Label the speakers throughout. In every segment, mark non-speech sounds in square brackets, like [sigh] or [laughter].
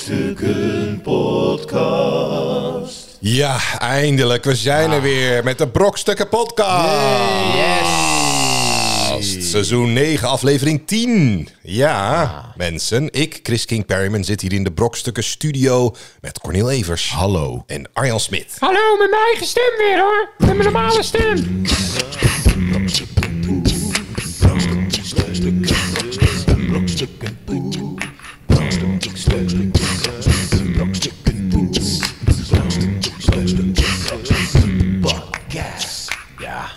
Speaker 1: Brokstukken Podcast.
Speaker 2: Ja, eindelijk. We zijn
Speaker 3: Ah.
Speaker 2: er weer met de Brokstukken Podcast. Seizoen 9, aflevering 10. Ja,
Speaker 3: Ah.
Speaker 2: mensen. Ik, Chris King Perryman, zit hier in de Brokstukken Studio met Cornel Evers. Hallo. En Arjan Smit.
Speaker 4: Hallo, met mijn eigen stem weer hoor. Met mijn normale stem.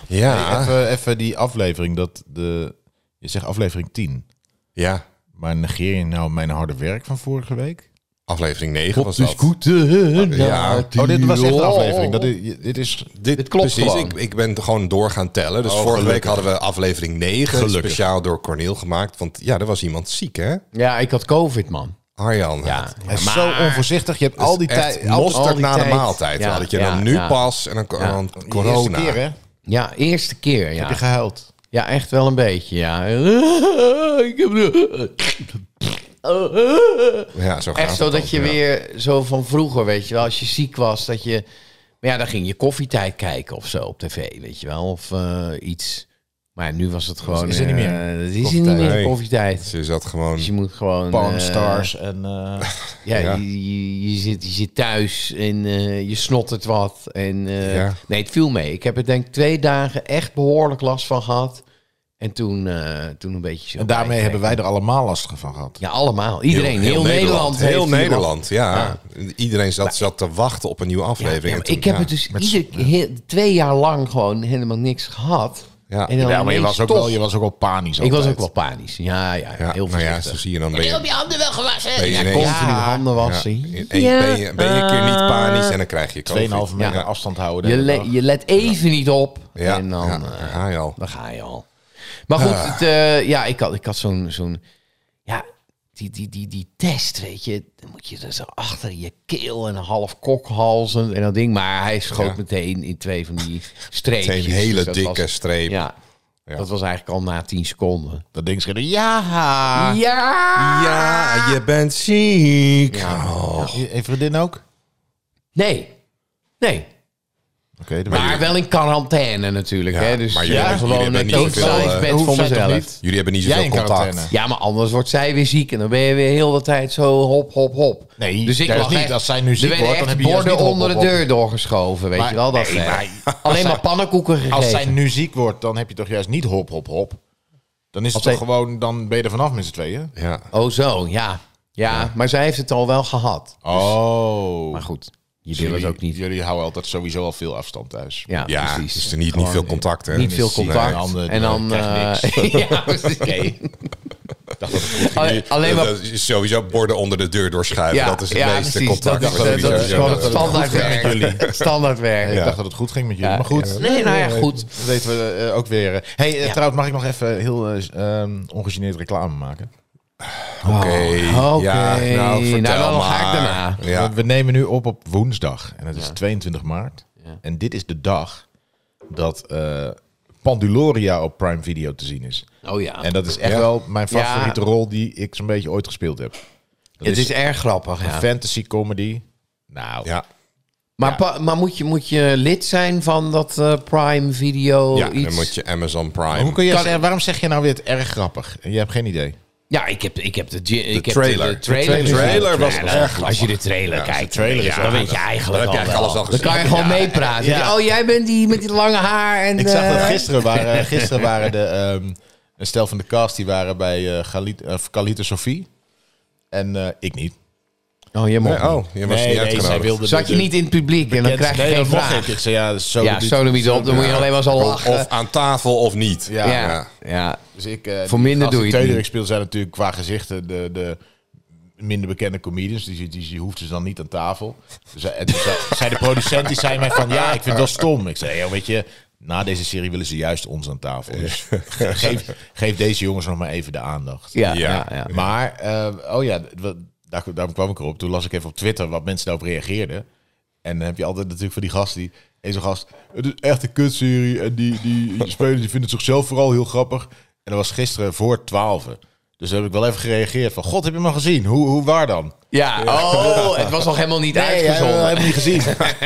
Speaker 2: Ja.
Speaker 3: Even, even die aflevering, dat de, je zegt aflevering 10.
Speaker 2: ja.
Speaker 3: Maar negeer je nou mijn harde werk van vorige week?
Speaker 2: Aflevering 9 was
Speaker 3: de
Speaker 2: dat.
Speaker 3: scooter.
Speaker 2: Ja.
Speaker 3: Oh, dit was echt een aflevering. Dat is, dit is
Speaker 2: Dit,
Speaker 3: klopt
Speaker 2: precies.
Speaker 3: gewoon. Oh,
Speaker 2: Ik, ik ben gewoon door gaan tellen. Dus vorige week hadden we aflevering 9.
Speaker 3: Gelukkig.
Speaker 2: Speciaal door Cornel gemaakt. Want ja, er was iemand ziek, hè?
Speaker 4: Ja, ik had COVID, man.
Speaker 2: Arjan.
Speaker 4: Ja,
Speaker 3: hij is zo onvoorzichtig. Je hebt al die tijd...
Speaker 2: tijd.
Speaker 3: al-
Speaker 2: Mosterd
Speaker 3: al die
Speaker 2: na de
Speaker 3: tijd-
Speaker 2: maaltijd.
Speaker 4: Ja,
Speaker 2: had ik je
Speaker 4: ja,
Speaker 2: dan nu
Speaker 4: ja.
Speaker 2: pas en dan, dan
Speaker 3: Die eerste
Speaker 2: corona.
Speaker 3: keer, hè?
Speaker 4: Ja, eerste keer,
Speaker 3: Heb je
Speaker 4: ja.
Speaker 3: gehuild?
Speaker 4: Ja, echt wel een beetje, ja. [laughs] Ik heb
Speaker 2: Ja, zo gaat
Speaker 4: Echt
Speaker 2: het
Speaker 4: zo
Speaker 2: ook,
Speaker 4: dat je
Speaker 2: ja.
Speaker 4: weer zo van vroeger, weet je wel, als je ziek was, dat je... Maar ja, dan ging je koffietijd kijken of zo op tv, weet je wel, of eh, iets. Maar ja, nu was het gewoon...
Speaker 3: is er niet meer.
Speaker 4: eh, dat is er niet meer,
Speaker 2: Koffietijd.
Speaker 4: koffietijd.
Speaker 2: Dus je zat gewoon.
Speaker 4: Dus je moet gewoon...
Speaker 3: Pawn
Speaker 4: eh,
Speaker 3: Stars en... [laughs] eh,
Speaker 4: Ja,
Speaker 2: Ja.
Speaker 4: Je, je, je zit, je zit thuis en eh, je snottert wat. En, eh,
Speaker 2: Ja.
Speaker 4: Nee, het viel mee. Ik heb er denk ik twee dagen echt behoorlijk last van gehad. En toen, eh, toen een beetje zo.
Speaker 3: en daarmee
Speaker 4: bij-
Speaker 3: hebben wij er allemaal lastig van gehad.
Speaker 4: Ja, allemaal. Iedereen. Heel, Nederland. heeft
Speaker 2: heel
Speaker 4: hier last-
Speaker 2: Nederland, ja. Iedereen zat, zat te wachten op een nieuwe
Speaker 4: Ja,
Speaker 2: aflevering.
Speaker 4: ja,
Speaker 2: En
Speaker 4: maar
Speaker 2: toen-
Speaker 4: ik heb
Speaker 2: ja.
Speaker 4: het dus ieder, heel- twee jaar lang gewoon helemaal niks gehad.
Speaker 2: Ja.
Speaker 4: en dan
Speaker 3: Ja, maar je
Speaker 4: ineens
Speaker 3: was, ook
Speaker 4: toch-
Speaker 3: wel, je was ook wel panisch
Speaker 4: ik was
Speaker 3: altijd.
Speaker 4: ook wel panisch. Ja, ja,
Speaker 2: Ja,
Speaker 4: heel
Speaker 2: nou ja,
Speaker 4: voorzichtig.
Speaker 2: zo zie je dan ben je,
Speaker 4: je handen wel gewassen?
Speaker 2: Ben je
Speaker 4: ja,
Speaker 2: ineens-
Speaker 4: continu
Speaker 2: Ja.
Speaker 4: handen wassen.
Speaker 2: in- ben je- ben je, ben je een keer niet panisch en dan krijg je COVID.
Speaker 3: Tweeënhalve meter
Speaker 2: Ja.
Speaker 3: afstand houden. de
Speaker 4: Je,
Speaker 3: hele
Speaker 4: le-
Speaker 3: dag.
Speaker 4: je let even niet op.
Speaker 2: Ja,
Speaker 4: En dan,
Speaker 2: ja,
Speaker 4: eh,
Speaker 2: daar ga je al.
Speaker 4: dan ga je al. Maar goed,
Speaker 2: Ah.
Speaker 4: het, eh, ja, ik had, ik had zo'n... zo'n ja, die, die, die, die test, weet je. Dan moet je er zo achter je keel en half kokhals en, en dat ding. Maar hij schoot
Speaker 2: Ja.
Speaker 4: meteen in twee van die streepjes.
Speaker 2: Meteen hele
Speaker 4: Dus dat
Speaker 2: dikke
Speaker 4: was-
Speaker 2: streep.
Speaker 4: Ja, dat was eigenlijk al na tien seconden.
Speaker 3: Dat ding schreeuwde, ja!
Speaker 4: Ja!
Speaker 2: Ah. Ja, je bent ziek. Oh.
Speaker 3: Je- je vriendin ook? Oké,
Speaker 4: Nee. Nee.
Speaker 3: dan
Speaker 4: Maar wel in quarantaine natuurlijk.
Speaker 2: Ja,
Speaker 4: hè? Dus
Speaker 2: maar
Speaker 4: maar
Speaker 2: jullie
Speaker 4: ja,
Speaker 2: hebben-
Speaker 4: gewoon
Speaker 2: jullie
Speaker 4: een
Speaker 2: hebben niet zoveel,
Speaker 4: totaal
Speaker 2: eh,
Speaker 4: bed
Speaker 3: hoeft
Speaker 4: van
Speaker 3: zij toch
Speaker 4: mezelf.
Speaker 3: niet?
Speaker 2: Jullie hebben niet
Speaker 3: Jij
Speaker 2: zoveel
Speaker 3: in
Speaker 2: contact.
Speaker 3: quarantaine.
Speaker 4: Ja, maar anders wordt zij weer ziek en dan ben je weer heel de tijd zo hop, hop, hop. Dus
Speaker 3: Nee, juist niet. Als zij nu ziek
Speaker 4: er werden
Speaker 3: wordt, dan
Speaker 4: echt
Speaker 3: heb je juist
Speaker 4: borden
Speaker 3: niet hop,
Speaker 4: onder
Speaker 3: hop,
Speaker 4: de
Speaker 3: hop.
Speaker 4: deur doorgeschoven, weet
Speaker 3: Maar-
Speaker 4: je wel. Dat,
Speaker 3: nee,
Speaker 4: eh,
Speaker 3: maar-
Speaker 4: alleen maar pannenkoeken gegeven.
Speaker 3: Als zij nu ziek wordt, dan heb je toch juist niet hop, hop, hop. Dan is het
Speaker 4: Als
Speaker 3: toch gewoon, dan ben je er vanaf met z'n tweeën.
Speaker 2: Ja.
Speaker 4: Oh zo, ja. ja. maar zij heeft het al wel gehad.
Speaker 3: Oh.
Speaker 4: Maar goed, je wil het
Speaker 3: jullie,
Speaker 4: ook niet.
Speaker 3: Jullie houden altijd sowieso al veel afstand thuis.
Speaker 4: Ja,
Speaker 2: Ja,
Speaker 4: precies.
Speaker 2: dus er niet, niet
Speaker 4: Gewoon
Speaker 2: veel contact. Hè?
Speaker 4: Niet veel
Speaker 3: ziek,
Speaker 4: contact.
Speaker 3: en handen,
Speaker 4: en dan...
Speaker 3: krijg
Speaker 4: eh, [laughs]
Speaker 3: [laughs]
Speaker 4: ja, precies. Alleen- Alleen maar
Speaker 2: Dat is sowieso borden onder de deur doorschuiven. dat is het meeste
Speaker 4: precies.
Speaker 2: contact.
Speaker 4: Dat is,
Speaker 2: wat
Speaker 4: eh,
Speaker 2: jullie
Speaker 4: dat is
Speaker 2: sowieso
Speaker 4: gewoon het
Speaker 2: hebben.
Speaker 3: dat het goed
Speaker 4: standaardwerk.
Speaker 3: ging met
Speaker 4: Het standaardwerk.
Speaker 3: Ik
Speaker 4: Ja.
Speaker 3: dacht dat het goed ging met jullie, maar goed.
Speaker 4: Nee, nou ja, goed.
Speaker 3: Dat weten we eh, ook weer. eh. hey, eh,
Speaker 4: Ja.
Speaker 3: trouwens, mag ik nog even heel eh, ehm, ongegeneerd reclame maken?
Speaker 2: Oké.
Speaker 4: Oké.
Speaker 2: Ja, nou,
Speaker 4: Nou,
Speaker 2: vertel
Speaker 4: dan
Speaker 2: maar.
Speaker 4: ga ik daarna.
Speaker 2: Ja.
Speaker 3: We, we nemen nu op op woensdag. En het is 22 maart. En dit is de dag dat eh, Panduloria op Prime Video te zien is.
Speaker 4: Oh ja.
Speaker 3: En dat is echt
Speaker 2: Ja.
Speaker 3: wel mijn
Speaker 4: Ja.
Speaker 3: favoriete rol die ik zo'n beetje ooit gespeeld heb. Dat
Speaker 4: het is, erg grappig, ja.
Speaker 3: fantasy comedy. Nou,
Speaker 2: Ja.
Speaker 4: Maar, pa- maar moet, je, moet je lid zijn van dat eh, Prime Video
Speaker 2: Ja,
Speaker 4: iets?
Speaker 2: dan moet je Amazon
Speaker 3: Maar hoe
Speaker 2: Prime.
Speaker 3: kun je zeggen, waarom zeg je nou weer het erg grappig? Je hebt geen idee.
Speaker 4: Ja, ik heb, ik heb de, gi- ik heb
Speaker 2: trailer.
Speaker 4: de, de trailer.
Speaker 2: De trailer
Speaker 4: gezien.
Speaker 2: was
Speaker 4: Ja,
Speaker 2: erg
Speaker 4: nou,
Speaker 2: grappig.
Speaker 4: Als je de trailer kijkt,
Speaker 3: trailer is
Speaker 4: ja,
Speaker 3: wel
Speaker 4: dan weet
Speaker 3: goed.
Speaker 4: je eigenlijk
Speaker 2: Dan heb je
Speaker 4: al
Speaker 2: eigenlijk alles al
Speaker 4: wel. Dan kan je
Speaker 2: gezien.
Speaker 4: gewoon meepraten.
Speaker 3: Ja.
Speaker 4: Oh, jij bent die met die lange haar. En
Speaker 3: Ik zag dat
Speaker 4: eh,
Speaker 3: gisteren [laughs] waren, gisteren waren de, ehm, een stel van de cast die waren bij eh Galit, of Kalita Sophie. En eh, ik niet.
Speaker 4: Oh, je mocht
Speaker 2: Nee,
Speaker 4: niet.
Speaker 2: oh, je was niet uitgenodigd.
Speaker 4: Zat je niet in het publiek en dan krijg je
Speaker 3: dus nee,
Speaker 4: geen
Speaker 3: dat mocht
Speaker 4: vraag.
Speaker 3: ik. Ik zei ja, dus zo
Speaker 4: Ja, sodomiet op, dan moet je alleen maar zo lachen.
Speaker 2: Of aan tafel of niet.
Speaker 3: Ja.
Speaker 4: ja. ja.
Speaker 3: Dus ik, eh,
Speaker 4: Voor
Speaker 3: die
Speaker 4: minder
Speaker 3: gasten
Speaker 4: doe je het
Speaker 3: tweede
Speaker 4: niet.
Speaker 3: week speelden zijn natuurlijk qua gezichten de, de minder bekende comedians. Die, die, die hoefden ze dan niet aan tafel. Dus, eh, en toen zei- [laughs] zei de producent, die zei mij van ja, ik vind het wel stom. Ik zei, joh, weet je, na deze serie willen ze juist ons aan tafel. [laughs] Dus geef, geef deze jongens nog maar even de aandacht.
Speaker 4: Ja,
Speaker 2: Ja.
Speaker 4: ja, ja.
Speaker 3: Maar, eh, oh ja, wat- daar, daarom kwam ik erop. Toen las ik even op Twitter wat mensen daarop reageerden. En dan heb je altijd natuurlijk van die gast die... En zo'n gast, het is echt een kutserie. En die, die spelers die vinden het zichzelf vooral heel grappig. En dat was gisteren voor twaalf. Dus daar heb ik wel even gereageerd van... God, heb je hem al gezien? Hoe, hoe waar dan?
Speaker 4: Ja, oh, het was nog helemaal niet
Speaker 3: Uitgezonden.
Speaker 4: uitgezonden.
Speaker 3: helemaal niet gezien. [laughs]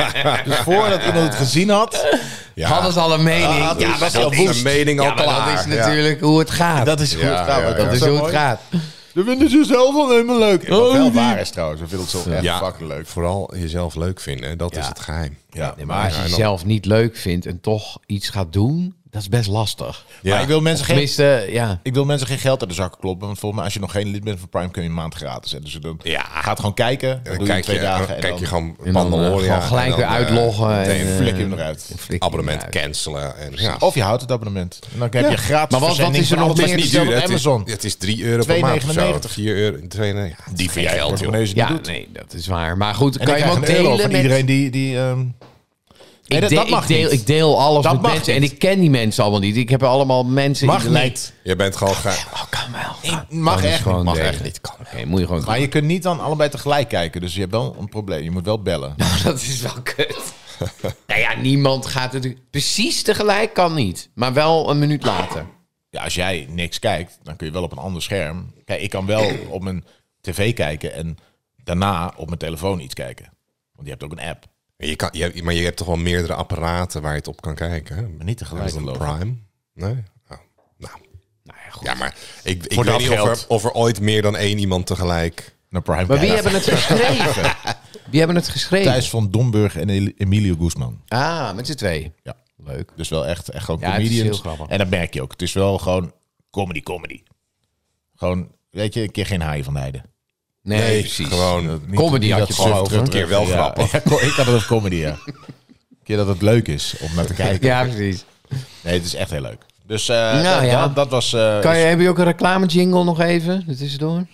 Speaker 3: dus voordat iemand het gezien had...
Speaker 2: Ja.
Speaker 4: Hadden ze al een mening.
Speaker 3: Ah,
Speaker 4: ja,
Speaker 3: dat
Speaker 4: maar
Speaker 3: is al
Speaker 4: dat
Speaker 3: woest.
Speaker 4: is,
Speaker 2: mening al
Speaker 4: ja, maar
Speaker 2: klaar,
Speaker 4: dat is
Speaker 2: ja.
Speaker 4: natuurlijk hoe het gaat.
Speaker 3: Dat is
Speaker 2: Ja,
Speaker 3: goed. nou,
Speaker 2: ja,
Speaker 3: maar
Speaker 2: ja.
Speaker 3: dat is zo
Speaker 4: hoe het
Speaker 3: mooi.
Speaker 4: gaat.
Speaker 3: Dat vinden ze zelf al helemaal leuk. Wat wel
Speaker 4: die-
Speaker 3: waar is trouwens. We vinden het zo echt
Speaker 2: Ja.
Speaker 3: fucking leuk.
Speaker 2: Vooral jezelf leuk vinden, dat is het geheim.
Speaker 3: Ja,
Speaker 4: Nee, maar
Speaker 3: maar,
Speaker 4: als je jezelf niet leuk vindt en toch iets gaat doen, dat is best lastig.
Speaker 3: maar ik wil mensen geen...
Speaker 4: Tenminste, ja.
Speaker 3: Ik wil mensen geen geld uit de zakken kloppen. Want volgens mij, als je nog geen lid bent van Prime, kun je een maand gratis. Hè. Dus dan
Speaker 2: Ja.
Speaker 3: ga het gewoon kijken. Dan,
Speaker 2: En dan
Speaker 3: doe je
Speaker 2: kijk
Speaker 3: twee
Speaker 2: je,
Speaker 3: dagen.
Speaker 2: dan
Speaker 3: en
Speaker 2: kijk
Speaker 3: dan-
Speaker 2: je gewoon
Speaker 4: En dan, eh,
Speaker 2: Mandalorian.
Speaker 4: gewoon gelijk
Speaker 2: en dan,
Speaker 4: weer
Speaker 2: eh,
Speaker 4: uitloggen en,
Speaker 2: meteen
Speaker 4: eh,
Speaker 3: flik je hem eruit.
Speaker 4: Flikker
Speaker 2: abonnement
Speaker 4: eruit.
Speaker 2: cancelen. En, ja.
Speaker 3: Of je houdt het abonnement. En dan heb je gratis
Speaker 4: Maar wat- wat
Speaker 3: verzending
Speaker 4: is er
Speaker 3: van
Speaker 4: nog
Speaker 3: alles
Speaker 4: meer
Speaker 3: wat je
Speaker 4: te
Speaker 3: bestelt
Speaker 2: Duur,
Speaker 3: op
Speaker 2: het, is,
Speaker 3: Amazon.
Speaker 2: het is 3 euro per maand of zo.
Speaker 3: 2,99.
Speaker 2: 4 euro. 2,99. Die vind jij geld, joh.
Speaker 3: Portemonnees niet
Speaker 4: Ja,
Speaker 3: doet.
Speaker 4: nee, dat is waar. Maar goed,
Speaker 3: En
Speaker 4: kan
Speaker 3: ik
Speaker 4: je hem
Speaker 3: krijg
Speaker 4: ook
Speaker 3: een euro
Speaker 4: delen
Speaker 3: van
Speaker 4: met...
Speaker 3: iedereen die... die ehm, Nee,
Speaker 4: ik,
Speaker 3: dat,
Speaker 4: deel-
Speaker 3: dat mag
Speaker 4: ik, deel,
Speaker 3: niet.
Speaker 4: ik deel alles
Speaker 3: Dat
Speaker 4: met
Speaker 3: mag
Speaker 4: mensen.
Speaker 3: niet.
Speaker 4: En ik ken die mensen allemaal niet. Ik heb allemaal mensen
Speaker 3: Mag
Speaker 4: in de lijst.
Speaker 3: niet.
Speaker 2: Je bent gewoon graag.
Speaker 4: Oh, kan wel.
Speaker 3: Ik- mag
Speaker 4: Kan dus
Speaker 3: echt
Speaker 4: gewoon
Speaker 3: niet. Mag
Speaker 4: delen.
Speaker 3: echt niet. Kan.
Speaker 4: Oké, moet je gewoon
Speaker 3: Maar je kunt niet dan allebei tegelijk kijken. Dus je hebt wel een probleem. Je moet wel
Speaker 4: [laughs]
Speaker 3: bellen.
Speaker 4: Dat is wel kut. [laughs] nou ja, niemand gaat natuurlijk... Precies tegelijk kan niet. Maar wel een minuut later.
Speaker 3: Ja, als jij niks kijkt, dan kun je wel op een ander scherm. Kijk, ik kan wel
Speaker 4: [clears throat]
Speaker 3: op mijn tv kijken en daarna op mijn telefoon iets kijken. Want je hebt ook een app.
Speaker 2: Je kan, je, maar je hebt toch wel meerdere apparaten waar je het op kan kijken. Hè?
Speaker 3: Maar niet tegelijk,
Speaker 2: Amazon
Speaker 3: geloof
Speaker 2: Prime? Nee? Oh, nou.
Speaker 4: Nou ja, goed.
Speaker 2: Ja, maar ik, ik
Speaker 3: Voor
Speaker 2: weet
Speaker 3: dat
Speaker 2: niet of er,
Speaker 3: geld.
Speaker 2: of er ooit meer dan één iemand tegelijk...
Speaker 3: Naar Prime
Speaker 4: Maar wie
Speaker 3: kijken.
Speaker 4: hebben het geschreven? Wie hebben het geschreven?
Speaker 3: Thijs van Domburg en El- Emilio Guzman.
Speaker 4: Ah, met z'n twee.
Speaker 3: Ja.
Speaker 4: Leuk.
Speaker 3: Dus wel echt, echt gewoon
Speaker 4: Ja, het is
Speaker 3: comedians.
Speaker 4: heel grappig.
Speaker 3: En dat merk je ook. Het is wel gewoon comedy, comedy. Gewoon, weet je, een keer geen haaien van de heide.
Speaker 4: Nee,
Speaker 2: Nee,
Speaker 4: precies.
Speaker 2: gewoon...
Speaker 3: Niet-
Speaker 4: Comedy
Speaker 3: niet
Speaker 4: had
Speaker 3: dat
Speaker 4: je vooral
Speaker 3: suf
Speaker 4: over.
Speaker 3: terug-
Speaker 2: Een keer wel
Speaker 3: ja.
Speaker 2: grappig.
Speaker 3: [laughs] Ja, ik had het als comedy, ja. Een keer dat het leuk is om
Speaker 4: [laughs]
Speaker 3: naar te kijken.
Speaker 4: Ja, precies.
Speaker 3: Nee, het is echt heel leuk. Dus eh,
Speaker 4: Nou
Speaker 3: dat,
Speaker 4: ja.
Speaker 3: dat, dat was... eh,
Speaker 4: Kan je, heb je ook een reclamejingle nog even? Dat is door.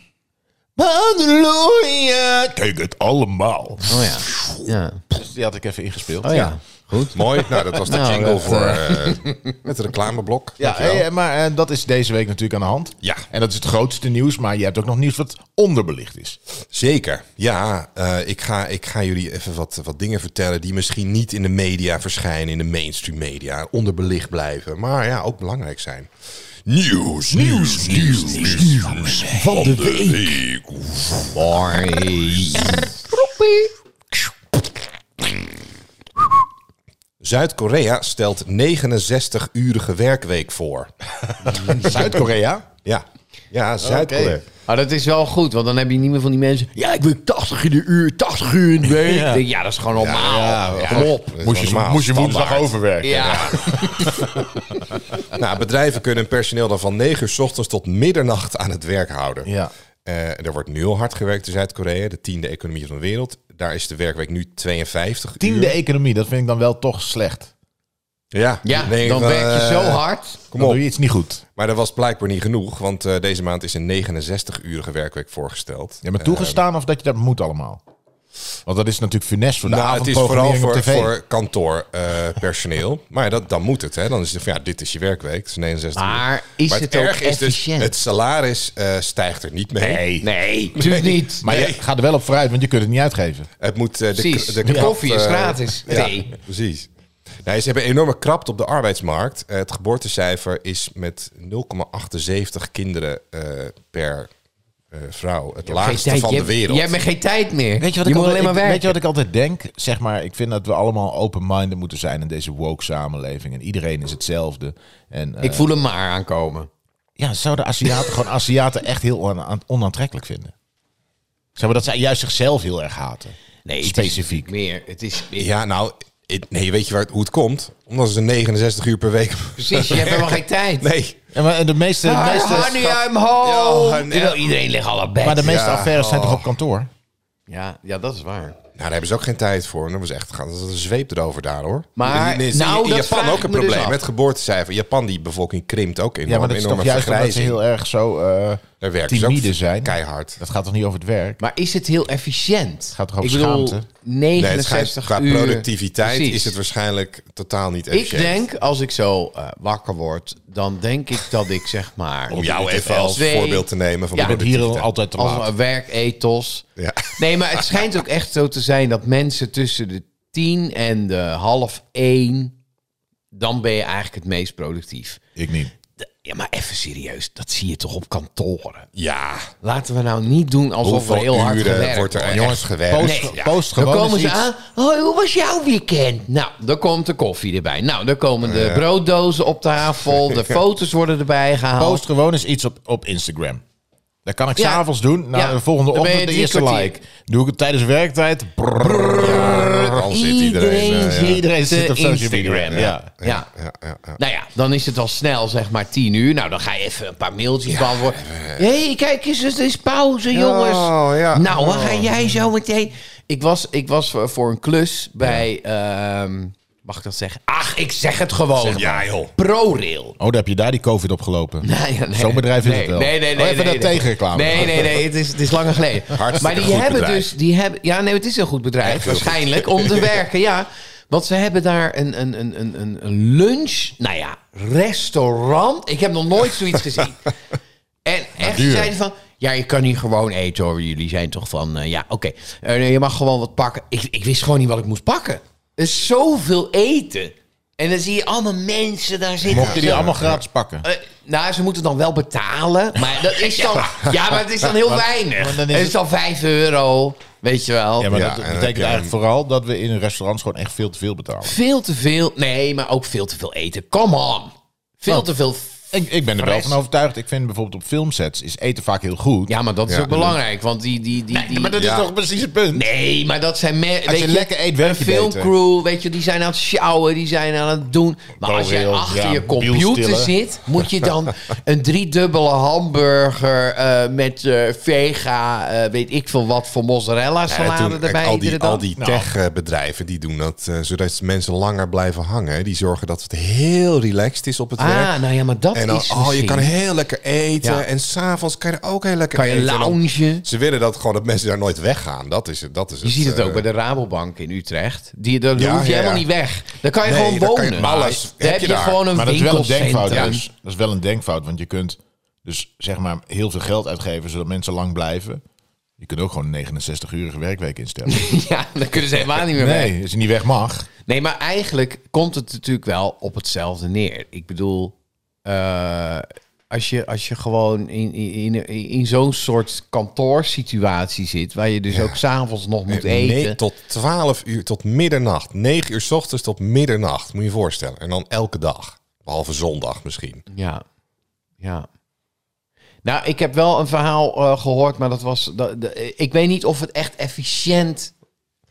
Speaker 3: Halleluja! Kijk het allemaal.
Speaker 4: Oh ja. ja.
Speaker 3: Dus die had ik even ingespeeld.
Speaker 4: Oh ja. Goed.
Speaker 2: Mooi. Nou, dat was de
Speaker 4: Nou,
Speaker 2: jingle
Speaker 4: dat,
Speaker 2: voor eh, het reclameblok.
Speaker 3: Ja,
Speaker 2: Dankjewel.
Speaker 3: hey, eh, maar eh, dat is deze week natuurlijk aan de hand.
Speaker 2: Ja.
Speaker 3: En dat is het grootste nieuws, maar je hebt ook nog nieuws wat onderbelicht is.
Speaker 2: Zeker. Ja, eh, ik, ga, ik ga jullie even wat, wat dingen vertellen die misschien niet in de media verschijnen, in de mainstream media, onderbelicht blijven, maar ja, ook belangrijk zijn. Nieuws, nieuws, nieuws, nieuws, van de week. Zuid-Korea stelt 69-urige werkweek
Speaker 3: [laughs]
Speaker 2: voor.
Speaker 3: Zuid-Korea?
Speaker 2: Ja, ja Zuid-Korea.
Speaker 3: Oké.
Speaker 4: Maar Ah, dat is wel goed, want dan heb je niet meer van die mensen... Ja, ik wil 80 in de uur, 80 uur in de week.
Speaker 3: Ja.
Speaker 4: Ik denk, Ja, dat is gewoon normaal.
Speaker 3: Ja,
Speaker 2: Ja,
Speaker 3: kom op.
Speaker 2: dat is
Speaker 3: Moest je,
Speaker 2: normaal,
Speaker 3: moest je woensdag
Speaker 2: standaard.
Speaker 3: overwerken.
Speaker 4: Ja.
Speaker 2: Nou, bedrijven kunnen hun personeel dan van 9 uur 's ochtends tot middernacht aan het werk houden.
Speaker 3: Ja.
Speaker 2: Eh, er wordt nu al hard gewerkt in Zuid-Korea, de tiende economie van de wereld. Daar is de werkweek nu 52
Speaker 3: Tiende
Speaker 2: uur.
Speaker 3: economie, dat vind ik dan wel toch slecht.
Speaker 2: Ja,
Speaker 4: Ja,
Speaker 2: Nee,
Speaker 4: dan
Speaker 2: eh,
Speaker 4: werk je zo hard.
Speaker 2: Kom
Speaker 3: Dan
Speaker 2: op.
Speaker 3: doe je iets niet goed.
Speaker 2: Maar dat was blijkbaar niet genoeg, want eh, deze maand is een 69-urige werkweek voorgesteld.
Speaker 3: Ja, maar toegestaan of dat je dat moet allemaal? Want dat is natuurlijk funest voor de
Speaker 2: nou, het is vooral
Speaker 3: avondprogrammering op
Speaker 2: voor,
Speaker 3: tv.
Speaker 2: voor kantoorpersoneel. [laughs] maar ja, dat, dan moet het. Hè. Dan is het van, ja, dit is je werkweek. Het is 69 uur.
Speaker 4: Maar is het ook
Speaker 2: erg dus,
Speaker 4: efficiënt?
Speaker 2: het salaris eh, stijgt er niet mee.
Speaker 3: Nee.
Speaker 4: [laughs] Nee, natuurlijk niet.
Speaker 3: Maar je gaat er wel op vooruit, want je kunt het niet uitgeven.
Speaker 2: Het moet, eh, de,
Speaker 4: Precies.
Speaker 2: k-
Speaker 4: De
Speaker 2: krap,
Speaker 4: koffie is
Speaker 2: eh,
Speaker 4: gratis.
Speaker 2: Ja,
Speaker 4: Thee.
Speaker 2: precies. Nee, ze hebben enorme krapte op de arbeidsmarkt. Eh, het geboortecijfer is met 0,78 kinderen eh, per eh, vrouw het laagste
Speaker 4: tijd,
Speaker 2: van
Speaker 4: je
Speaker 2: de
Speaker 4: hebt-
Speaker 2: wereld.
Speaker 4: Je hebt geen tijd meer.
Speaker 3: Weet je, wat
Speaker 4: je moet
Speaker 3: ik altijd,
Speaker 4: alleen maar
Speaker 3: ik-
Speaker 4: werken.
Speaker 3: weet je wat ik altijd denk? Zeg maar, ik vind dat we allemaal open-minded moeten zijn in deze woke samenleving. En iedereen is hetzelfde. En, eh,
Speaker 4: ik voel hem maar aankomen.
Speaker 3: Ja, zouden Aziaten [laughs] gewoon Aziaten echt heel ona- onaantrekkelijk vinden? Zeg maar dat zij juist zichzelf heel erg haten.
Speaker 4: Nee,
Speaker 3: Specifiek.
Speaker 4: Het is meer. Het is,
Speaker 2: Ja, nou, het- nee, weet je waar het, hoe het komt? Omdat ze 69 uur per week...
Speaker 4: Precies, je hebt helemaal
Speaker 2: [laughs]
Speaker 4: geen tijd.
Speaker 2: Nee.
Speaker 3: En, maar- en de meeste, de
Speaker 4: Ah,
Speaker 3: meeste,
Speaker 4: honey, I'm
Speaker 2: Ja, oh,
Speaker 4: home.
Speaker 2: honey.
Speaker 4: Terwijl iedereen ligt al op bed.
Speaker 3: maar de meeste
Speaker 2: Ja. oh.
Speaker 3: affaires zijn toch op kantoor?
Speaker 4: ja, ja, dat is waar.
Speaker 2: Nou, daar hebben ze ook geen tijd voor. Dat was echt gaan. Dat is een zweep erover daar, hoor.
Speaker 4: Maar-
Speaker 2: in, in- in
Speaker 4: nou, dat
Speaker 2: Japan
Speaker 4: vraag
Speaker 2: ook
Speaker 4: ik
Speaker 2: een
Speaker 4: me dus
Speaker 2: probleem.
Speaker 4: af.
Speaker 2: met geboortecijfer. Japan, die bevolking krimpt ook enorm.
Speaker 3: Ja, maar dat is toch
Speaker 2: enorme
Speaker 3: juist omdat ze
Speaker 2: vergrijzing.
Speaker 3: heel erg zo eh,
Speaker 2: Daar werken ze ook
Speaker 3: timide zijn.
Speaker 2: keihard.
Speaker 3: Dat gaat toch niet over het werk?
Speaker 4: Maar is het heel efficiënt?
Speaker 3: gaat toch over
Speaker 4: ik bedoel,
Speaker 3: schaamte?
Speaker 2: Nee, het
Speaker 4: 69
Speaker 2: schijnt- qua
Speaker 4: uur.
Speaker 2: productiviteit
Speaker 4: Precies.
Speaker 2: is het waarschijnlijk totaal niet
Speaker 4: Ik
Speaker 2: efficiënt.
Speaker 4: denk, als ik zo eh, wakker word, dan denk ik dat ik zeg maar...
Speaker 2: Om jou even als
Speaker 4: Nee.
Speaker 2: voorbeeld te nemen van
Speaker 4: Ja.
Speaker 3: Ik ben hier al altijd te
Speaker 4: Als
Speaker 3: laat.
Speaker 4: een werkethos.
Speaker 2: Ja.
Speaker 4: Nee, maar het schijnt ook echt zo te zijn dat mensen tussen de tien en de half één... dan ben je eigenlijk het meest productief.
Speaker 3: Ik niet.
Speaker 4: Ja, maar even serieus, dat zie je toch op kantoren?
Speaker 2: Ja,
Speaker 4: Laten we nou niet doen alsof we
Speaker 2: hoeveel
Speaker 4: heel hard
Speaker 2: uren
Speaker 4: gewerkt
Speaker 2: wordt er
Speaker 4: wordt.
Speaker 2: echt
Speaker 3: Jongens,
Speaker 2: gewerkt?
Speaker 3: post-
Speaker 4: Nee, ja.
Speaker 3: post
Speaker 4: Dan
Speaker 3: gewoon
Speaker 4: komen
Speaker 3: eens
Speaker 4: ze
Speaker 3: iets.
Speaker 4: aan. Hoi, hoe was jouw weekend? Nou, dan komt de koffie erbij. Nou, dan komen de brooddozen op tafel. De foto's worden erbij gehaald.
Speaker 3: Post gewoon eens iets op, op Instagram. Dat kan ik
Speaker 4: Nou, Ja.
Speaker 3: s'avonds doen. Na
Speaker 4: Ja.
Speaker 3: de volgende
Speaker 4: Dan ben je
Speaker 3: ochtend de
Speaker 4: drie
Speaker 3: eerste
Speaker 4: kwartier.
Speaker 3: like. Doe ik het tijdens werktijd. Brrr. Oh,
Speaker 2: Dan zit iedereen... eh, ja.
Speaker 3: Iedereen zit
Speaker 4: te
Speaker 3: op social media.
Speaker 4: Instagram.
Speaker 3: Ja.
Speaker 4: Ja.
Speaker 2: Ja, ja, ja.
Speaker 4: Nou ja, dan is het al snel, zeg maar tien uur. Nou, dan ga je even een paar mailtjes beantwoorden. Hé, hey, kijk eens, het is pauze, jongens.
Speaker 2: Oh, ja.
Speaker 4: Nou, waar ga jij zo meteen? Ik was, ik was voor- voor een klus bij... ehm, mag ik dat zeggen? Ach, ik zeg het gewoon.
Speaker 2: Ja, joh.
Speaker 4: ProRail.
Speaker 3: Oh, daar heb je daar die COVID opgelopen.
Speaker 4: Nee, ja, nee.
Speaker 3: Zo'n bedrijf is
Speaker 4: nee,
Speaker 3: het wel.
Speaker 4: Nee, nee,
Speaker 3: Oh,
Speaker 4: nee.
Speaker 3: even
Speaker 4: nee,
Speaker 3: dat
Speaker 4: nee.
Speaker 3: tegenreclame.
Speaker 4: Nee, nee, nee. Het is, het is langer
Speaker 3: [laughs]
Speaker 4: geleden.
Speaker 2: Hartstikke
Speaker 4: maar die
Speaker 2: goed
Speaker 4: hebben
Speaker 2: bedrijf.
Speaker 4: dus... Die hebben, ja, nee, het is een goed bedrijf waarschijnlijk om
Speaker 3: [laughs]
Speaker 4: te werken, ja. Want ze hebben daar een, een, een, een- een, een lunch... Nou ja, restaurant. Ik heb nog nooit zoiets
Speaker 3: [laughs]
Speaker 4: gezien. En echt
Speaker 3: duur.
Speaker 4: zeiden van... Ja, je kan hier gewoon eten hoor. Jullie zijn toch van... eh, ja, oké. Eh, nee, je mag gewoon wat pakken. Ik, ik wist gewoon niet wat ik moest pakken. Er is zoveel eten. En dan zie je allemaal mensen daar zitten.
Speaker 3: Mochten die allemaal gratis pakken.
Speaker 4: Eh, nou, ze moeten dan wel betalen. Maar dat
Speaker 3: [laughs]
Speaker 4: is dan. ja. maar het is dan heel weinig.
Speaker 3: maar dan
Speaker 4: het
Speaker 3: is
Speaker 4: is
Speaker 3: het-
Speaker 4: dan 5 euro. Weet je wel.
Speaker 3: Ja, maar
Speaker 2: Ja,
Speaker 3: dat
Speaker 2: en dan
Speaker 3: betekent
Speaker 2: heb je
Speaker 3: eigenlijk
Speaker 2: een-
Speaker 3: vooral dat we in restaurants gewoon echt veel te veel betalen.
Speaker 4: Veel te veel. Nee, maar ook veel te veel eten. Come on. Veel
Speaker 3: Oh.
Speaker 4: te veel.
Speaker 3: Ik, ik ben er wel
Speaker 4: Fres.
Speaker 3: van overtuigd. Ik vind bijvoorbeeld op filmsets is eten vaak heel goed.
Speaker 4: Ja, maar dat is
Speaker 2: Ja,
Speaker 4: ook belangrijk. Want die. die, die, die
Speaker 3: maar dat
Speaker 2: Ja.
Speaker 3: is toch precies het punt?
Speaker 4: Nee, maar dat zijn mensen.
Speaker 3: Als je, lekker eet, werk je beter.
Speaker 4: filmcrew, weet je, die zijn aan het sjouwen, die zijn aan het doen. Maar als jij
Speaker 3: Doorreel,
Speaker 4: achter
Speaker 3: ja,
Speaker 4: je computer
Speaker 3: bielstillen.
Speaker 4: zit, moet je
Speaker 2: [laughs]
Speaker 4: dan een driedubbele hamburger eh, met eh, vega, eh, weet ik veel wat voor mozzarella
Speaker 2: Ja,
Speaker 4: salade
Speaker 2: toen, kijk,
Speaker 4: erbij.
Speaker 2: al
Speaker 4: iedere
Speaker 2: die,
Speaker 4: dag.
Speaker 2: al die
Speaker 3: Nou.
Speaker 2: techbedrijven die doen dat, eh, zodat mensen langer blijven hangen. hè. Die zorgen dat het heel relaxed is op het werk.
Speaker 4: ah, nou ja, maar dat
Speaker 2: En dan,
Speaker 4: is
Speaker 2: oh, je
Speaker 4: misschien-
Speaker 2: kan heel lekker eten.
Speaker 4: Ja.
Speaker 2: En s'avonds kan je er ook heel lekker
Speaker 4: Kan je
Speaker 2: eten. En dan-
Speaker 4: loungen.
Speaker 2: Ze willen dat gewoon dat mensen daar nooit weggaan. Dat is het. Dat is
Speaker 4: Je ziet het ook
Speaker 2: eh,
Speaker 4: bij de Rabobank in Utrecht. Die, daar
Speaker 2: Ja,
Speaker 4: hoef
Speaker 2: ja,
Speaker 4: je
Speaker 2: ja.
Speaker 4: helemaal niet weg. Daar kan je
Speaker 2: Nee,
Speaker 4: gewoon
Speaker 2: daar kan
Speaker 4: wonen.
Speaker 2: je alles
Speaker 4: Daar
Speaker 2: heb
Speaker 4: heb
Speaker 2: je
Speaker 4: je,
Speaker 2: daar.
Speaker 4: gewoon een
Speaker 3: Maar dat is wel een
Speaker 4: winkelcentrum.
Speaker 3: denkfout. Dus. Dat is wel een denkfout, want je kunt dus zeg maar heel veel geld uitgeven zodat mensen lang blijven. Je kunt ook gewoon een 69-urige werkweek instellen.
Speaker 4: [laughs] Ja,
Speaker 2: dus.
Speaker 4: dan kunnen ze helemaal niet meer weg.
Speaker 3: nee, als je niet weg mag.
Speaker 4: Nee, maar eigenlijk komt het natuurlijk wel op hetzelfde neer. Ik bedoel, eh, als, je, als je gewoon in, in, in, in zo'n soort kantoorsituatie zit, waar je dus ook s'avonds nog moet
Speaker 2: nee,
Speaker 4: eten.
Speaker 2: tot 12 uur, tot middernacht. 9 uur s ochtends tot middernacht. Moet je je voorstellen. En dan elke dag. Behalve zondag misschien.
Speaker 4: Ja, ja. Nou, ik heb wel een verhaal eh, gehoord, maar dat was. Dat, de- ik weet niet of het echt efficiënt.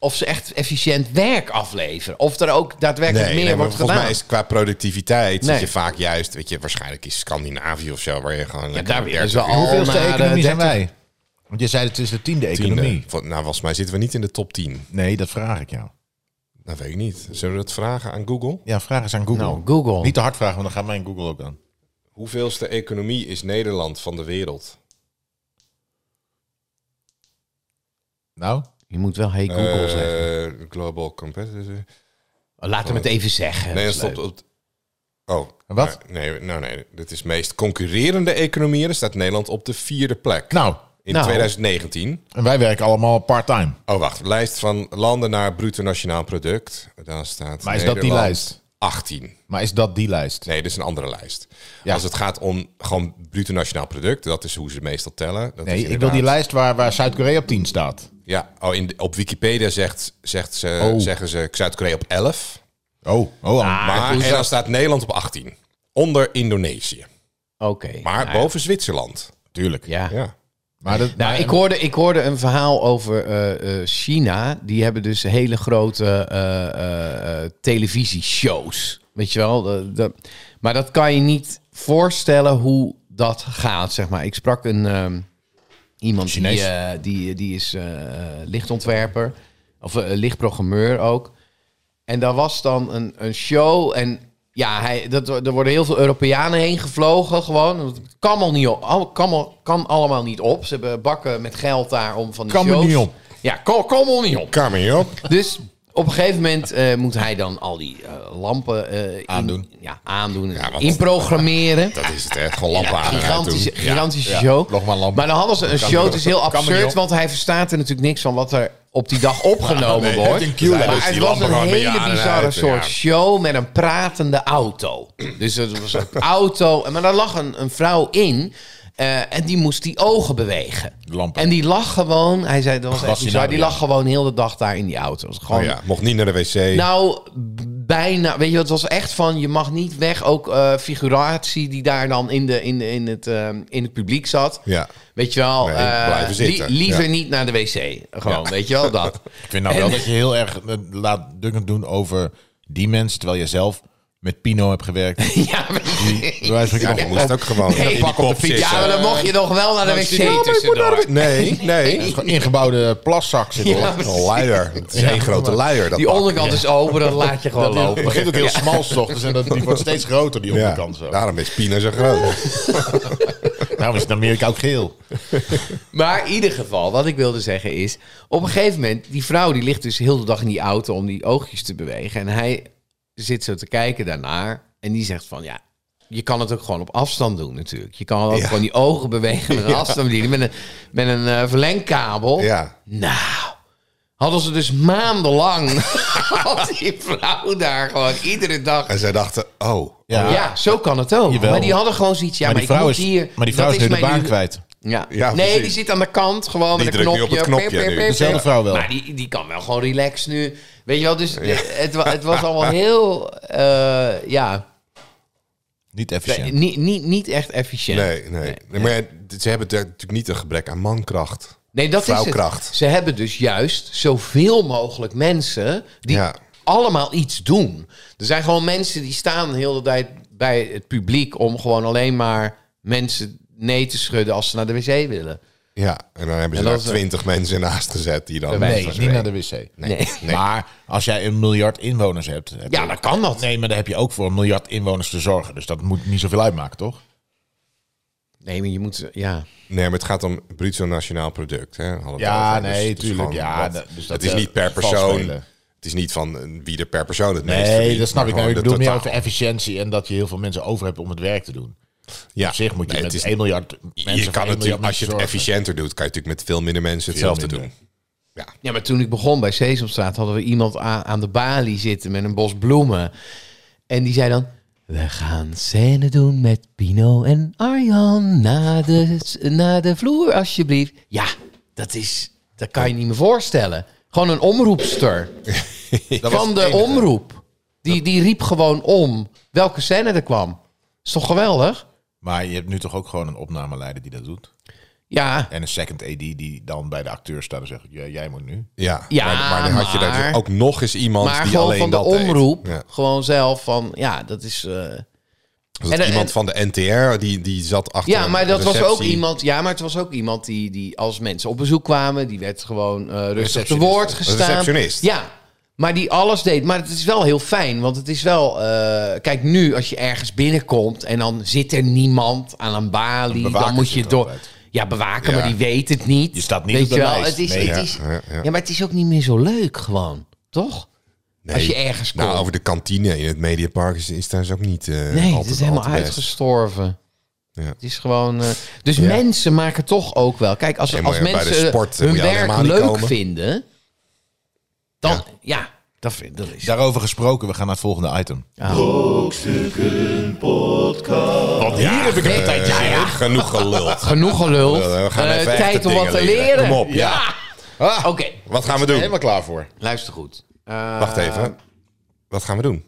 Speaker 4: Of ze echt efficiënt werk afleveren. Of er ook daadwerkelijk meer
Speaker 2: maar
Speaker 4: wordt
Speaker 2: volgens
Speaker 4: gedaan.
Speaker 2: mij is qua productiviteit
Speaker 4: Nee.
Speaker 2: zit je vaak juist, weet je, waarschijnlijk is Scandinavië of zo, waar je gewoon lekker
Speaker 4: daar weer
Speaker 2: 30
Speaker 4: is wel
Speaker 2: uur-
Speaker 4: al
Speaker 3: Hoeveelste
Speaker 4: naar Oh, de
Speaker 3: economie zijn
Speaker 4: 30?
Speaker 3: wij? Want je zei het is de tiende
Speaker 2: tiende.
Speaker 3: economie.
Speaker 2: Vol- Nou, volgens mij zitten we niet in de top 10.
Speaker 3: Nee, dat vraag ik jou.
Speaker 2: Dat weet ik niet. Zullen we dat vragen aan Google?
Speaker 3: Ja, vraag eens aan Google.
Speaker 4: Nou, Google.
Speaker 3: Niet te hard vragen, want dan gaat mijn Google ook aan.
Speaker 2: Hoeveelste economie is Nederland van de wereld?
Speaker 3: Nou,
Speaker 4: Je moet wel hey Google
Speaker 2: Eh,
Speaker 4: zeggen.
Speaker 2: Global competitor.
Speaker 4: Laat hem het even zeggen.
Speaker 2: Nee, dat
Speaker 4: Dat is
Speaker 2: stopt
Speaker 4: leuk.
Speaker 2: op. Oh,
Speaker 3: Wat?
Speaker 2: maar- Nee, nou nee, dit is meest concurrerende economieën. Daar staat Nederland op de vierde plek.
Speaker 3: nou.
Speaker 2: in
Speaker 4: nou.
Speaker 2: 2019.
Speaker 3: En wij werken allemaal part-time.
Speaker 2: Oh, wacht. Lijst van landen naar bruto nationaal product. Daar staat.
Speaker 3: Maar is dat die
Speaker 2: Nederland
Speaker 3: lijst?
Speaker 2: 18.
Speaker 3: Maar is dat die lijst?
Speaker 2: Nee, dit is een andere lijst.
Speaker 3: Ja.
Speaker 2: Als het gaat om gewoon bruto nationaal product, dat is hoe ze meestal tellen. Dat is
Speaker 3: Nee, ik wil
Speaker 2: inderdaad-
Speaker 3: die lijst waar, waar Zuid-Korea op 10 staat.
Speaker 2: Ja, oh, in, de- op Wikipedia zegt, zegt ze,
Speaker 3: Oh.
Speaker 2: zeggen ze Zuid-Korea op 11.
Speaker 3: Oh, oh,
Speaker 2: Maar en dan staat Nederland op 18. Onder Indonesië.
Speaker 4: Oké.
Speaker 2: Maar
Speaker 4: nou ja.
Speaker 2: boven Zwitserland.
Speaker 3: tuurlijk.
Speaker 4: Ja.
Speaker 2: Ja.
Speaker 3: Maar dat,
Speaker 4: Nou, ik hoorde, ik hoorde een verhaal over eh, eh, China. Die hebben dus hele grote eh, eh, eh, televisieshows. Weet je wel? De- de- maar dat kan je niet voorstellen hoe dat gaat, zeg maar. Ik sprak een ehm, iemand die,
Speaker 3: Chinees.
Speaker 4: eh, die, die is eh, eh, lichtontwerper. Of eh, lichtprogrammeur ook. En daar was dan een, een show. En ja, hij, dat, er worden heel veel Europeanen heen gevlogen gewoon. Het kan, al niet op, al- kan, al- kan allemaal niet op. Ze hebben bakken met geld daar om van die
Speaker 3: Kan me
Speaker 4: shows...
Speaker 3: niet op.
Speaker 4: Ja, kan, kan me niet op.
Speaker 2: Carmen, joh.
Speaker 4: Dus op een gegeven moment eh, moet hij dan al die eh, lampen... eh, in-
Speaker 3: Aandoen.
Speaker 4: ja, aandoen. en
Speaker 2: want-
Speaker 4: inprogrammeren.
Speaker 2: Dat is het, hè? Gewoon lampen aan. en uit
Speaker 4: Gigantische,
Speaker 2: doen. Ja.
Speaker 4: gigantische show.
Speaker 3: nog maar lampen.
Speaker 4: Maar dan hadden ze een show. Het is heel
Speaker 3: Kan me niet
Speaker 4: absurd,
Speaker 3: op.
Speaker 4: want hij verstaat er natuurlijk niks van wat er op die
Speaker 2: [laughs]
Speaker 4: dag opgenomen
Speaker 2: nee,
Speaker 4: wordt.
Speaker 2: het in Kiel hebben
Speaker 4: maar
Speaker 2: ze dus
Speaker 4: het
Speaker 2: die
Speaker 4: was
Speaker 2: lampen
Speaker 4: een
Speaker 2: gewoon met
Speaker 4: hele
Speaker 2: je aan en
Speaker 4: bizarre
Speaker 2: uit,
Speaker 4: soort
Speaker 2: ja.
Speaker 4: show met een pratende auto. Dus het
Speaker 2: [laughs]
Speaker 4: was een auto. en- Maar daar lag een, een vrouw in. eh, en die moest die ogen bewegen.
Speaker 3: Lampen.
Speaker 4: En die lag gewoon, hij zei, dat was echt
Speaker 3: Was die
Speaker 4: bizar,
Speaker 3: nou,
Speaker 4: die
Speaker 3: ja.
Speaker 4: lag gewoon heel de dag daar in die auto. Het was gewoon
Speaker 2: Oh ja, mocht niet naar de wc.
Speaker 4: nou, b- bijna. Weet je, het was echt van je mag niet weg. Ook eh, figuratie die daar dan in, de, in, de, in, het, eh, in het publiek zat.
Speaker 2: Ja.
Speaker 4: Weet je wel,
Speaker 2: Nee,
Speaker 4: eh,
Speaker 2: blijven
Speaker 4: li-
Speaker 2: zitten.
Speaker 4: liever
Speaker 2: Ja.
Speaker 4: niet naar de wc. Gewoon, weet je wel,
Speaker 2: [laughs]
Speaker 4: dat.
Speaker 3: Ik vind nou wel dat je heel erg eh, laatdunkend doen over die mensen, terwijl je zelf met Pino hebt
Speaker 4: [laughs]
Speaker 3: gewerkt.
Speaker 4: ja, weet je-
Speaker 3: Bij wijze van
Speaker 2: Ja,
Speaker 3: spreken
Speaker 2: je moest ook gewoon
Speaker 4: Nee,
Speaker 2: in die
Speaker 3: pak op de
Speaker 2: kop
Speaker 3: fiets.
Speaker 2: zitten.
Speaker 4: ja, maar dan mocht je nog wel naar de
Speaker 3: Nou, zie je,
Speaker 4: wc tussendoor.
Speaker 2: Nee,
Speaker 3: [laughs]
Speaker 2: nee.
Speaker 3: Gewoon ingebouwde plaszak zit
Speaker 4: Ja,
Speaker 3: erop.
Speaker 4: precies.
Speaker 2: Een luier. Het is één grote luier. Dat
Speaker 4: Die
Speaker 2: pak.
Speaker 4: onderkant is open, dat laat je gewoon
Speaker 3: Oh, Het
Speaker 4: lopen.
Speaker 3: begint ook heel smal s ochtends en dat, die wordt steeds groter, die
Speaker 2: Ja,
Speaker 3: onderkant zo.
Speaker 2: daarom is Pina zo groot.
Speaker 3: Daarom is het in Amerika ook geel.
Speaker 4: Maar in ieder geval, wat ik wilde zeggen is... Op een gegeven moment, die vrouw die ligt dus heel de dag in die auto... om die oogjes te bewegen. En hij zit zo te kijken daarnaar. En die zegt van, ja, je kan het ook gewoon op afstand doen natuurlijk. Je kan ook
Speaker 2: Ja.
Speaker 4: gewoon die ogen bewegen
Speaker 3: [laughs]
Speaker 4: met een afstandsbediening. Met een, met een eh, verlengkabel.
Speaker 2: Ja.
Speaker 4: Nou, hadden ze dus
Speaker 3: [laughs]
Speaker 4: maandenlang... had die vrouw daar gewoon iedere dag...
Speaker 2: En zij dachten, oh.
Speaker 4: Ja, zo kan het ook.
Speaker 3: Jawel.
Speaker 4: Maar die hadden gewoon zoiets... Ja, maar,
Speaker 3: maar, die
Speaker 4: ik
Speaker 3: vrouw
Speaker 4: moet
Speaker 3: is,
Speaker 4: hier...
Speaker 3: maar die vrouw
Speaker 4: dat
Speaker 3: is nu de
Speaker 4: mijn
Speaker 3: baan
Speaker 4: uni-
Speaker 3: kwijt.
Speaker 4: Ja.
Speaker 2: Ja,
Speaker 4: nee,
Speaker 2: precies.
Speaker 4: die zit aan de kant gewoon
Speaker 2: Die
Speaker 4: met een
Speaker 2: drukt nu
Speaker 4: knopje.
Speaker 2: op het knopje dus. nu.
Speaker 3: Dezelfde vrouw wel.
Speaker 4: Maar die, die kan wel gewoon relaxed nu. Weet je wel, dus de- het, wa- het was allemaal heel, eh, ja,
Speaker 3: Niet
Speaker 4: de-
Speaker 3: efficiënt.
Speaker 4: niet, niet, niet echt efficiënt.
Speaker 2: Nee, nee. Maar ja, d- ze hebben daar natuurlijk niet een gebrek aan mankracht.
Speaker 4: Nee, dat is het.
Speaker 2: Vrouwkracht.
Speaker 4: Ze hebben dus juist zoveel mogelijk mensen die
Speaker 2: Ja.
Speaker 4: allemaal iets doen. Er zijn gewoon mensen die staan heel de tijd bij het publiek om gewoon alleen maar mensen nee te schudden als ze naar de wc willen.
Speaker 2: Ja, en dan hebben ze
Speaker 4: En dat
Speaker 2: daar
Speaker 4: is, eh,
Speaker 2: twintig mensen naast gezet die dan...
Speaker 4: wijze
Speaker 3: Nee,
Speaker 4: van
Speaker 3: niet
Speaker 4: spreken.
Speaker 3: naar de wc.
Speaker 4: Nee.
Speaker 3: Maar als jij een miljard inwoners hebt... heb
Speaker 4: Ja,
Speaker 3: je-
Speaker 4: dan kan dat.
Speaker 3: Nee, maar dan heb je ook voor een miljard inwoners te zorgen. Dus dat moet niet zoveel uitmaken, toch?
Speaker 4: Nee, maar je moet, ja.
Speaker 2: Nee, maar het gaat om bruto nationaal product. Hè? Hadden we het
Speaker 3: Ja,
Speaker 2: over.
Speaker 3: nee,
Speaker 2: Dus het is
Speaker 3: tuurlijk.
Speaker 2: gewoon
Speaker 3: Ja,
Speaker 2: wat-
Speaker 3: dat- dus dat,
Speaker 2: het is
Speaker 3: eh,
Speaker 2: niet per
Speaker 3: vals
Speaker 2: persoon.
Speaker 3: spelen.
Speaker 2: Het is niet van eh, wie er per persoon het meest
Speaker 3: Nee,
Speaker 2: verdient,
Speaker 3: dat snap
Speaker 2: maar
Speaker 3: ik. Nou, ik
Speaker 2: gewoon
Speaker 3: bedoel
Speaker 2: de
Speaker 3: meer over
Speaker 2: totaal.
Speaker 3: efficiëntie en dat je heel veel mensen over hebt om het werk te doen.
Speaker 2: Ja.
Speaker 3: Op zich moet je
Speaker 2: Nee,
Speaker 3: met
Speaker 2: het is-
Speaker 3: 1 miljard mensen
Speaker 2: je
Speaker 3: voor
Speaker 2: kan
Speaker 3: 1 miljard
Speaker 2: natuurlijk, als je het
Speaker 3: mensen zorgen.
Speaker 2: efficiënter doet, kan je natuurlijk met veel minder mensen
Speaker 3: Veel
Speaker 2: hetzelfde
Speaker 3: minder.
Speaker 2: doen.
Speaker 4: Ja, maar toen ik begon bij Sesamstraat hadden we iemand aan, aan de balie zitten met een bos bloemen. En die zei dan... We gaan scène doen met Pino en Arjan na de, na de vloer, alsjeblieft. Ja, dat is... Dat kan je niet meer voorstellen. Gewoon een
Speaker 2: [laughs]
Speaker 4: omroepster van de omroep. Die, die riep gewoon om welke scène er kwam. Is toch geweldig?
Speaker 3: Maar je hebt nu toch ook gewoon een opnameleider die dat doet?
Speaker 4: Ja.
Speaker 3: En een second AD die dan bij de acteur staat en zegt, "Ja, jij moet nu.
Speaker 2: Ja,
Speaker 4: Ja,
Speaker 2: maar, maar dan had je daar
Speaker 4: maar-
Speaker 2: ook nog eens iemand
Speaker 4: Maar
Speaker 2: die
Speaker 4: gewoon
Speaker 2: alleen
Speaker 4: van de
Speaker 2: dat deed.
Speaker 4: omroep.
Speaker 2: Ja.
Speaker 4: Gewoon zelf van... Ja, dat is... eh,
Speaker 2: Dus dat
Speaker 4: En- en-
Speaker 2: iemand van de NTR die, die zat achter.
Speaker 4: Ja,
Speaker 2: een
Speaker 4: maar dat was ook
Speaker 2: receptie.
Speaker 4: iemand. Ja, maar het was ook iemand die, die als mensen op bezoek kwamen, die werd gewoon eh rustig te
Speaker 3: Receptionist.
Speaker 4: woord gestaan.
Speaker 2: Receptionist.
Speaker 4: Ja, maar die alles deed. Maar het is wel heel fijn, want het is wel. eh, kijk, nu als je ergens binnenkomt en dan zit er niemand aan een balie,
Speaker 3: bewaker
Speaker 4: dan moet je
Speaker 3: zit er
Speaker 4: door.
Speaker 3: altijd.
Speaker 4: Ja, bewaken,
Speaker 2: Ja.
Speaker 4: maar die weet het niet.
Speaker 3: Je staat niet
Speaker 4: Weet
Speaker 3: op de
Speaker 4: je wel?
Speaker 3: lijst.
Speaker 4: Het is,
Speaker 3: Nee,
Speaker 4: het
Speaker 2: ja,
Speaker 4: is, ja,
Speaker 2: ja, ja.
Speaker 4: maar het is ook niet meer zo leuk, gewoon, toch?
Speaker 2: Nee.
Speaker 4: Als je ergens komt.
Speaker 2: Nou, over de kantine in het Mediapark is, is daar dus ook niet. eh,
Speaker 4: Nee,
Speaker 2: altijd,
Speaker 4: het is helemaal
Speaker 2: altijd best.
Speaker 4: uitgestorven.
Speaker 2: Ja.
Speaker 4: Het is gewoon. eh, dus mensen maken toch ook wel. Kijk, als,
Speaker 2: Nee, maar
Speaker 4: als
Speaker 2: bij de
Speaker 4: mensen
Speaker 2: sport, eh,
Speaker 4: hun
Speaker 2: moet je
Speaker 4: werk
Speaker 2: helemaal niet
Speaker 4: leuk
Speaker 2: komen.
Speaker 4: vinden, dan ja, dat vind dat is.
Speaker 3: Daarover gesproken, we gaan naar het volgende item.
Speaker 2: Want hier heb ik een tijdje Genoeg geluld.
Speaker 4: [laughs] Genoeg gelul.
Speaker 2: We gaan
Speaker 4: Eh,
Speaker 2: even
Speaker 4: tijd
Speaker 2: echte
Speaker 4: om wat
Speaker 2: dingen
Speaker 4: te
Speaker 2: leren.
Speaker 4: leren. Ah,
Speaker 2: Kom op, ja.
Speaker 4: Oké,
Speaker 2: Wat gaan we doen?
Speaker 3: Helemaal klaar voor.
Speaker 4: luister goed. Eh,
Speaker 2: Wacht even. Wat gaan we doen?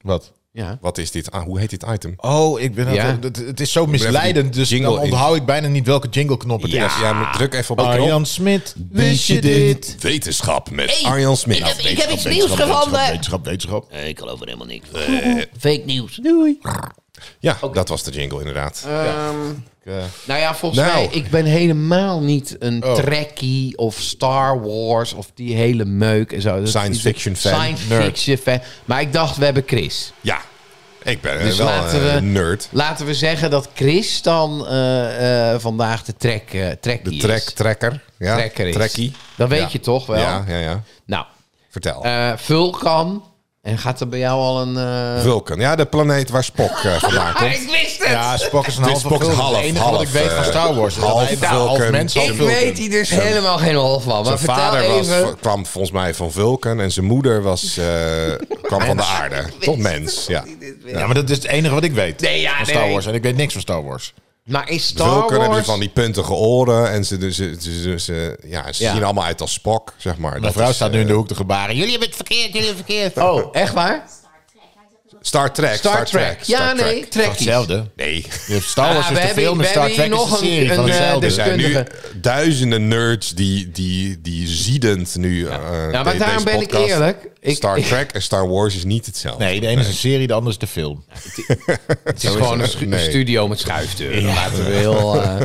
Speaker 3: Wat?
Speaker 4: Ja.
Speaker 2: Wat is dit? Ah, hoe heet dit item?
Speaker 3: Oh, ik ben
Speaker 4: Ja.
Speaker 3: het, het, het is zo
Speaker 2: even
Speaker 3: misleidend,
Speaker 2: die
Speaker 3: dus
Speaker 2: jingle
Speaker 3: dan
Speaker 2: in.
Speaker 3: onthoud ik bijna niet welke jingleknop het is.
Speaker 2: Ja, maar druk even op de knop.
Speaker 3: Arjan Smit, wist je dit?
Speaker 2: Wetenschap met
Speaker 1: Hey,
Speaker 2: Arjan Smit.
Speaker 1: ik heb- ik heb iets nieuws
Speaker 3: Wetenschap, wetenschap,
Speaker 1: gevonden.
Speaker 3: wetenschap, wetenschap.
Speaker 1: Eh, Ik geloof er helemaal niks. van.
Speaker 2: Eh.
Speaker 1: Fake nieuws.
Speaker 2: Ja, dat was de jingle inderdaad.
Speaker 1: Ehm,
Speaker 4: Nou ja, volgens
Speaker 2: Nou. Oh.
Speaker 4: mij, ik ben helemaal niet een trekkie of Star Wars of die hele meuk en zo. Dat
Speaker 2: Science
Speaker 4: is-
Speaker 2: fiction fan.
Speaker 4: Science
Speaker 2: Nerd.
Speaker 4: fiction fan. Maar ik dacht, we hebben Chris.
Speaker 2: ja, ik ben eh,
Speaker 4: Dus
Speaker 2: wel
Speaker 4: laten
Speaker 2: eh,
Speaker 4: we-
Speaker 2: een nerd.
Speaker 4: Laten we zeggen dat Chris dan eh, eh, vandaag de trek, eh trekkie
Speaker 2: De trek,
Speaker 4: is.
Speaker 2: trekker. Ja,
Speaker 4: Trekker is.
Speaker 2: Trekkie.
Speaker 4: Dat weet
Speaker 2: Ja.
Speaker 4: je toch wel?
Speaker 2: Ja, ja, ja.
Speaker 4: Nou,
Speaker 2: Vertel.
Speaker 4: eh Vulkan En gaat er bij jou al een... eh,
Speaker 2: Vulcan, ja, de planeet waar Spock eh,
Speaker 4: [laughs]
Speaker 2: vandaan komt.
Speaker 4: Ah, ik wist het!
Speaker 3: Ja, Spock is een
Speaker 2: Dit
Speaker 3: half
Speaker 2: is Spock is half,
Speaker 3: Het enige
Speaker 2: half,
Speaker 3: wat ik weet van
Speaker 2: eh,
Speaker 3: Star Wars is dat
Speaker 2: half
Speaker 3: hij daar half
Speaker 2: Vulcan.
Speaker 3: mens
Speaker 2: Ik
Speaker 3: half
Speaker 4: ik
Speaker 3: Vulcan
Speaker 4: weet
Speaker 3: is.
Speaker 4: hier dus helemaal geen hol van. Maar
Speaker 2: Zijn
Speaker 4: vertel
Speaker 2: vader
Speaker 4: even...
Speaker 2: was, kwam volgens mij van Vulcan en zijn moeder was, eh, kwam van de aarde. Tot mens, ja.
Speaker 3: Ja, maar dat is het enige wat ik weet
Speaker 4: Nee, ja,
Speaker 3: van Star
Speaker 4: nee.
Speaker 3: Wars. En ik weet niks van Star Wars.
Speaker 4: Maar is Star
Speaker 2: Dus Vulcan hebben ze
Speaker 4: Wars...
Speaker 2: van die puntige oren en ze, ze, ze, ze- ze- ja, ze
Speaker 4: Ja.
Speaker 2: zien allemaal uit als Spock, zeg maar.
Speaker 3: Mijn
Speaker 2: Dat
Speaker 3: vrouw
Speaker 2: is,
Speaker 3: staat nu
Speaker 2: eh,
Speaker 3: in de hoek te gebaren. Jullie hebben het verkeerd, jullie hebben het verkeerd.
Speaker 4: Oh, echt waar?
Speaker 2: Star Trek.
Speaker 4: Star, Trek. Ja,
Speaker 2: Star Trek.
Speaker 4: nee, Trekkies.
Speaker 3: Hetzelfde.
Speaker 2: Nee.
Speaker 3: Je hebt Star Wars
Speaker 4: Ah, we
Speaker 3: is de
Speaker 4: hebben-
Speaker 3: film
Speaker 4: we
Speaker 3: en Star
Speaker 4: hebben
Speaker 3: Trek
Speaker 4: hier
Speaker 3: is de
Speaker 4: nog een-
Speaker 3: serie van
Speaker 4: een, eh,
Speaker 3: hetzelfde.
Speaker 2: Er zijn nu
Speaker 4: Deskundige.
Speaker 2: duizenden nerds die, die, die ziedend nu. eh, Ja,
Speaker 4: maar daarom ben ik eerlijk. Ik-
Speaker 2: Star Trek en Star Wars is niet hetzelfde.
Speaker 3: Nee, de ene is een serie, de andere is de film.
Speaker 2: [laughs]
Speaker 4: Het is gewoon een
Speaker 2: het.
Speaker 4: schu-
Speaker 2: [laughs] Nee.
Speaker 4: studio met schuifdeuren. Laten we
Speaker 2: [laughs]
Speaker 4: heel... eh,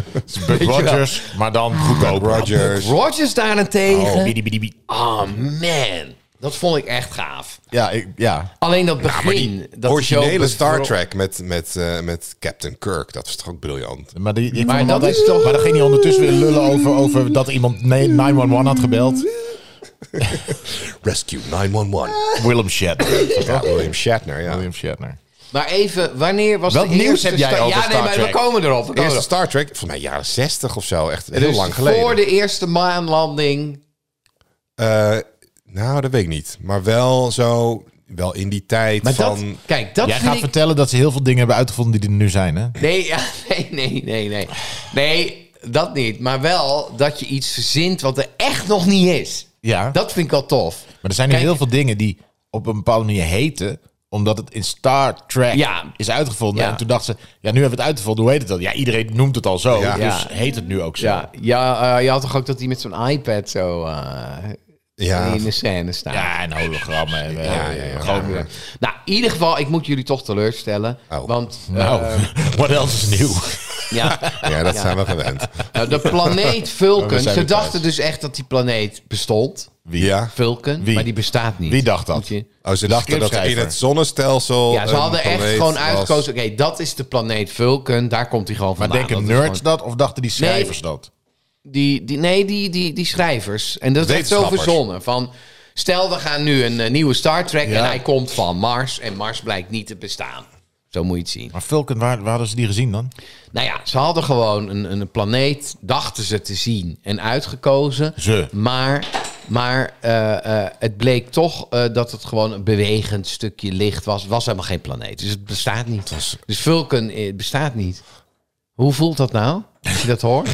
Speaker 3: Buck Rogers, maar dan goedkoper.
Speaker 2: Rogers.
Speaker 4: Rogers daarentegen.
Speaker 2: Oh.
Speaker 3: Bidi, bidi, bidi.
Speaker 4: Ah, man. Dat vond ik echt gaaf.
Speaker 3: Ja, ik, ja.
Speaker 4: Alleen dat begin. dat is
Speaker 2: Originele
Speaker 4: zo-
Speaker 2: Star Trek met, met, eh, met Captain Kirk. Dat is toch ook briljant.
Speaker 3: Maar, die, ik
Speaker 4: Maar
Speaker 3: maar,
Speaker 4: dat
Speaker 3: altijd,
Speaker 4: is toch-
Speaker 3: maar dan ging hij ondertussen weer lullen over, over dat iemand nee- 911 had gebeld.
Speaker 2: Rescue 911.
Speaker 3: Willem Shatner.
Speaker 2: Ja, William Shatner, ja.
Speaker 3: Ah. William Shatner.
Speaker 4: Maar even, wanneer was
Speaker 3: Welk
Speaker 4: de
Speaker 3: nieuws
Speaker 4: eerste
Speaker 3: heb jij
Speaker 4: Star-
Speaker 3: over
Speaker 4: Ja, nee,
Speaker 3: Star
Speaker 4: maar we
Speaker 3: Trek?
Speaker 4: komen erop. we
Speaker 2: De
Speaker 4: komen
Speaker 2: eerste
Speaker 4: erop.
Speaker 2: Star Trek, volgens mij jaren 60 of zo. Echt heel
Speaker 4: Dus
Speaker 2: lang geleden.
Speaker 4: voor de eerste maanlanding.
Speaker 2: Eh, nou, dat weet ik niet. Maar wel zo, wel in die tijd
Speaker 4: Maar
Speaker 2: van...
Speaker 4: dat, kijk, dat
Speaker 3: Jij
Speaker 4: vind
Speaker 3: gaat
Speaker 4: ik...
Speaker 3: vertellen dat ze heel veel dingen hebben uitgevonden die er nu zijn, hè?
Speaker 4: Nee, ja, nee, nee, nee, nee. Nee, dat niet. Maar wel dat je iets verzint wat er echt nog niet is.
Speaker 3: Ja.
Speaker 4: Dat vind ik al tof.
Speaker 3: Maar er zijn nu
Speaker 4: Kijk-
Speaker 3: heel veel dingen die op een bepaalde manier heten omdat het in Star Trek
Speaker 4: Ja.
Speaker 3: is uitgevonden.
Speaker 4: Ja.
Speaker 3: En toen dachten ze, ja, nu hebben we het uitgevonden. Hoe heet het dan? Ja, iedereen noemt het al zo.
Speaker 2: Ja.
Speaker 3: Dus
Speaker 4: Ja.
Speaker 3: heet het nu ook zo.
Speaker 4: Ja, ja eh, je had toch ook dat hij met zo'n iPad zo eh,
Speaker 2: ja,
Speaker 4: in de scène staat.
Speaker 3: Ja, en hologrammen. En, eh,
Speaker 2: Ja, ja, ja.
Speaker 3: gewoon, eh,
Speaker 4: Nou, in ieder geval, ik moet jullie toch teleurstellen.
Speaker 2: Oh.
Speaker 4: Want eh,
Speaker 3: Nou, [laughs] what else is nieuw?
Speaker 4: ja,
Speaker 2: ja, dat zijn we gewend.
Speaker 4: nou, de
Speaker 3: [laughs]
Speaker 4: planeet
Speaker 3: Oh, We
Speaker 4: Vulcan.
Speaker 3: zijn
Speaker 4: Ze
Speaker 3: weer
Speaker 4: dachten dus echt dat die planeet bestond.
Speaker 2: Wie? Ja.
Speaker 4: Vulcan,
Speaker 3: Wie?
Speaker 4: maar die bestaat niet.
Speaker 3: Wie dacht dat?
Speaker 4: Moet je-
Speaker 2: Oh, ze dachten dat er in
Speaker 3: scriptschrijver.
Speaker 2: het zonnestelsel...
Speaker 4: Ja, ze
Speaker 2: een
Speaker 4: hadden echt
Speaker 2: planeet
Speaker 4: gewoon
Speaker 2: was.
Speaker 4: uitgekozen. Oké, dat is de planeet Vulcan. Daar komt hij gewoon
Speaker 3: Maar
Speaker 4: vandaan.
Speaker 3: denken
Speaker 4: Dat is
Speaker 3: nerds
Speaker 4: gewoon-
Speaker 3: dat of dachten die schrijvers dat?
Speaker 4: die, die, nee, die, die, die schrijvers. En dat is echt zo
Speaker 2: Wetenschappers.
Speaker 4: verzonnen. Van, stel, we gaan nu een eh, nieuwe Star Trek
Speaker 3: Ja.
Speaker 4: en hij komt van Mars. En Mars blijkt niet te bestaan. Zo moet je het zien.
Speaker 3: Maar Vulcan, waar, waar hadden ze die gezien dan?
Speaker 4: Nou ja, ze hadden gewoon een, een planeet, dachten ze te zien en uitgekozen.
Speaker 3: Ze.
Speaker 4: Maar, maar eh, eh, het bleek toch eh, dat het gewoon een bewegend stukje licht was. Het was helemaal geen planeet, dus het bestaat niet. Dus Vulcan eh, bestaat niet. Hoe voelt dat nou, als je dat
Speaker 3: [laughs]
Speaker 4: hoort?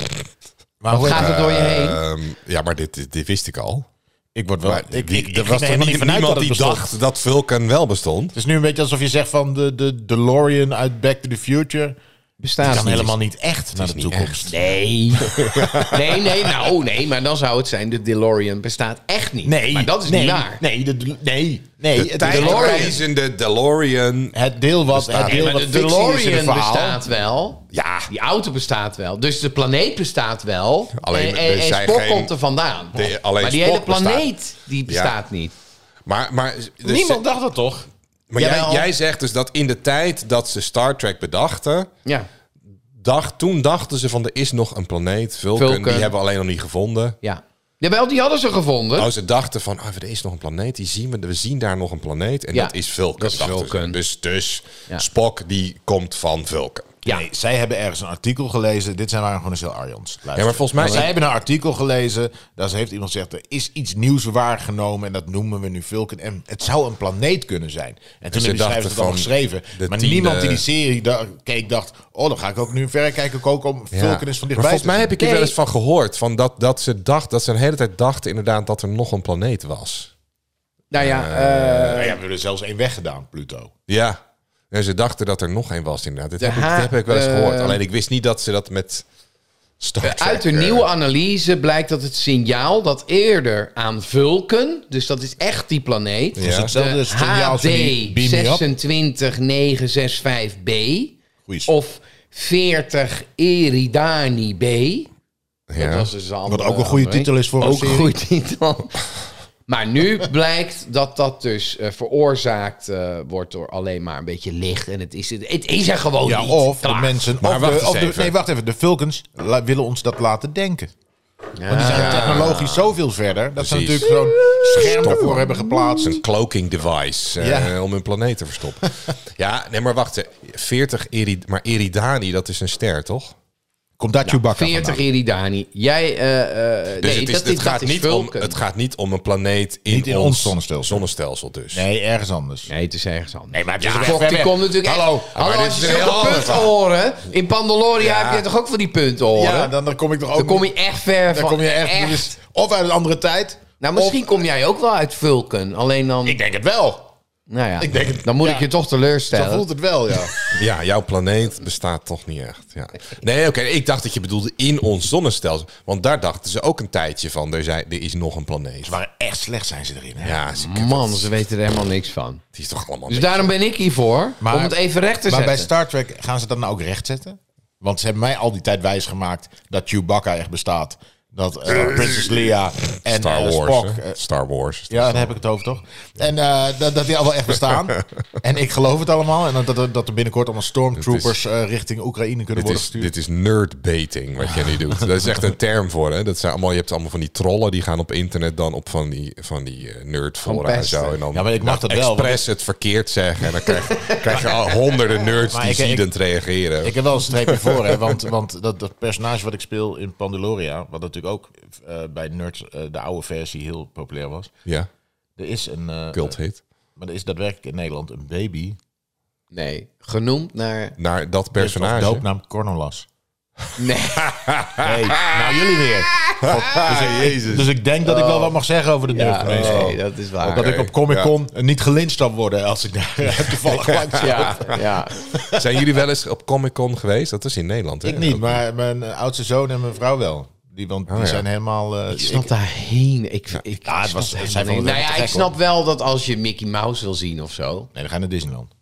Speaker 3: Maar
Speaker 4: Wat
Speaker 3: hoe-
Speaker 4: gaat er door je
Speaker 3: Eh,
Speaker 4: heen?
Speaker 2: Ehm, ja, maar dit, dit, dit wist ik al.
Speaker 3: ik word wel.
Speaker 2: Maar
Speaker 3: ik,
Speaker 2: wie-
Speaker 3: ik, ik
Speaker 2: er
Speaker 3: ging er
Speaker 2: was
Speaker 3: helemaal
Speaker 2: toch
Speaker 3: niet
Speaker 2: niet
Speaker 3: vanuit
Speaker 2: niemand
Speaker 3: dat het
Speaker 2: die
Speaker 3: bestond.
Speaker 2: dacht dat Vulcan wel bestond?
Speaker 3: Het is nu een beetje alsof je zegt van de, de DeLorean uit Back to the Future.
Speaker 4: Bestaat
Speaker 3: kan
Speaker 4: niet.
Speaker 3: helemaal niet echt naar de toekomst. [laughs]
Speaker 4: Nee. nee, nee, nou nee, maar dan zou het zijn, de DeLorean bestaat echt niet.
Speaker 3: Nee,
Speaker 4: maar dat is
Speaker 3: nee,
Speaker 4: niet waar.
Speaker 3: Nee, de, de- nee, nee.
Speaker 2: De
Speaker 3: het, DeLorean,
Speaker 2: tijdreizende DeLorean.
Speaker 3: het deel wat,
Speaker 2: Bestaat
Speaker 3: het deel
Speaker 2: niet.
Speaker 3: wat
Speaker 4: Maar de
Speaker 3: fictie is in het
Speaker 4: DeLorean
Speaker 3: verhaal.
Speaker 4: bestaat wel.
Speaker 2: Ja,
Speaker 4: Die auto bestaat wel. Dus de planeet bestaat wel.
Speaker 2: Alleen,
Speaker 4: en en,
Speaker 2: er
Speaker 4: en
Speaker 2: zijn
Speaker 4: Spock
Speaker 2: geen-
Speaker 4: komt er vandaan.
Speaker 2: de- alleen
Speaker 4: maar die
Speaker 2: Spock
Speaker 4: hele planeet die
Speaker 2: Ja.
Speaker 4: bestaat niet.
Speaker 2: maar... maar dus-
Speaker 3: Niemand dacht dat toch?
Speaker 2: Maar jij,
Speaker 4: Jawel.
Speaker 2: jij zegt dus dat in de tijd dat ze Star Trek bedachten...
Speaker 4: Ja.
Speaker 2: Dacht, toen dachten ze van er is nog een planeet, Vulcan,
Speaker 4: Vulcan.
Speaker 2: die hebben we alleen nog niet gevonden.
Speaker 4: ja. Jawel, die hadden ze gevonden.
Speaker 2: Oh, ze dachten van, ah, er is nog een planeet, die zien we, we zien daar nog een planeet en
Speaker 4: Ja,
Speaker 2: dat is Vulcan.
Speaker 4: dat is
Speaker 2: dachten ze.
Speaker 4: Vulcan.
Speaker 2: Dus, dus
Speaker 4: Ja.
Speaker 2: Spock die komt van Vulcan.
Speaker 4: ja.
Speaker 3: Nee, zij hebben ergens een artikel gelezen. Dit zijn waren gewoon een heel Arjons. Luister.
Speaker 2: Ja, maar volgens mij-
Speaker 3: zij hebben een artikel gelezen. Daar heeft iemand gezegd, er is iets nieuws waargenomen. En dat noemen we nu Vulcan. En het zou een planeet kunnen zijn. En toen
Speaker 2: ze
Speaker 3: hebben die schrijvers
Speaker 2: dachten
Speaker 3: het al
Speaker 2: van
Speaker 3: geschreven.
Speaker 2: de
Speaker 3: Maar
Speaker 2: tiende-
Speaker 3: niemand die die serie da- keek dacht... Oh, dan ga ik ook nu verrekijker koken om Vulcan eens van dichtbij
Speaker 2: maar volgens
Speaker 3: te
Speaker 2: mij
Speaker 3: zien.
Speaker 2: heb ik er
Speaker 4: Nee.
Speaker 2: wel eens van gehoord. Van dat, dat, ze dacht, dat ze een hele tijd dachten inderdaad dat er nog een planeet was.
Speaker 4: nou ja, eh,
Speaker 3: Nou ja, we hebben er zelfs één weggedaan, Pluto.
Speaker 2: Ja. En ze dachten dat er nog één was inderdaad. Dit
Speaker 4: De
Speaker 2: heb, ik, dit
Speaker 4: ha-
Speaker 2: heb ik wel eens gehoord.
Speaker 4: eh,
Speaker 2: Alleen ik wist niet dat ze dat met Star Trek...
Speaker 4: uit een
Speaker 2: eh,
Speaker 4: nieuwe analyse blijkt dat het signaal dat eerder aan Vulcan, dus dat is echt die planeet,
Speaker 2: Ja.
Speaker 3: Dus hetzelfde
Speaker 4: de
Speaker 3: is het signaal als van die
Speaker 4: HD
Speaker 3: Beam Me Up.
Speaker 4: 26965B
Speaker 3: Goeie s-
Speaker 4: of 40 Eridani B.
Speaker 2: ja.
Speaker 4: Dat was dus een
Speaker 3: Wat
Speaker 4: andere-
Speaker 3: ook een goede
Speaker 4: andere-
Speaker 3: titel is voor een
Speaker 4: Ook
Speaker 3: serie.
Speaker 4: een goede titel. Maar nu blijkt dat dat dus eh, veroorzaakt eh, wordt door alleen maar een beetje licht. En het is, het is er gewoon
Speaker 3: Ja,
Speaker 4: niet.
Speaker 3: of de
Speaker 4: Klaar.
Speaker 3: mensen...
Speaker 2: Maar
Speaker 3: of
Speaker 2: wacht
Speaker 3: de,
Speaker 2: eens
Speaker 3: of de-
Speaker 2: even.
Speaker 3: nee, wacht even. De Vulcans la- willen ons dat laten denken. Want die zijn technologisch zoveel verder. Dat ze
Speaker 2: Precies.
Speaker 3: natuurlijk zo'n scherm
Speaker 2: Stop.
Speaker 3: ervoor hebben geplaatst.
Speaker 2: Een cloaking device eh,
Speaker 3: Ja.
Speaker 2: om hun planeet te
Speaker 3: [laughs]
Speaker 2: verstoppen. ja, nee, maar wacht. eh, 40 Eri- maar Eridani, dat is een ster, toch? Dus
Speaker 3: Komt daar Chewbacca
Speaker 4: 40
Speaker 3: vandaan?
Speaker 4: Eridani. Jij, eh, eh,
Speaker 2: Dus
Speaker 4: nee,
Speaker 2: het, is,
Speaker 4: dat,
Speaker 2: het,
Speaker 4: dat
Speaker 2: gaat
Speaker 4: is
Speaker 2: niet om,
Speaker 4: Vulcan.
Speaker 2: het gaat niet om een planeet in,
Speaker 3: Niet in ons zonnestelsel.
Speaker 2: zonnestelsel dus.
Speaker 3: Nee, ergens anders.
Speaker 4: Nee, het is ergens anders.
Speaker 3: Nee, maar het is
Speaker 4: ja,
Speaker 3: wel
Speaker 4: Fok,
Speaker 3: ver
Speaker 4: die
Speaker 3: weg.
Speaker 4: komt natuurlijk
Speaker 3: Hallo,
Speaker 4: echt...
Speaker 2: maar
Speaker 4: Hallo,
Speaker 2: dit
Speaker 4: als
Speaker 2: is
Speaker 4: je
Speaker 2: een heel
Speaker 4: zulke
Speaker 2: ander
Speaker 4: puntoren... In Pandaloria heb je toch ook van die puntoren?
Speaker 3: Ja, dan, dan kom ik toch ook
Speaker 4: dan kom
Speaker 3: niet-
Speaker 4: je echt ver
Speaker 3: dan
Speaker 4: van...
Speaker 3: kom je echt, Of uit een andere tijd.
Speaker 4: Nou, misschien kom jij ook wel uit Vulcan. Alleen dan...
Speaker 3: Ik denk het wel.
Speaker 4: nou ja,
Speaker 3: ik denk het-
Speaker 4: dan moet
Speaker 3: ja.
Speaker 4: ik je toch
Speaker 3: Zo
Speaker 4: teleurstellen.
Speaker 3: voelt het wel, ja.
Speaker 2: Ja, jouw planeet bestaat toch niet echt. Ja. Nee, oké, ik dacht dat je bedoelde in ons zonnestelsel. Want daar dachten ze ook een tijdje van, er, zei, er is nog een planeet.
Speaker 3: Maar echt slecht zijn ze erin. Hè?
Speaker 2: Ja, ze,
Speaker 4: Man, ze weten er helemaal niks van.
Speaker 2: die is toch allemaal...
Speaker 4: Dus daarom ben ik hiervoor.
Speaker 3: Maar-
Speaker 4: om het even recht te
Speaker 3: maar bij
Speaker 4: zetten.
Speaker 3: Star Trek gaan ze dat nou ook recht zetten? Want ze hebben mij al die tijd wijsgemaakt dat Chewbacca echt bestaat. Dat eh, Princess Leia en
Speaker 2: Star
Speaker 3: eh,
Speaker 2: Wars,
Speaker 3: Spock...
Speaker 2: hè?
Speaker 3: eh,
Speaker 2: Star Wars.
Speaker 3: ja, daar heb ik het over, toch? En eh, dat, dat die al wel echt
Speaker 2: [laughs]
Speaker 3: bestaan. en ik geloof het allemaal. En dat, dat, dat er binnenkort allemaal stormtroopers eh, richting Oekraïne kunnen
Speaker 2: Dit
Speaker 3: worden
Speaker 2: is,
Speaker 3: gestuurd.
Speaker 2: dit is nerdbaiting wat jij nu
Speaker 3: [laughs]
Speaker 2: doet. Dat is echt een term voor. Hè? Dat zijn allemaal, je hebt allemaal van die trollen die gaan op internet dan op van die, van die eh, nerdfora en
Speaker 4: pesten.
Speaker 2: zo. En dan
Speaker 3: Ja, maar ik mag
Speaker 2: dan
Speaker 3: dat wel, want
Speaker 2: expres het verkeerd zeggen. En dan
Speaker 3: [laughs]
Speaker 2: krijg, krijg je al honderden nerds
Speaker 3: Maar
Speaker 2: die
Speaker 3: ik- ik-
Speaker 2: ziedend reageren.
Speaker 3: Ik heb wel een streepje voor, hè, want, want dat, dat personage wat ik speel in Pandaloria, wat natuurlijk ook eh, bij nerds eh, de oude versie heel populair was.
Speaker 2: ja,
Speaker 3: Er is een, eh,
Speaker 2: cult hit.
Speaker 3: maar er is daadwerkelijk in Nederland een baby
Speaker 4: Nee, genoemd naar...
Speaker 2: Naar dat
Speaker 3: met als
Speaker 2: personage. Ah.
Speaker 3: doopnaam
Speaker 4: [laughs]
Speaker 3: Cornolas.
Speaker 4: Nee.
Speaker 3: Hey, nou jullie weer. God, dus, ik,
Speaker 2: Jezus.
Speaker 3: dus ik denk dat ik wel wat mag zeggen over de
Speaker 4: Ja,
Speaker 3: nerdgemeenschap.
Speaker 4: nee, dat is waar.
Speaker 3: Dat
Speaker 2: Oké,
Speaker 3: ik op Comic Con niet gelyncht zou worden als ik daar [laughs] toevallig langs ja.
Speaker 4: Ja, ja.
Speaker 2: Zijn jullie wel eens op Comic Con geweest? Dat is in Nederland. Hè?
Speaker 3: dus- Ik niet, maar mijn eh, oudste zoon en mijn vrouw wel. Die, want die
Speaker 2: Oh, ja.
Speaker 3: zijn helemaal... eh,
Speaker 4: Ik snap daarheen. Ik, ik,
Speaker 3: Ja, het
Speaker 4: ik snap
Speaker 3: was-
Speaker 4: daar
Speaker 3: zij
Speaker 4: helemaal niet.
Speaker 3: vonden het
Speaker 4: Nou ja,
Speaker 3: te
Speaker 4: ik
Speaker 3: gek, hoor.
Speaker 4: snap wel dat als je Mickey Mouse wil zien of zo.
Speaker 3: Nee, we gaan naar Disneyland.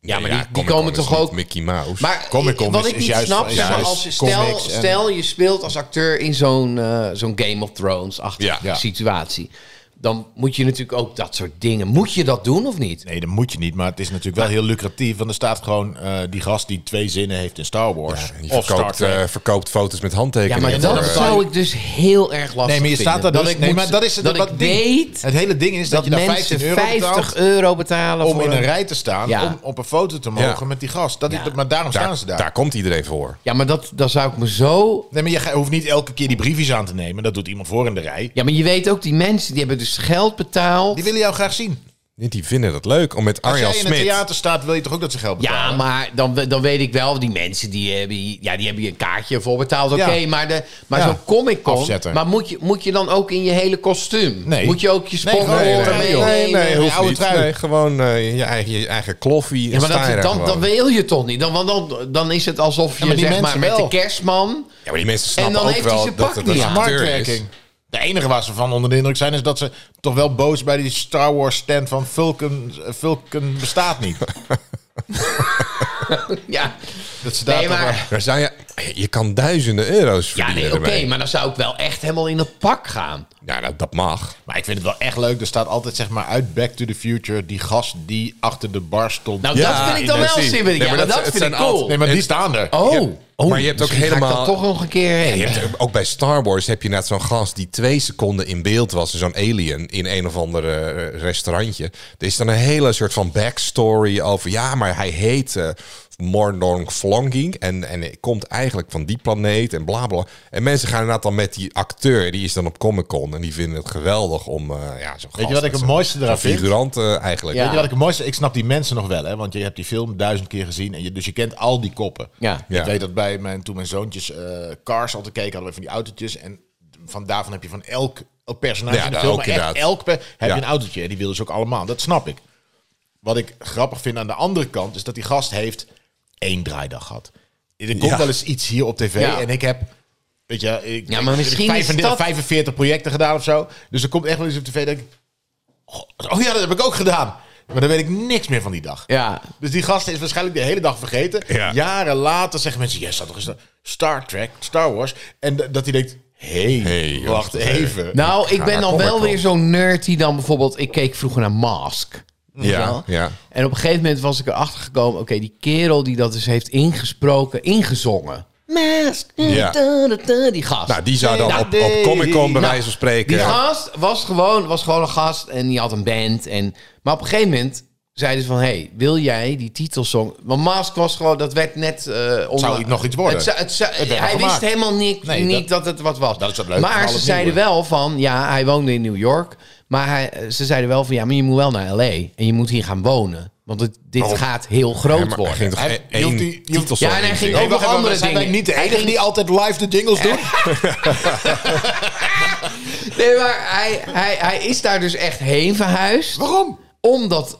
Speaker 2: Ja, maar
Speaker 4: die-
Speaker 2: ja,
Speaker 4: die
Speaker 2: Comic-Con
Speaker 4: komen
Speaker 2: is
Speaker 4: toch
Speaker 2: niet
Speaker 4: ook-
Speaker 2: Mickey Mouse.
Speaker 4: Maar
Speaker 3: Comic-Con
Speaker 4: wat
Speaker 3: is-
Speaker 4: ik
Speaker 3: is
Speaker 4: niet
Speaker 3: juist-
Speaker 4: snap,
Speaker 3: is
Speaker 4: zeg maar,
Speaker 3: juist
Speaker 4: als je, stel,
Speaker 3: comics en-
Speaker 4: stel je speelt als acteur in zo'n eh, zo'n Game of Thrones-achtige
Speaker 2: Ja. Ja.
Speaker 4: situatie. Dan moet je natuurlijk ook dat soort dingen. Moet je dat doen of niet?
Speaker 3: Nee, dat moet je niet. Maar het is natuurlijk wel heel lucratief. Want er staat gewoon eh, die gast die twee zinnen heeft in Star Wars.
Speaker 2: Die
Speaker 3: of Star
Speaker 2: verkoopt,
Speaker 3: Trek.
Speaker 2: eh, verkoopt foto's met
Speaker 4: Ja,
Speaker 2: handtekeningen.
Speaker 4: maar
Speaker 2: voor,
Speaker 4: dat
Speaker 2: eh,
Speaker 4: zou ik dus heel erg lastig
Speaker 3: nee, maar je
Speaker 4: vinden.
Speaker 3: staat daar dus...
Speaker 4: Dat ik
Speaker 3: nee,
Speaker 4: moet-
Speaker 3: maar dat is het
Speaker 4: dat ik
Speaker 3: wat ding.
Speaker 4: weet
Speaker 3: Het hele ding is dat,
Speaker 4: dat
Speaker 3: je daar
Speaker 4: mensen
Speaker 3: 15 euro
Speaker 4: 50
Speaker 3: betaalt
Speaker 4: euro betalen
Speaker 3: om
Speaker 4: voor
Speaker 3: in een rij te staan.
Speaker 4: Ja.
Speaker 3: Om op een foto te mogen
Speaker 2: Ja.
Speaker 3: met die gast. Dat is, maar daarom staan
Speaker 2: daar,
Speaker 3: ze daar.
Speaker 2: daar. komt iedereen voor.
Speaker 4: Ja, maar dat, dan zou ik me zo...
Speaker 3: Nee, maar je ga- hoeft niet elke keer die briefjes aan te nemen. Dat doet iemand voor in de rij.
Speaker 4: Ja, maar je weet ook, die mensen die hebben dus geld betaald.
Speaker 3: Die willen jou graag zien.
Speaker 2: Die vinden dat leuk om met
Speaker 3: Als
Speaker 2: Arjan
Speaker 3: jij in het
Speaker 2: Smit...
Speaker 3: theater staat, wil je toch ook dat ze geld betalen?
Speaker 4: Ja, maar dan, we- dan weet ik wel, die mensen die hebben, hier- ja, die hebben hier een kaartje voor betaald. Oké,
Speaker 3: Ja.
Speaker 4: maar, de- maar
Speaker 3: Ja.
Speaker 4: zo'n comic con.
Speaker 3: Afzetten.
Speaker 4: Maar moet je, moet je dan ook in je hele kostuum?
Speaker 3: Nee.
Speaker 4: Moet je ook je
Speaker 3: Nee,
Speaker 4: sponsoren
Speaker 3: gewoon-
Speaker 2: Nee, nee,
Speaker 3: Horen mee,
Speaker 2: nee, nee,
Speaker 3: nee,
Speaker 2: hoeft
Speaker 3: oude
Speaker 2: niet.
Speaker 3: trui.
Speaker 2: Nee, gewoon eh, je, eigen, je eigen kloffie.
Speaker 4: Ja, maar dat, dan,
Speaker 2: dan,
Speaker 4: dan wil je toch niet. Dan, want dan, dan is het alsof je
Speaker 3: maar die
Speaker 4: zeg maar
Speaker 3: mensen
Speaker 4: met de
Speaker 3: wel.
Speaker 4: kerstman...
Speaker 2: ja, maar die mensen snappen
Speaker 4: dan
Speaker 2: ook
Speaker 4: heeft hij
Speaker 2: wel
Speaker 4: zijn
Speaker 2: dat
Speaker 4: pak
Speaker 2: het
Speaker 4: niet
Speaker 2: een
Speaker 4: aan.
Speaker 2: acteur is.
Speaker 3: Marktwerking. De enige waar ze van onder de indruk zijn is dat ze toch wel boos bij die Star Wars stand van Vulcan, eh, Vulcan
Speaker 4: [laughs]
Speaker 3: bestaat niet.
Speaker 4: Ja,
Speaker 3: Dat ze daar
Speaker 4: nee,
Speaker 3: toch
Speaker 4: maar...
Speaker 2: Daar zou je, je kan duizenden euro's
Speaker 4: Ja,
Speaker 2: verdienen
Speaker 4: nee, oké,
Speaker 2: ermee.
Speaker 4: maar dan zou ik wel echt helemaal in dat pak gaan.
Speaker 2: Ja, dat, dat mag.
Speaker 3: Maar ik vind het wel echt leuk. Er staat altijd zeg maar uit Back to the Future die gast die achter de bar stond.
Speaker 4: Nou,
Speaker 2: Ja,
Speaker 4: dat vind ik dan wel
Speaker 2: precies.
Speaker 4: simpel. Ja,
Speaker 2: Nee,
Speaker 4: maar
Speaker 2: maar
Speaker 4: dat,
Speaker 2: dat- het
Speaker 4: vind ik
Speaker 2: zijn
Speaker 4: cool.
Speaker 2: altijd-
Speaker 3: nee, maar die staan er.
Speaker 4: oh,
Speaker 2: je-
Speaker 4: oh,
Speaker 2: maar je hebt ook
Speaker 4: misschien ga ik
Speaker 2: helemaal-
Speaker 4: daar toch nog een keer heen.
Speaker 2: Je hebt, ook bij Star Wars heb je net zo'n gast die twee seconden in beeld was. Zo'n alien in een of ander eh, restaurantje. Er is dan een hele soort van backstory over... Ja, maar hij heet eh Mordorn Flonking. En, en hij komt eigenlijk van die planeet en bla bla. En mensen gaan inderdaad dan met die acteur. Die is dan op Comic-Con. En die vinden het geweldig om eh, ja, zo'n gast...
Speaker 3: je wat ik
Speaker 2: met
Speaker 3: het
Speaker 2: zo'n-
Speaker 3: mooiste eraan
Speaker 2: zo'n
Speaker 3: vind?
Speaker 2: figurant eh, eigenlijk.
Speaker 4: Ja.
Speaker 3: Weet je wat ik het mooiste... Ik snap die mensen nog wel, hè. Want je hebt die film duizend keer gezien. En je, dus je kent al die koppen.
Speaker 4: Ja.
Speaker 2: Ja.
Speaker 3: Ik weet dat bij mijn, toen mijn zoontjes eh, Cars altijd keken, hadden we van die autootjes. En van, daarvan heb je van elk personage
Speaker 2: Ja,
Speaker 3: in de
Speaker 2: daar
Speaker 3: film,
Speaker 2: ook
Speaker 3: maar echt
Speaker 2: inderdaad.
Speaker 3: elk per- heb
Speaker 2: Ja.
Speaker 3: je een autootje. En die wilden ze ook allemaal. Dat snap ik. Wat ik grappig vind aan de andere kant, is dat die gast heeft één draaidag gehad. Er komt
Speaker 2: Ja.
Speaker 3: wel eens iets hier op tv
Speaker 4: Ja.
Speaker 3: en ik heb... Weet je, ik,
Speaker 4: Ja, maar
Speaker 3: ik-
Speaker 4: misschien is
Speaker 3: 35
Speaker 4: dat-
Speaker 3: 45 projecten gedaan of zo. Dus er komt echt wel eens op tv dat ik... Oh, oh ja, dat heb ik ook gedaan. Maar dan weet ik niks meer van die dag.
Speaker 4: Ja,
Speaker 3: Dus die gast is waarschijnlijk de hele dag vergeten.
Speaker 2: Ja.
Speaker 3: Jaren later zeggen mensen: Jij staat toch eens Star Trek, Star Wars. En d- dat hij denkt: Hé,
Speaker 2: Hey,
Speaker 3: wacht
Speaker 2: wacht
Speaker 3: even.
Speaker 4: Nou, ik ben
Speaker 2: daar
Speaker 4: dan
Speaker 2: kom
Speaker 4: wel
Speaker 2: ik wel.
Speaker 4: weer zo'n nerd die dan bijvoorbeeld... Ik keek vroeger naar Mask.
Speaker 2: Ja, ja.
Speaker 4: En op een gegeven moment was ik erachter gekomen... Oké, die kerel die dat dus heeft ingesproken, ingezongen.
Speaker 1: mask.
Speaker 2: Ja.
Speaker 1: Da, da, da, die gast.
Speaker 2: Nou, die zou dan
Speaker 4: Nou,
Speaker 2: op, op Comic Con bij
Speaker 4: Nou,
Speaker 2: wijze van spreken. eh,
Speaker 4: Die gast was gewoon, was gewoon een gast en die had een band. En, maar op een gegeven moment zeiden ze van... hey, wil jij die titelsong... Want Mask was gewoon, dat werd net... eh onder-
Speaker 3: Zou het nog iets worden?
Speaker 4: Het zou- het zou-
Speaker 3: Het werd nog
Speaker 4: hij wist
Speaker 3: gemaakt.
Speaker 4: helemaal niet,
Speaker 3: Nee,
Speaker 4: niet dat, het wat was.
Speaker 3: dat is wat leuk van
Speaker 4: Maar ze
Speaker 3: alles
Speaker 4: zeiden
Speaker 3: nieuwe.
Speaker 4: wel van... ja, hij woonde in New York. Maar hij, eh, ze zeiden wel van... ja, maar je moet wel naar L.A. En je moet hier gaan wonen. Want het, dit gaat heel groot
Speaker 2: Ja, maar hij
Speaker 4: worden.
Speaker 2: ging toch e-
Speaker 3: Hij-
Speaker 2: één
Speaker 3: je hoeft die- je
Speaker 2: één
Speaker 3: hoeft-
Speaker 2: titelsong
Speaker 4: Ja, en hij
Speaker 2: inzingen?
Speaker 4: ging ook- nog
Speaker 3: Nou, wacht even,
Speaker 4: andere
Speaker 3: zijn wij
Speaker 4: dingen.
Speaker 3: niet de
Speaker 4: Hij
Speaker 3: enige
Speaker 4: ging-
Speaker 3: die altijd live de jingles doen?
Speaker 4: Nee, maar hij, hij, hij is daar dus echt heen verhuisd.
Speaker 3: Waarom?
Speaker 4: om dat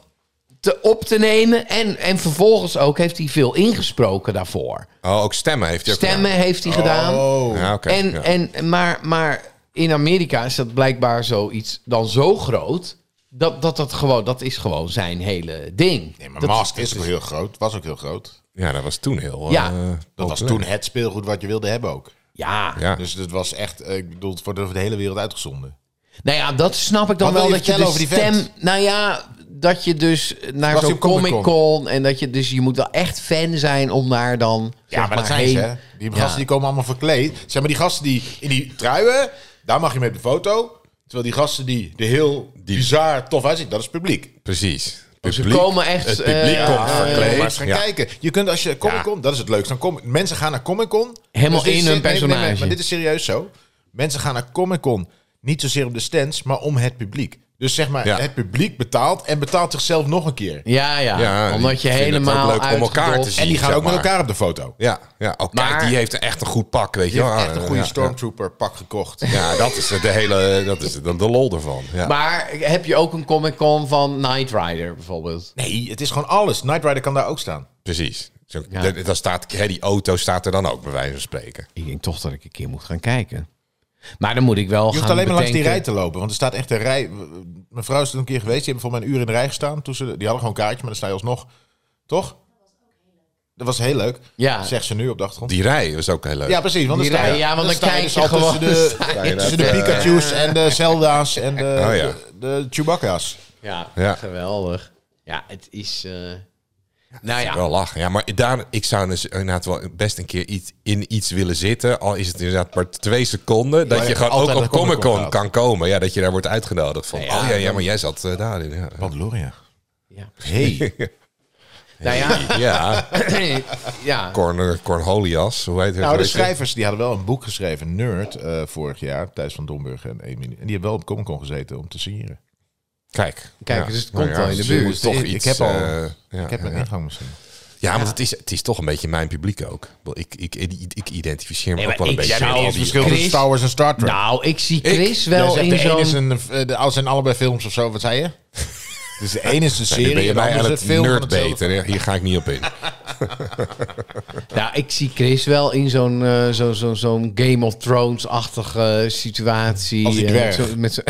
Speaker 4: te op te nemen. En, en vervolgens ook heeft hij veel ingesproken daarvoor.
Speaker 2: Oh, ook stemmen heeft hij ook
Speaker 4: Stemmen heeft
Speaker 3: Oh.
Speaker 4: hij gedaan.
Speaker 2: gedaan. Ja, oké,
Speaker 4: en,
Speaker 2: ja.
Speaker 4: en, maar, maar in Amerika is dat blijkbaar zoiets dan zo groot. Dat, dat, dat, gewoon, dat is gewoon zijn hele ding.
Speaker 3: Nee, maar
Speaker 4: Dat-
Speaker 3: Mask is ook heel groot. Was ook heel groot.
Speaker 2: Ja, dat was toen heel...
Speaker 4: Ja.
Speaker 2: eh,
Speaker 3: Dat was
Speaker 2: populair.
Speaker 3: toen het speelgoed wat je wilde hebben ook.
Speaker 4: Ja.
Speaker 2: Ja.
Speaker 3: Dus dat was echt, eh, ik bedoel, het wordt over de hele wereld uitgezonden.
Speaker 4: Nou ja, dat snap ik dan
Speaker 3: Wat wil
Speaker 4: wel.
Speaker 3: je
Speaker 4: Dat je de
Speaker 3: vertellen over die
Speaker 4: stem. Nou ja, dat je dus naar
Speaker 3: Was hij
Speaker 4: zo'n
Speaker 3: op Comic-Con?
Speaker 4: Comic Con. En dat je dus je moet wel echt fan zijn om daar dan. zeg
Speaker 3: Ja, maar, dat zijn
Speaker 4: heen.
Speaker 3: ze, hè? Die gasten die komen allemaal verkleed. Zeg maar, die gasten die in die truien, daar mag je mee op de foto. Terwijl die gasten die er heel bizar tof uitzien, dat is publiek.
Speaker 2: Precies.
Speaker 4: ze komen echt,
Speaker 2: Het publiek
Speaker 4: eh,
Speaker 2: komt
Speaker 4: eh,
Speaker 3: Kom maar
Speaker 2: verkleed.
Speaker 3: eens gaan
Speaker 2: Ja.
Speaker 3: kijken. Je kunt als je Comic Con, dat is het leukste. Dan kom, mensen gaan naar Comic Con.
Speaker 4: Helemaal
Speaker 3: dit
Speaker 4: in
Speaker 3: is-
Speaker 4: hun
Speaker 3: nee, nee, nee,
Speaker 4: personage.
Speaker 3: maar dit is serieus zo. Mensen gaan naar Comic Con niet zozeer om de stands, maar om het publiek. Dus zeg maar,
Speaker 2: Ja.
Speaker 3: het publiek betaalt en betaalt zichzelf nog een keer.
Speaker 4: Ja, ja.
Speaker 2: Ja,
Speaker 4: Omdat je
Speaker 2: die vinden het ook
Speaker 4: helemaal
Speaker 2: leuk om elkaar te
Speaker 4: uitgedold-
Speaker 2: zien.
Speaker 3: En die gaan
Speaker 2: Zeg
Speaker 3: ook met
Speaker 2: maar.
Speaker 3: elkaar op de foto.
Speaker 2: Ja, ja. Oh, kijk,
Speaker 4: Maar-
Speaker 2: die heeft echt een goed pak, weet je.
Speaker 3: Je
Speaker 2: wel.
Speaker 3: hebt echt een goede
Speaker 2: Ja, ja.
Speaker 3: stormtrooper pak [laughs] gekocht.
Speaker 2: Ja, dat is de hele... Dat is de, de lol ervan. Ja.
Speaker 4: Maar heb je ook een Comic-Con van Knight Rider bijvoorbeeld?
Speaker 3: Nee, het is gewoon alles. Knight Rider kan daar ook staan.
Speaker 2: Precies. Zo,
Speaker 4: Ja.
Speaker 2: de- Dan staat, hè, die auto staat er dan ook, bij wijze van spreken.
Speaker 4: Ik denk toch dat ik een keer moet gaan kijken. Maar dan moet ik wel
Speaker 3: Je hoeft alleen maar langs die rij te lopen, want er staat echt een rij. Mijn vrouw is toen een keer geweest, die hebben voor mij een uur in de rij gestaan. Toen ze, die hadden gewoon een kaartje, maar dan sta je alsnog. Toch? Dat was heel leuk.
Speaker 4: Ja.
Speaker 3: Zegt ze nu op de achtergrond.
Speaker 2: Die eh, rij was ook heel leuk.
Speaker 3: ja, precies. Want dan
Speaker 4: Die
Speaker 3: sta je,
Speaker 4: rij, ja, want dan
Speaker 3: sta
Speaker 4: kijk
Speaker 3: dus
Speaker 4: je
Speaker 3: al
Speaker 4: gewoon-
Speaker 3: tussen de,
Speaker 4: [laughs] sta
Speaker 2: je
Speaker 3: tussen de
Speaker 2: dat, eh,
Speaker 4: [laughs]
Speaker 3: Pikachu's en de Zelda's en de,
Speaker 2: Oh ja.
Speaker 3: de, de Chewbacca's.
Speaker 4: Ja,
Speaker 2: Ja.
Speaker 4: geweldig. Ja, het is... eh, nou ja.
Speaker 2: Wel lachen. Ja, maar daar, ik zou dus inderdaad wel best een keer iets, in iets willen zitten. Al is het inderdaad maar twee seconden. Dat
Speaker 3: Maar
Speaker 2: je gewoon
Speaker 3: altijd
Speaker 2: ook op
Speaker 3: naar Comic-Con
Speaker 2: Comic Con
Speaker 3: gaat.
Speaker 2: kan komen. Ja, dat je daar wordt uitgenodigd van.
Speaker 4: Ja,
Speaker 2: oh ja, ja,
Speaker 4: dan-
Speaker 2: maar jij zat eh, daarin. Ja.
Speaker 3: Mandalorian.
Speaker 4: ja.
Speaker 2: [laughs]
Speaker 3: Hey.
Speaker 4: Nou ja.
Speaker 2: Ja,
Speaker 4: [coughs] ja.
Speaker 2: Corner, Cornholias, hoe heet het?
Speaker 3: Nou, de
Speaker 2: Weet je?
Speaker 3: schrijvers die hadden wel een boek geschreven, Nerd, eh, vorig jaar. Thijs van Domburg en Emily. En die hebben wel op Comic Con gezeten om te signeren.
Speaker 2: Kijk. Nou
Speaker 4: Kijk, dus het komt wel in de
Speaker 2: ze moeten
Speaker 4: buurt.
Speaker 2: Toch
Speaker 3: Ik- ik
Speaker 2: iets,
Speaker 3: heb al-
Speaker 2: eh, ja,
Speaker 3: Ik heb
Speaker 2: ja,
Speaker 3: mijn ingang misschien.
Speaker 2: Ja, want het is, het is toch een beetje mijn publiek ook. Wel, Ik, ik, ik, ik identificeer me
Speaker 4: Nee,
Speaker 2: ook wel
Speaker 4: maar
Speaker 2: een
Speaker 4: ik
Speaker 2: beetje.
Speaker 4: zou-
Speaker 2: met al
Speaker 4: het
Speaker 2: die-
Speaker 4: verschil- Chris-
Speaker 3: Wars en Star Trek.
Speaker 4: Nou, ik zie Chris
Speaker 3: Jij
Speaker 4: wel
Speaker 3: zegt,
Speaker 4: in
Speaker 3: de ene is
Speaker 4: zo'n...
Speaker 3: een, eh, de, als zijn allebei films of zo, wat zei
Speaker 4: [laughs]
Speaker 3: je? Dus de ene is een
Speaker 2: Nu ben
Speaker 3: serie,
Speaker 2: je
Speaker 3: en de
Speaker 2: mij
Speaker 3: andere
Speaker 2: aan
Speaker 3: is een
Speaker 2: het
Speaker 3: film. van
Speaker 2: nerdbeten.
Speaker 3: hetzelfde.
Speaker 2: hè? Hier ga ik niet op in.
Speaker 4: Nou, ik zie Chris wel in zo'n eh, zo, zo, zo'n Game of Thrones-achtige situatie.
Speaker 3: Als die
Speaker 4: eh,
Speaker 3: dwerg.
Speaker 4: zo- met zo'n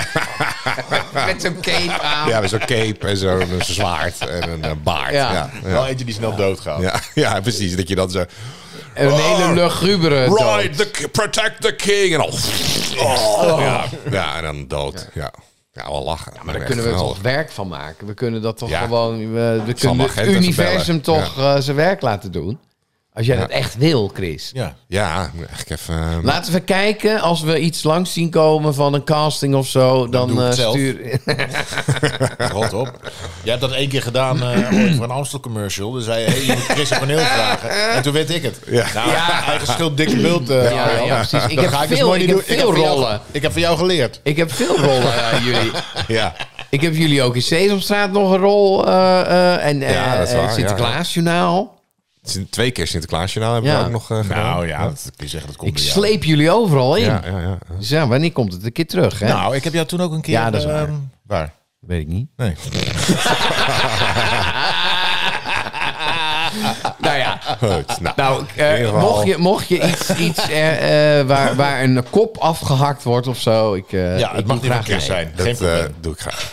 Speaker 3: [laughs]
Speaker 4: [laughs] met zo'n cape aan.
Speaker 2: Ja, met zo'n cape en zo'n eh, zo'n zwaard en een eh, baard.
Speaker 4: Ja.
Speaker 2: Ja. Ja.
Speaker 3: Wel eentje die snel doodgaat.
Speaker 2: Ja, [laughs] ja, precies. Dat je dan zo...
Speaker 4: En een
Speaker 3: Oh.
Speaker 4: hele lugubere dood.
Speaker 2: Ride, the, protect the king. En al... Oh. Ja. ja, en dan dood. Ja, ja wel lachen. Ja,
Speaker 4: Maar daar kunnen we toch werk van maken. We kunnen dat toch
Speaker 2: Ja.
Speaker 4: gewoon... eh, We, we kunnen het
Speaker 2: Magenta
Speaker 4: universum
Speaker 2: bellen.
Speaker 4: toch eh, zijn werk laten doen. Als jij dat echt wil, Chris.
Speaker 3: Ja.
Speaker 2: Ja, ik moet echt even... eh,
Speaker 4: Laten we kijken, als we iets langs zien komen van een casting of zo, dan,
Speaker 3: doe ik
Speaker 4: eh,
Speaker 3: het zelf.
Speaker 4: stuur... [laughs]
Speaker 3: Rot [laughs] op. Jij hebt dat één keer gedaan eh, ooit voor een Amstel commercial. Dan zei je, hey, je moet Chris een paneel vragen. En toen werd ik het. Ja. Nou,
Speaker 4: Ja.
Speaker 3: eigen schuld, dikke bult. eh,
Speaker 4: Ja,
Speaker 3: Arjan.
Speaker 4: ja, precies. Ik
Speaker 3: Dat
Speaker 4: heb
Speaker 3: ga dus
Speaker 4: veel-
Speaker 3: mooi
Speaker 4: ik
Speaker 3: niet
Speaker 4: heb
Speaker 3: doen.
Speaker 4: veel
Speaker 3: van jou-
Speaker 4: rollen.
Speaker 3: ik heb van jou geleerd.
Speaker 4: Ik heb veel rollen, eh, jullie.
Speaker 3: [laughs]
Speaker 2: ja.
Speaker 4: Ik heb jullie ook in Sesamstraat nog een rol. eh, eh, en eh
Speaker 2: Ja, dat is
Speaker 4: eh,
Speaker 2: waar, ja.
Speaker 4: Sinterklaasjournaal.
Speaker 2: Sint- Twee keer Sinterklaasjournaal hebben
Speaker 4: Ja.
Speaker 2: we ook nog eh, gedaan.
Speaker 3: Nou ja, dat kun je zeggen, dat komt
Speaker 4: Ik
Speaker 3: door jou.
Speaker 4: sleep jullie overal in.
Speaker 2: Ja, ja, ja.
Speaker 4: Dus ja, wanneer komt het een keer terug? Hè?
Speaker 3: Nou, ik heb jou toen ook een keer...
Speaker 4: Ja, dat is waar.
Speaker 3: ehm, waar?
Speaker 4: Weet ik niet.
Speaker 3: Nee.
Speaker 4: nou ja,
Speaker 2: Goed, nou,
Speaker 4: nou,
Speaker 2: in
Speaker 4: eh,
Speaker 2: ieder geval-
Speaker 4: mocht, je, mocht je iets, iets eh, eh, waar, waar een kop afgehakt wordt of zo. Ik, eh,
Speaker 3: Ja,
Speaker 4: ik
Speaker 3: het
Speaker 4: doe
Speaker 3: mag niet van
Speaker 4: graag
Speaker 3: Chris
Speaker 4: mee.
Speaker 3: zijn.
Speaker 2: Dat
Speaker 3: Geen
Speaker 2: eh,
Speaker 3: probleem.
Speaker 2: doe ik graag.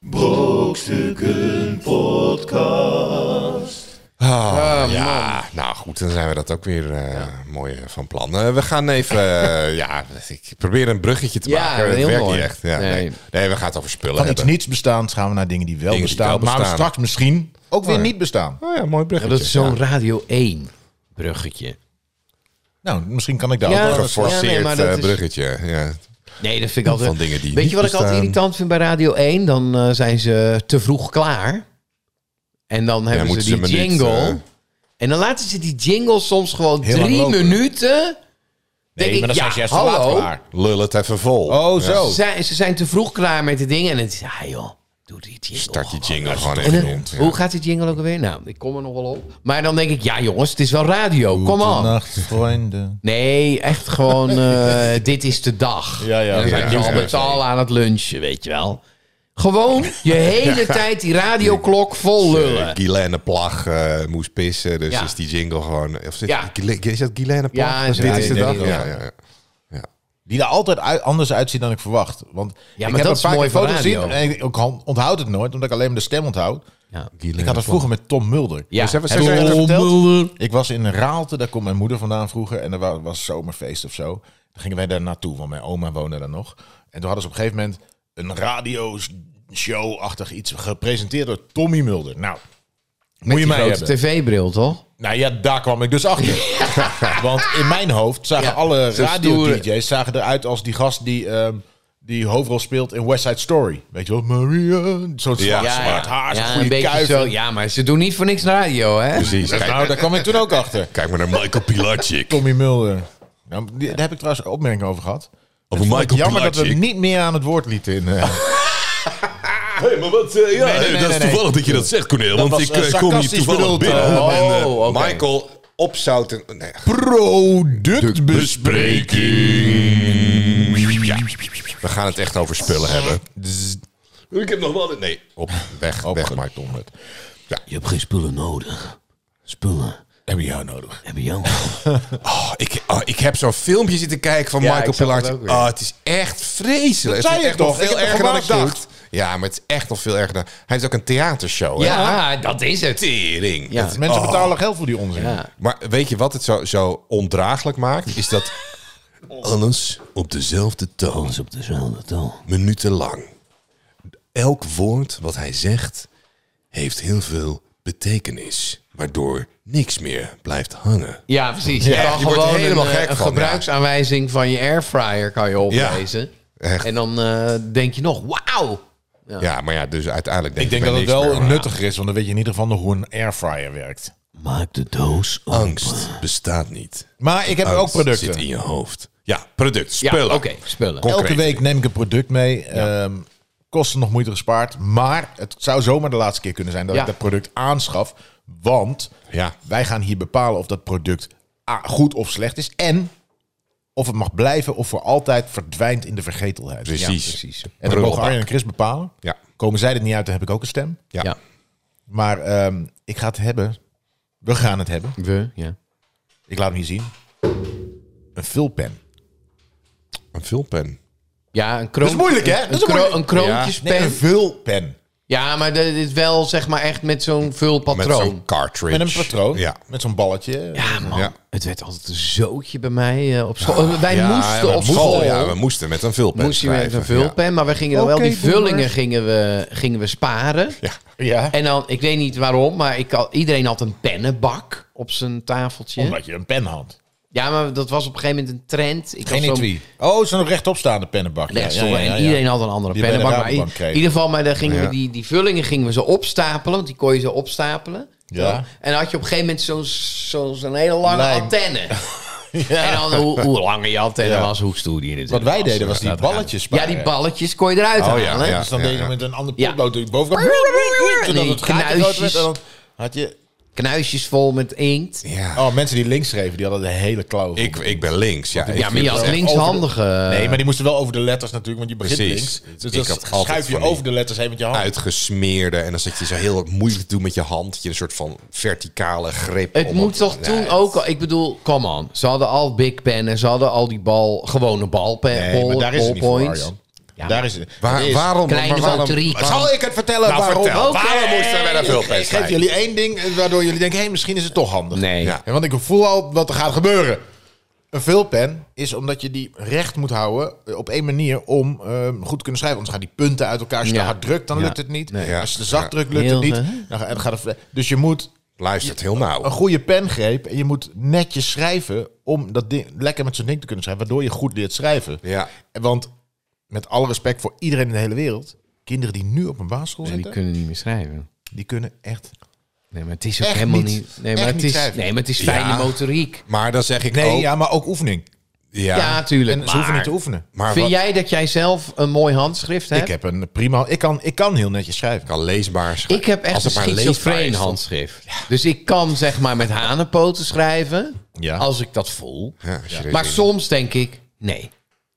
Speaker 5: Brokstukken Podcast.
Speaker 2: Ah, ja, nou goed, dan zijn we dat ook weer eh, mooi eh, van plan. Eh, we gaan even, eh, ja, ik probeer een bruggetje te
Speaker 4: Ja,
Speaker 2: maken. maar Het
Speaker 4: heel
Speaker 2: werkt
Speaker 4: mooi.
Speaker 2: niet echt. Ja, nee.
Speaker 4: Nee.
Speaker 2: Nee. we gaan het over spullen
Speaker 3: Van iets
Speaker 2: hebben.
Speaker 3: niets bestaans gaan we naar dingen die wel,
Speaker 2: Dingen die
Speaker 3: bestaan,
Speaker 2: wel
Speaker 3: Maar
Speaker 2: bestaan.
Speaker 3: straks misschien ook weer niet bestaan.
Speaker 2: Oh ja, mooi
Speaker 4: Ja,
Speaker 2: bruggetje.
Speaker 4: dat is zo'n
Speaker 2: Ja.
Speaker 4: Radio 1 bruggetje.
Speaker 3: Nou, misschien kan ik daar
Speaker 4: Ja,
Speaker 3: ook wel.
Speaker 4: dat-
Speaker 2: Geforceerd
Speaker 4: ja, nee, maar dat
Speaker 2: eh,
Speaker 4: is-
Speaker 2: bruggetje. Ja.
Speaker 4: Nee, dat vind ik altijd...
Speaker 2: Van dingen die
Speaker 4: Weet
Speaker 2: niet
Speaker 4: je wat ik altijd
Speaker 2: bestaan.
Speaker 4: irritant vind bij Radio 1? Dan eh, zijn ze te vroeg klaar. En dan hebben ze
Speaker 2: moeten
Speaker 4: die
Speaker 2: ze een minuut,
Speaker 4: jingle.
Speaker 2: eh,
Speaker 4: en dan laten ze die jingle soms gewoon
Speaker 3: Heel lang
Speaker 4: drie
Speaker 3: lopen.
Speaker 4: minuten.
Speaker 3: Nee,
Speaker 4: denk ik,
Speaker 3: maar
Speaker 4: ja,
Speaker 3: dan zijn ze juist te
Speaker 4: hallo.
Speaker 3: laat klaar.
Speaker 2: Lul het even vol.
Speaker 3: Oh, zo.
Speaker 4: Zij- ze zijn te vroeg klaar met de dingen. En het is, ah joh, doe die jingle.
Speaker 2: Start die jingle gewoon
Speaker 4: En
Speaker 2: even
Speaker 4: dan-
Speaker 2: rond.
Speaker 4: Hoe gaat die jingle ook alweer? Nou, ik kom er nog wel op. Maar dan denk ik, ja jongens, het is wel radio. Kom op.
Speaker 3: Goedenacht, vrienden.
Speaker 4: Nee, echt gewoon, eh, [laughs] dit is de dag.
Speaker 3: Ja, ja.
Speaker 4: En dan
Speaker 3: Ja,
Speaker 4: zijn ze
Speaker 3: ja,
Speaker 4: al
Speaker 3: ja,
Speaker 4: met z'n allen aan het lunchen, weet je wel. Gewoon je hele tijd die radioklok vol lullen.
Speaker 2: Guylaine Plag eh, moest pissen, dus
Speaker 4: Ja.
Speaker 2: is die jingle gewoon... Of is,
Speaker 4: Ja.
Speaker 2: Guylaine- is dat Guylaine Plag?
Speaker 4: Ja,
Speaker 2: Of
Speaker 4: is-
Speaker 2: dit
Speaker 4: ja,
Speaker 2: is de
Speaker 3: die-
Speaker 2: dag?
Speaker 3: die-
Speaker 2: Ja,
Speaker 3: die-
Speaker 2: ja, ja.
Speaker 3: Die er altijd uit- anders uitziet dan ik verwacht. Want ik
Speaker 4: maar
Speaker 3: heb
Speaker 4: dat
Speaker 3: een
Speaker 4: is
Speaker 3: paar
Speaker 4: mooi
Speaker 3: keer
Speaker 4: van
Speaker 3: foto's gezien.
Speaker 4: radio.
Speaker 3: En ik ook hon- onthoud het nooit, omdat ik alleen maar de stem onthoud.
Speaker 4: Ja.
Speaker 2: Guylaine
Speaker 3: Ik had het
Speaker 2: Plag.
Speaker 3: vroeger met Tom Mulder.
Speaker 4: Ja.
Speaker 2: Dus hebben ze-
Speaker 3: Heb ik
Speaker 2: ze-
Speaker 3: je dat
Speaker 2: ze-
Speaker 3: verteld? Ik was in Raalte, daar komt mijn moeder vandaan vroeger. En er wa- was zomerfeest of zo. Dan gingen wij daar naartoe, want mijn oma woonde daar nog. En toen hadden ze op een gegeven moment een radioshow-achtig iets gepresenteerd door Tommy Mulder. Nou, moet je mij
Speaker 4: Grote
Speaker 3: hebben.
Speaker 4: tv-bril, toch?
Speaker 3: Nou ja, daar kwam ik dus achter.
Speaker 4: [laughs]
Speaker 3: Want in mijn hoofd zagen alle
Speaker 4: zo'n stoere-
Speaker 3: radio-dj's zagen eruit als die gast die, ehm, die hoofdrol speelt in West Side Story. Weet je wel, Maria. Zo'n zwart,
Speaker 2: Ja,
Speaker 3: zwart haar, zo'n
Speaker 4: Ja, een
Speaker 3: goede
Speaker 4: beetje
Speaker 3: kuif.
Speaker 4: zo. Ja, maar ze doen niet voor niks radio, hè?
Speaker 2: Precies,
Speaker 3: Dus
Speaker 2: kijk,
Speaker 3: nou, daar kwam ik toen ook achter.
Speaker 2: kijk maar naar Michael
Speaker 3: [laughs]
Speaker 2: Pilacic.
Speaker 3: Tommy Mulder. Nou, die- daar heb ik trouwens opmerkingen over
Speaker 2: Over
Speaker 3: gehad. Vond ik
Speaker 2: Michael
Speaker 3: Jammer dat we
Speaker 2: Pilacic.
Speaker 3: hem niet meer aan het woord lieten. In, eh,
Speaker 2: Hey, maar wat, eh, ja,
Speaker 3: nee,
Speaker 2: hey,
Speaker 3: nee,
Speaker 2: dat is
Speaker 3: nee, nee.
Speaker 2: toevallig dat je dat zegt, Cornel. Want
Speaker 3: was,
Speaker 2: ik
Speaker 3: eh,
Speaker 2: eh, kom hier
Speaker 3: sarcastisch
Speaker 2: toevallig
Speaker 3: bedoeld,
Speaker 2: binnen.
Speaker 3: eh,
Speaker 2: en, eh,
Speaker 4: oh, oké.
Speaker 2: Michael opzouten... Nee,
Speaker 3: Productbespreking. Ja.
Speaker 2: we gaan het echt over spullen hebben. Ik heb nog wel... Nee, op, weg, weg Michael.
Speaker 1: Je hebt geen spullen nodig. Spullen
Speaker 3: Hebben jou nodig.
Speaker 1: hebben jou.
Speaker 2: Oh, ik, oh, ik heb zo'n filmpje zitten kijken van
Speaker 4: Ja, ik
Speaker 2: Michael
Speaker 4: zag het
Speaker 2: Pilacic.
Speaker 4: ook weer.
Speaker 2: Oh, het is echt vreselijk. het
Speaker 3: Dat
Speaker 2: is
Speaker 3: zei
Speaker 2: echt
Speaker 3: ik
Speaker 2: nog
Speaker 3: toch?
Speaker 2: veel
Speaker 3: Ik heb
Speaker 2: erger dan ik
Speaker 3: gewaarschuwd.
Speaker 2: dacht. Ja, maar het is echt nog veel erger dan... Hij heeft ook een theatershow. hè?
Speaker 4: Ja, dat is het.
Speaker 2: Tering.
Speaker 4: Ja.
Speaker 2: Het-
Speaker 3: Mensen
Speaker 2: oh.
Speaker 3: betalen geld voor die onzin.
Speaker 4: Ja.
Speaker 2: Maar weet je wat het zo, zo ondraaglijk maakt? Is dat alles op dezelfde toon,
Speaker 1: Alles op dezelfde toon.
Speaker 2: minutenlang. Elk woord wat hij zegt heeft heel veel betekenis, waardoor niks meer blijft hangen.
Speaker 4: Ja, precies. Je kan
Speaker 2: je wordt
Speaker 4: gewoon
Speaker 2: er helemaal
Speaker 4: een,
Speaker 2: gek
Speaker 4: eh, een
Speaker 2: van, ja.
Speaker 4: gebruiksaanwijzing van je airfryer kan je oplezen.
Speaker 2: echt.
Speaker 4: En dan eh, denk je nog, wauw.
Speaker 2: Ja, maar ja, dus uiteindelijk denk
Speaker 3: Ik denk
Speaker 2: bij
Speaker 3: dat het
Speaker 2: niks
Speaker 3: wel
Speaker 2: meer.
Speaker 3: nuttiger is, want dan weet je in ieder geval nog hoe een airfryer werkt.
Speaker 1: Maak de doos
Speaker 4: Oh.
Speaker 1: open.
Speaker 2: Angst bestaat niet.
Speaker 3: Maar ik heb ook
Speaker 2: Angst
Speaker 3: producten.
Speaker 2: zit in je hoofd. Ja, product,
Speaker 4: Ja,
Speaker 2: spullen.
Speaker 4: oké, spullen.
Speaker 2: Kom.
Speaker 3: Elke
Speaker 2: concreet.
Speaker 3: week neem ik een product mee. Ehm, kosten nog moeite gespaard. Maar het zou zomaar de laatste keer kunnen zijn dat
Speaker 4: Ja.
Speaker 3: ik dat product aanschaf. Want
Speaker 2: Ja.
Speaker 3: wij gaan hier bepalen of dat product A, goed of slecht is. En of het mag blijven of voor altijd verdwijnt in de vergetelheid.
Speaker 2: Precies.
Speaker 4: Ja, precies.
Speaker 3: En dat mogen Arjen en Chris bepalen.
Speaker 2: Ja.
Speaker 3: Komen zij er niet uit, dan heb ik ook een stem.
Speaker 2: Ja.
Speaker 4: Ja.
Speaker 3: Maar ehm, ik ga het hebben. We gaan het hebben.
Speaker 4: We, ja.
Speaker 3: Ik laat hem hier zien. Een vulpen.
Speaker 2: Een vulpen.
Speaker 4: Ja, een kroon...
Speaker 3: Dat is moeilijk, hè?
Speaker 4: Een,
Speaker 3: Dat is
Speaker 4: kro-
Speaker 3: moeilijk.
Speaker 4: een
Speaker 3: Nee,
Speaker 4: kroontjespen. Ja,
Speaker 3: een vulpen.
Speaker 4: maar dat is wel zeg maar echt met zo'n
Speaker 2: Met
Speaker 4: vulpatroon.
Speaker 2: zo'n cartridge.
Speaker 3: Met een patroon.
Speaker 2: Ja.
Speaker 3: Met zo'n balletje.
Speaker 4: Ja, man.
Speaker 2: Ja. Ah,
Speaker 4: Het werd altijd een zootje bij mij eh, op school. Eh, wij
Speaker 2: Ja,
Speaker 4: moesten
Speaker 2: we
Speaker 4: op school...
Speaker 2: Ja, we moesten met een vulpen
Speaker 4: moesten we met een
Speaker 2: schrijven, ja.
Speaker 4: vulpen, maar we gingen dan wel
Speaker 3: Oké,
Speaker 4: die vullingen gingen we, gingen we sparen.
Speaker 3: Ja.
Speaker 4: En dan, ik weet niet waarom, maar ik had, iedereen had een pennenbak op zijn tafeltje.
Speaker 2: Oh
Speaker 3: Omdat je een pen had.
Speaker 4: Ja, maar dat was op een gegeven moment een trend. Ik
Speaker 3: Geen
Speaker 4: had zo'n
Speaker 3: etui. Oh, zo'n rechtopstaande pennenbak. Ja,
Speaker 4: rechtsom
Speaker 3: ja, ja, ja,
Speaker 4: En
Speaker 3: ja.
Speaker 4: iedereen had een andere
Speaker 3: Die
Speaker 4: pennenbak.
Speaker 3: bij de
Speaker 4: Maar in,
Speaker 3: Rabobank kreeg.
Speaker 4: in ieder geval, maar dan gingen
Speaker 2: Ja.
Speaker 4: we die, die vullingen gingen we ze opstapelen. Want die kon je zo opstapelen.
Speaker 3: Ja.
Speaker 4: Zo. En dan had je op een gegeven moment zo'n zo'n zo'n hele lange
Speaker 3: Lijn.
Speaker 4: antenne.
Speaker 3: [laughs]
Speaker 4: En dan hoe, hoe langer je antenne
Speaker 3: Ja.
Speaker 4: was, hoe stoer die
Speaker 3: Wat
Speaker 4: natuurlijk
Speaker 3: wij deden was die
Speaker 4: Dat-
Speaker 3: balletjes
Speaker 4: Ja,
Speaker 3: sparen.
Speaker 4: die balletjes kon je eruit
Speaker 2: Oh, ja,
Speaker 4: halen.
Speaker 2: ja.
Speaker 3: Dus dan deden we met een ander
Speaker 4: Ja.
Speaker 3: potlood door je bovenkant. Zodat
Speaker 4: Die
Speaker 3: het gaatje groot werd.
Speaker 4: knuisjes.
Speaker 3: En dan had je...
Speaker 4: Knuisjes vol met inkt.
Speaker 2: Ja.
Speaker 3: Oh, mensen die links schreven, die hadden de hele klauw.
Speaker 2: Ik, ik ben links. Ja, ik
Speaker 4: Ja, maar
Speaker 2: vind
Speaker 4: je
Speaker 2: het
Speaker 4: had
Speaker 2: echt-
Speaker 4: linkshandige...
Speaker 3: nee, maar die moesten wel over de letters natuurlijk, want je begint
Speaker 2: Precies.
Speaker 3: links.
Speaker 2: Ik
Speaker 3: Dus dan
Speaker 2: had altijd
Speaker 3: schuif je
Speaker 2: van die-
Speaker 3: over de letters heen met je hand.
Speaker 2: uitgesmeerde. En dan zit je zo heel moeilijk doen met je hand. Dat je een soort van verticale grip.
Speaker 4: Het
Speaker 2: om
Speaker 4: moet toch
Speaker 2: Nee,
Speaker 4: toen
Speaker 2: het-
Speaker 4: ook al... Ik bedoel, come on. Ze hadden al big pennen. Ze hadden al die bal, gewone balpen.
Speaker 3: Nee, maar daar is het niet voor,
Speaker 4: ballpoints.
Speaker 3: Arjan.
Speaker 4: Ja,
Speaker 3: Daar is het.
Speaker 2: Waar-
Speaker 3: Het is-
Speaker 2: waarom?
Speaker 4: Kleine
Speaker 2: maar waarom
Speaker 4: voterie kan.
Speaker 2: zal ik het vertellen?
Speaker 3: Nou,
Speaker 2: waarom?
Speaker 3: vertel.
Speaker 2: Waarom moesten we met een vulpen
Speaker 3: Ik geef
Speaker 2: schrijven?
Speaker 3: jullie één ding eh, waardoor jullie denken, hé, misschien is het toch handig.
Speaker 4: Nee.
Speaker 2: Ja.
Speaker 3: Ja, want ik voel al wat er gaat gebeuren. Een vulpen is omdat je die recht moet houden eh, op één manier om eh, goed te kunnen schrijven. Anders gaan die punten uit elkaar. Als je
Speaker 4: Ja.
Speaker 3: te hard drukt, dan
Speaker 4: Ja.
Speaker 3: lukt het niet.
Speaker 2: Ja.
Speaker 3: Als je te zacht drukt, lukt
Speaker 4: Heel,
Speaker 3: het niet.
Speaker 4: eh,
Speaker 3: Dan ga- dan gaat het, dus je moet
Speaker 4: Oh.
Speaker 2: Luistert heel nauw.
Speaker 3: een goede pengreep en je moet netjes schrijven om dat ding lekker met zo'n ding te kunnen schrijven, waardoor je goed leert schrijven.
Speaker 2: Ja.
Speaker 3: En Want met alle respect voor iedereen in de hele wereld, kinderen die nu op een basisschool
Speaker 4: Nee, die
Speaker 3: zitten,
Speaker 4: kunnen niet meer schrijven.
Speaker 3: die kunnen echt...
Speaker 4: Nee, maar het is ook
Speaker 3: Echt
Speaker 4: helemaal
Speaker 3: niet.
Speaker 4: niet. Nee, maar
Speaker 3: Echt
Speaker 4: het
Speaker 3: niet
Speaker 4: is,
Speaker 3: schrijven.
Speaker 4: nee, maar het is fijne
Speaker 2: Ja.
Speaker 4: motoriek.
Speaker 2: Maar dan zeg ik
Speaker 3: Nee,
Speaker 2: ook...
Speaker 3: ja, maar ook oefening.
Speaker 2: ja,
Speaker 4: Ja, natuurlijk.
Speaker 3: en ze hoeven
Speaker 4: maar-
Speaker 3: niet te oefenen.
Speaker 2: maar
Speaker 4: Vind
Speaker 2: wat
Speaker 4: jij dat jij zelf een mooi handschrift hebt?
Speaker 3: Ik heb een prima... Ik kan, ik kan heel netjes schrijven.
Speaker 2: kan leesbaar zijn.
Speaker 4: Ik heb echt
Speaker 2: Als
Speaker 4: een
Speaker 2: het maar leesbaar
Speaker 4: schizofreen
Speaker 2: is, dan-
Speaker 4: handschrift. Dus ik kan zeg maar met hanenpoten schrijven.
Speaker 3: Ja.
Speaker 4: Als ik dat voel.
Speaker 2: Ja, als je dit
Speaker 4: Maar
Speaker 2: doet.
Speaker 4: soms denk ik, nee.